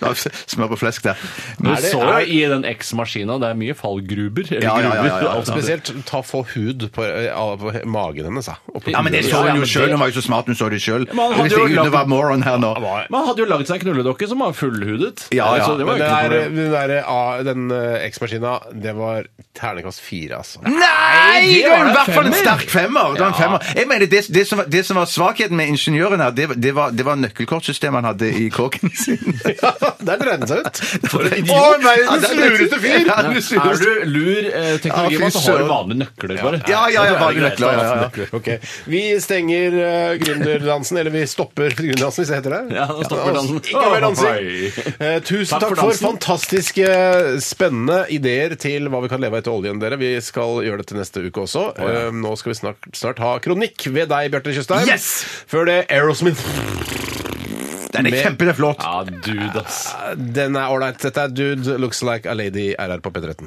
La oss Smør på flesk der.
Du
Er det-
så jo
er-
i den X-maskina, det er mye fallgruber. Eller
Ja, ja, ja, ja, ja.
gruber, alt det.
Spesielt ta få hud på, eh, av magen hennes. da. Og på-
Ja, men det så
Ja, ja,
hun jo
men
sjøl.
det-
Hun var jo så smart, hun så det sjøl.
Men han hadde
Hvis
jo
ikke
lagt-
hun var moron her nå.
Man hadde jo lagd seg en knulledokke som var fullhudet.
Ja, ja,
Så det var
Men
jo
det
ikke noe
der,
problem.
den der, ah, den eh, X-maskina, det var ternekast fire, altså.
Nei! Det
det
var
var
i hvert fall en
femmer.
sterk femmer. Det var en femmer. Jeg mener, det, det, som var, det som var svakheten med ingeniøren her, det, var- det var, det var nøkkelkortsystemet han hadde i kåken sin.
Der dreide den seg ut.
Å,
Å, verdens lureste fyr!
Ja, den
Er
sureste.
du lur eh, teknologimann, så har du vanlige nøkler, bare.
Ja, ja, ja, bare nøkler. Ja, ja, ja.
Ok, Vi stenger eh, gründerdansen, eller vi stopper gründerdansen, hvis det heter det.
Ja, da stopper dansen.
Ikke mer dansing.
Oi.
Eh, tusen
Takk
takk,
for
for,
dansen.
fantastiske, spennende ideer til hva vi kan leve av etter oljen, dere. Vi skal gjøre det til neste uke også. Eh, nå skal vi snart, snart ha kronikk ved deg, Bjarte Tjøstheim.
Yes!
Før det Aerosmith.
Den er kjempeflott.
Ja, dude, ass.
Den er ålreit. Dette er Dude Looks Like a Lady RR på P13.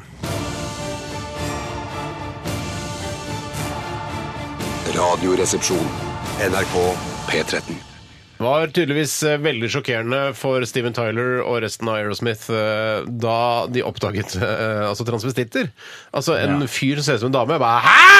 Radioresepsjon. NRK P13.
Var tydeligvis eh, veldig sjokkerende for Steven Tyler og resten av Aerosmith eh, da de oppdaget eh, altså transvestitter. Altså en fyr som ser ut som en dame. Jeg bare Hæ?!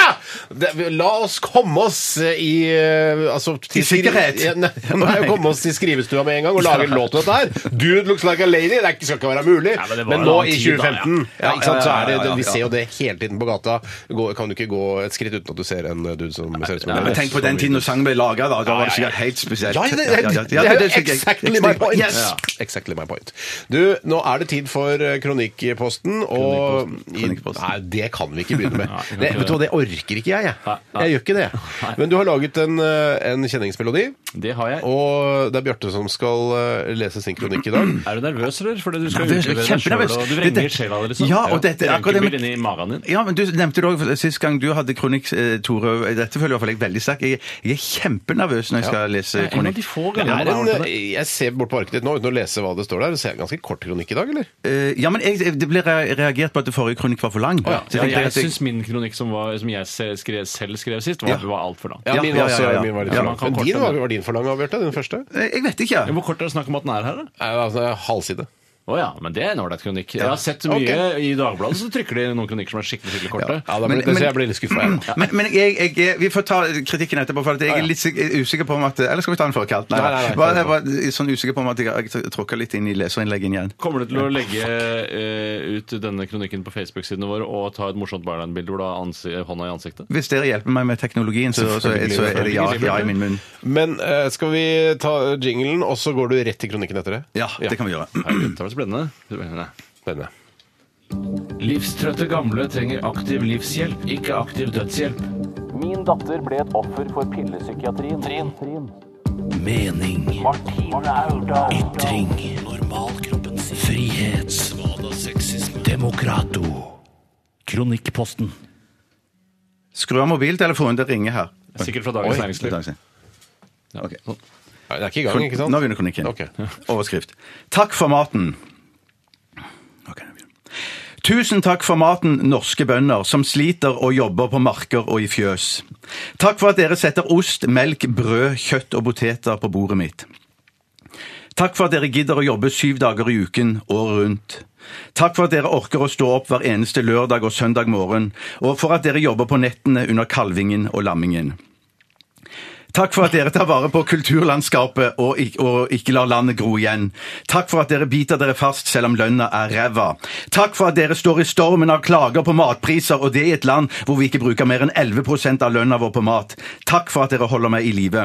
Det, la oss komme oss i eh, altså, til skri-
sikkerhet.
Ja, Nei, nei, komme oss til skrivestua med en gang og lage en låt om dette her. Dude looks like a lady. Det er ikke- skal ikke være mulig.
Ja, men
men,
det var en
nå
annen
i
tid da,
2015 ja.
ja.
ikke sant, så er det,
Ja, ja, ja, ja,
Vi
ja.
ser jo det hele tiden på gata. Gå, kan du ikke gå et skritt uten at du ser en eh, dude som ser ut som en
Ja, men tenk på den tiden når sangen ble laga, da. Da var det sikkert helt spesielt.
Ja, det, det, det,
Ja,
er jo
fikk jeg-
exactly my point.
Yes.
Ja, exactly my point. Du, nå er det tid for eh, kronikkposten, og
Kronikkposten, kronikkposten.
Nei, det kan vi ikke begynne med.
Nei, vi kan
det,
ikke
vet du hva, det orker ikke jeg, jeg. Jeg gjør ikke det. Men du har laget en, eh, en kjenningsmelodi,
Det har jeg.
og det er Bjarte som skal eh, lese sin kronikk i dag.
Er du nervøs, eller? Fordi du skal
Nervøs,
utlevere deg sjøl,
kjempenervøs.
og du vrenger
Dette-
sjela di, liksom.
Ja, og dette-
Det
akkurat
røyker
det-
bil inni magen din.
Ja, men Du nevnte det også, Sist gang du hadde kronikk, eh, Tore Dette føler jeg i hvert fall jeg veldig sterkt. Jeg, jeg er kjempenervøs når jeg skal lese
Eh, En av
kronikk.
de få
Det
gangene
er
man har
en,
vært det.
eh, jeg ser bort på arket ditt nå uten å lese hva det står der. Det ser ganske kort kronikk i dag, eller?
Eh, Ja, men jeg, det ble re- reagert på at det forrige kronikk var for lang.
Ja,
Så tenkte
jeg
at jeg-
syns min kronikk som, var, som jeg se- skrev, selv skrev sist, var,
Ja.
var altfor lang.
Ja,
Ja,
min, var
ja,
også-
ja, ja.
min var litt
Ja,
for
man
lang.
kan
Men
korte
din
den.
var, var din for lang, Bjarte? Den første?
Eh, Jeg vet ikke.
Hvor kort er det snakk om at den er her, da?
Nei, Eh, altså, halvside.
Å ja, men det er en ålreit kronikk. Jeg har sett mye i Dagbladet, så trykker de noen kronikker som er skikkelig skikkelig korte.
Ja, da blir,
Men-
det,
men-
så jeg blir litt skuffa. Ja.
Men, men jeg, jeg, vi får ta kritikken etterpå, for at jeg er litt sik- usikker på om at Eller skal vi ta den før kaldt? Nei,
Nei, nei, nei,
jeg var, jeg var sånn usikker på om at jeg, jeg tråkka litt inn i leserinnleggen igjen.
Kommer du til å legge eh, ut denne kronikken på Facebook-sidene våre og ta et morsomt Berlein-bilde hvor du har ansi hånda i ansiktet?
Hvis dere hjelper meg med teknologien, så, så, så, er det ja, ja i min munn.
Men eh, skal vi ta jinglen, og så går du rett til kronikken etter det?
Ja, det kan vi gjøre.
Herregud, det var spennende. spennende.
Spennende.
Livstrøtte gamle trenger aktiv livshjelp, ikke aktiv dødshjelp.
Min datter ble et offer for pillepsykiatrien. Trin. Trin.
Mening. Ytring. Frihet. Demokrato. Kronikkposten.
Skru av mobiltelefonen, det ringer her.
Sikkert fra Dagens Næringsliv. Ja,
Ok.
sånn.
Nei, Det er ikke i gang, ikke sant?
Nå begynner kronikken.
Ok.
Overskrift. Takk for maten. Ok, nå begynner. Tusen takk for maten, norske bønder som sliter og jobber på marker og i fjøs. Takk for at dere setter ost, melk, brød, kjøtt og poteter på bordet mitt. Takk for at dere gidder å jobbe syv dager i uken, året rundt. Takk for at dere orker å stå opp hver eneste lørdag og søndag morgen, og for at dere jobber på nettene under kalvingen og lammingen. Takk for at dere tar vare på kulturlandskapet og, ik og ikke lar landet gro igjen. Takk for at dere biter dere fast selv om lønna er ræva. Takk for at dere står i stormen av klager på matpriser, og det i et land hvor vi ikke bruker mer enn 11 av lønna vår på mat. Takk for at dere holder meg i live.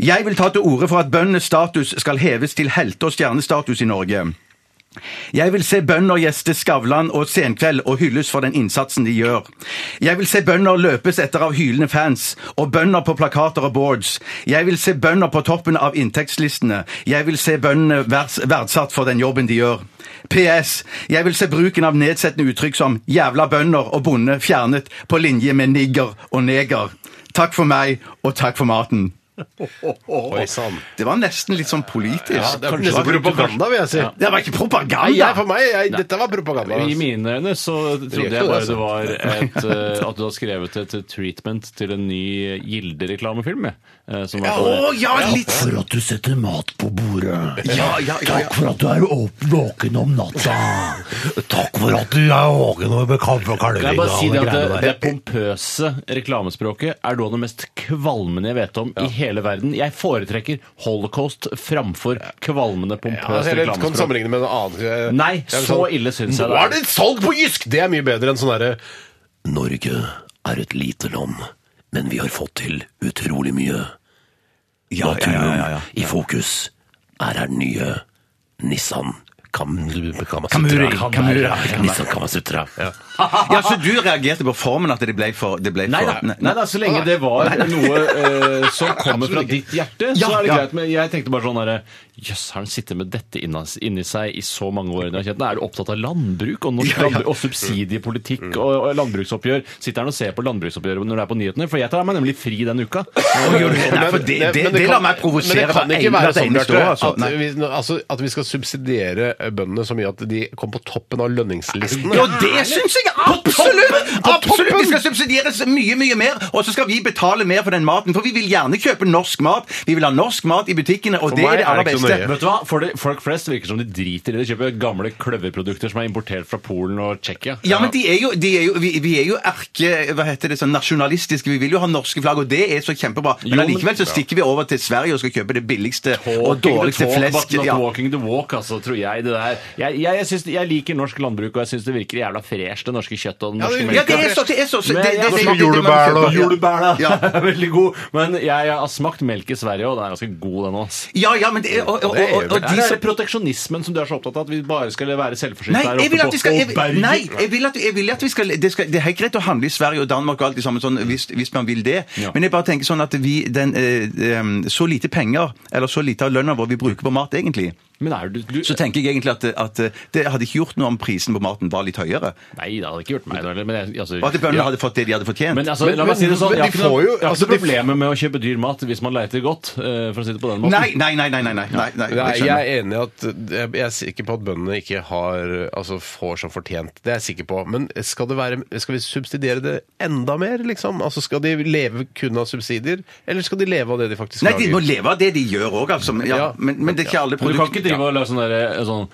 Jeg vil ta til orde for at bøndenes status skal heves til helte- og stjernestatus i Norge. Jeg vil se bønder gjeste Skavlan og Senkveld og hylles for den innsatsen de gjør. Jeg vil se bønder løpes etter av hylende fans, og bønder på plakater og boards. Jeg vil se bønder på toppen av inntektslistene. Jeg vil se bøndene verds- verdsatt for den jobben de gjør. PS. Jeg vil se bruken av nedsettende uttrykk som jævla bønder og bonde fjernet på linje med nigger og neger. Takk for meg, og takk for maten.
Oi sann.
Det var nesten litt sånn politisk.
Ja, det er nesten propaganda, vil jeg si.
Det var ikke propaganda!
Nei, jeg- for meg, jeg, dette var propaganda.
I mine øyne så
gjør
trodde
ikke
jeg bare
det,
det var et, eh, at du hadde skrevet et treatment til en ny Gilde-reklamefilm. jeg, eh, som var-
Å ja, litt
For at du setter mat på bordet.
Ja, ja, ja, ja.
Takk for at du er åp- våken om natta. Takk for at du er våken over kalv og
Kan jeg
kalving.
bare si det
og
at det,
greiene
det
der.
pompøse reklamespråket er noe av det mest kvalmende jeg vet om i hele verden. Jeg foretrekker holocaust framfor kvalmende,
Ja, altså,
pompøst
eller kan
reklamespråk.
sammenligne med en annen eh,
Nei,
det er
så
sånn,
ille syns jeg
Nå
det
er det salg på Jysk! Det er mye bedre enn sånn derre
Norge er et lite land, men vi har fått til utrolig mye.
Ja, ja, ja, ja, ja.
i fokus er her nye Nissan
Kamuri.
Kamasutra.
Kamuri.
Nissan Kamasutra.
Ja, så du reagerte på formen at det ble for, det ble
Nei
for
da, nei da, så lenge det var noe eh, som kommer fra ditt hjerte, så
Ja,
er det
ja.
greit. Men jeg tenkte bare sånn derre Jøss, har han sittet med dette inna- inni seg i så mange år? Når jeg har kjent den? Er du opptatt av landbruk og, norsk landbruk, og subsidiepolitikk
Mm.
og, og landbruksoppgjør? Sitter han og ser på landbruksoppgjøret når du er på nyhetene? For jeg tar meg nemlig fri den uka.
Nei, for det, det, det lar meg provosere
Men det kan
hver
ikke
eneste
være sånn
eneste
Bjarte,
år. Altså.
at,
Nei.
vi, altså, at vi skal subsidiere bøndene så mye at de kommer på toppen av lønningslistene.
Jo, det syns jeg absolutt! Absolutt! Vi skal subsidieres mye, mye mer, og så skal vi betale mer for den maten. For vi vil gjerne kjøpe norsk mat. Vi vil ha norsk mat i butikkene, og det
meg
er det
er
aller
det ikke
beste.
så nøye.
Vet du hva? For det, folk flest virker som de driter i det. De kjøper gamle kløverprodukter som er importert fra Polen og Tsjekkia.
Ja, men de er jo, de er jo, vi, vi er jo erke... Hva heter det? sånn Nasjonalistiske. Vi vil jo ha norske flagg, og det er så kjempebra.
Jo,
Men
men-
allikevel så stikker vi over til Sverige og skal kjøpe det billigste og
Walking
dårligste
the talk,
flesk.
But not
Ja.
walking the walk, altså, tror jeg det der. Jeg, jeg, jeg, syns- jeg liker norsk landbruk, og jeg syns det virker jævla fresh, det norske kjøttet og den norske
Ja, det er så, det er så, det, det, det, det,
Julebær og
Ja.
Veldig god. Men jeg har smakt melk i Sverige, og den er ganske god, den òg.
Ja, ja, men det er, og, og, og, og, og
Er
de
det
som
proteksjonismen som du er så opptatt av, at vi bare skal være
Nei,
selvforsynte her
jeg vil
oppe
at vi skal,
på
jeg,
Åberg?
nei, jeg vil at, jeg vil at vi skal, det skal Det er helt greit å handle i Sverige og Danmark og alt det samme sånn, hvis, hvis man vil det.
Ja.
Men jeg bare tenker sånn at vi den, eh, em, Så lite penger, eller så lite av lønna vår vi bruker på mat, egentlig.
Men er du, du
Så tenker jeg egentlig at, at eh, det hadde ikke gjort noe om prisen på maten var litt høyere.
Nei, det hadde ikke gjort meg noe. eller- Men jeg, altså,
Og at bøndene
ja.
hadde fått det de hadde fortjent.
Men altså,
Men-
la
men-
meg si det sånn,
men
jeg har
de
ikke noe-
får jo-
jeg har
altså,
ikke
de-
problemer med å kjøpe dyr mat hvis man leiter godt, eh, for å si det på den måten.
nei, nei, nei, nei, nei, nei, nei, nei.
Nei,
skjønner.
jeg er enig i at jeg jeg er sikker på at bøndene ikke har, altså får som fortjent. Det er jeg sikker på. Men skal, det være, skal vi subsidiere det enda mer, liksom? Altså Skal de leve kun av subsidier, eller skal de leve av det de faktisk
Nei, de må
lager?
leve av det de gjør òg, altså. Men, ja,
Ja.
men, men det er ikke alle
Men du kan ikke
produkter
drive og lage sånn derre sånn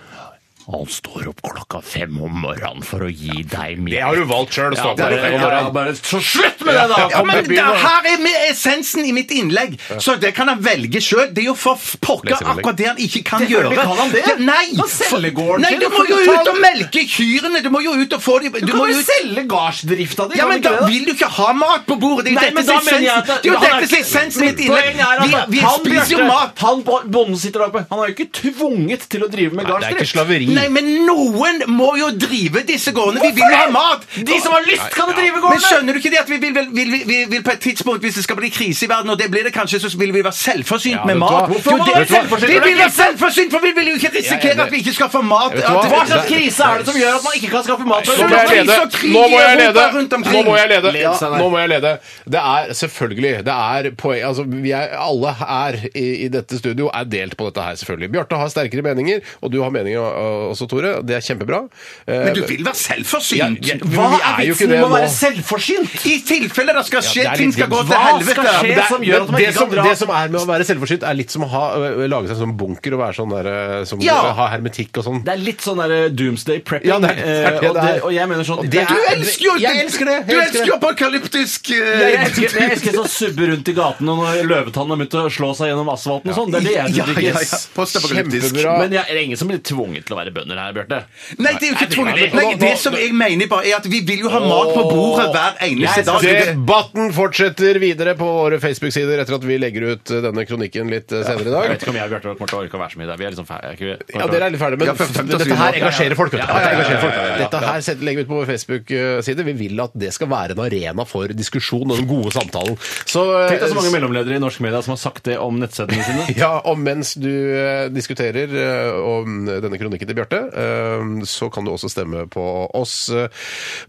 Han står opp klokka fem om morgenen for å gi deg mer.
Det har du valgt sjøl.
Ja, bare, bare, bare, så slutt med det, da!
Ja,
Kom
men
til
det
byen, da.
her er med essensen i mitt innlegg, så det kan han velge sjøl. Det er jo for pokker
Leserinnlegg.
akkurat det han ikke kan
Det-
gjøre.
kan han det?
Nei!
Han selger gården
Nei,
sin,
du
og
må
får
jo
betalt.
ut og melke kyrne! Du må jo ut og få dem
Du kan jo selge gardsdrifta di!
Ja,
kan
men
du
Da
ikke det,
vil du ikke ha mat på bordet! Det er
Nei,
jo
men
dette som
da mener
er
jeg at
essensen- det er jo
han
dette som er essensen i mitt
Poenget er
innlegg!
at
Vi, vi
han
spiser
Bjarte,
jo mat!
Han bo- bonden sitter der oppe. Han er jo ikke tvunget til å drive med
Nei, det er ikke
gardsdrift.
slaveri.
Nei, men noen må jo drive disse gårdene! Vi vil jo ha mat!
De som har lyst, kan jo drive
Men
gårdene!
skjønner du ikke det at vi vil, vil, vil, vil, vil på et tidspunkt, hvis det skal bli krise i verden, og det blir det kanskje, så vil vi være selvforsynt
Ja,
med
vet du hva?
mat?
Hvorfor
Jo,
må
det-
man være selvforsynt?
Vi vil være selvforsynt, for vi vil jo ikke
Jeg er
risikere
enig.
at vi ikke skal få mat.
Vet du hva?
Hva slags krise er det som gjør at man ikke kan skaffe mat?
Nå må jeg lede! Nå må jeg lede! Nå må jeg lede!
Ja.
Nå må jeg lede. Det er selvfølgelig det er poeng, altså, vi er, Alle her i, i dette studio er delt på dette her, selvfølgelig. Bjarte har sterkere meninger, og du har meninger øh, også, Tore. Det er kjempebra. Eh,
Men du vil være selvforsynt!
Ja,
Hva-
men vi er jo ikke det
med å være
nå.
selvforsynt?
I tilfelle det skal skje,
Ja, det er
ting
litt
skal gå
dritt.
til
Hva
helvete.
skal skje?
Men
som gjør at man
men
ikke
det
kan
som,
dra.
Det som er med å være selvforsynt, er litt som å ha, øh, lage seg en sånn bunker og være sånn der, øh, som
Ja.
ha hermetikk og sånn.
Det er litt sånn der doomsday prepping.
Ja, det er- det er
eh,
det
og,
det er.
det, og jeg mener sånn
Og det
det
er-
Du
er-
elsker jo
Jeg elsker det, jeg
Du
elsker
elsker
det.
jo apokalyptisk eh,
Jeg elsker, jeg elsker å subbe rundt i gatene når løvetannene har begynt å slå seg gjennom asfalten og sånn. Det er det jeg
Ja,
synes
ja,
ikke
ja. Postapokalyptisk.
Kjempebra.
Men jeg er ingen som blir tvunget til å være bønder her, Bjarte.
Nei, det er jo ikke
Nei, det er
tvunget.
det.
Nei, det som jeg mener bare er at vi vil jo ha mat på bordet hver eneste dag.
Debatten fortsetter videre på våre Facebook-sider etter at vi legger ut eh, denne kronikken litt eh, senere i
Jeg
dag.
vet ikke om jeg og Bjarte kommer til å orke å være så mye der. Vi er liksom ferdige. er ikke vi?
Ja, Dere er litt ferdige, men
Ja, for- for-
dette
for-
her engasjerer folk. vet du.
Ja, ja,
Dette
ja, ja,
engasjerer folk.
ja, ja, ja, ja.
Dette her set- legger vi ut på vår Facebook-side. Vi vil at det skal være en arena for diskusjon og den gode samtalen. Så, eh,
Tenk deg så mange mellomledere i norske medier som har sagt det om nettsidene sine.
ja, og mens du eh, diskuterer eh, om denne kronikken til Bjarte, eh, så kan du også stemme på oss eh,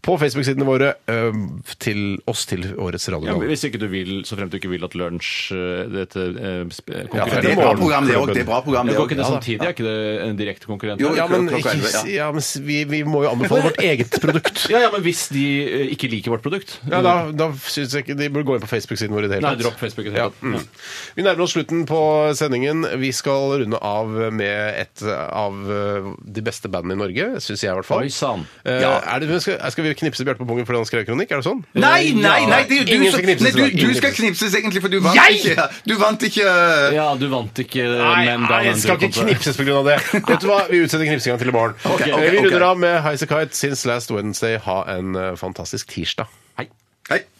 på Facebook-sidene våre eh, til oss til årets
Ja,
radio.
hvis ikke du vil, så fremt du ikke vil at lunsj eh, dette eh, sp- eh,
Ja, for
konkurrerer
Det er
med
bra
morgen.
program, det òg. Det er bra program,
Det
det
går
òg.
ikke det samtidig? Er ikke det en direkte konkurrent?
Jo,
Ja, men,
Klokka
ikke,
11,
ja, men s- vi, vi må jo anbefale vårt eget produkt.
Ja, ja, men hvis de eh, ikke liker vårt produkt
Ja, da, da synes jeg ikke De burde gå inn på Facebook-siden vår i det hele
Nei, dropp Facebook i det hele
Ja,
tatt.
mm. Vi nærmer oss slutten på sendingen. Vi skal runde av med et av eh, de beste bandene i Norge, syns jeg i hvert fall.
Oi, sann.
Eh, er det, skal, skal vi knipse Bjarte på pungen fordi han skrev kronikk? Er det sånn?
Eh,
Nei, nei, nei, det er jo du
Ingen
som
skal knipses
Nei,
i
du,
dag.
du
Ingen
skal
knipses.
knipses egentlig, for du vant
Jeg?
ikke. Du vant ikke eh,
Ja, du vant ikke eh,
Nei,
men da
nei, jeg
vant
skal
du
ikke
kontra-
knipses pga. det. Vet du hva, Vi utsetter knipsinga til i morgen.
ok,
Eh, vi
ok.
runder av med Highasakite Since Last Wednesday. Ha en eh, fantastisk tirsdag.
Hei.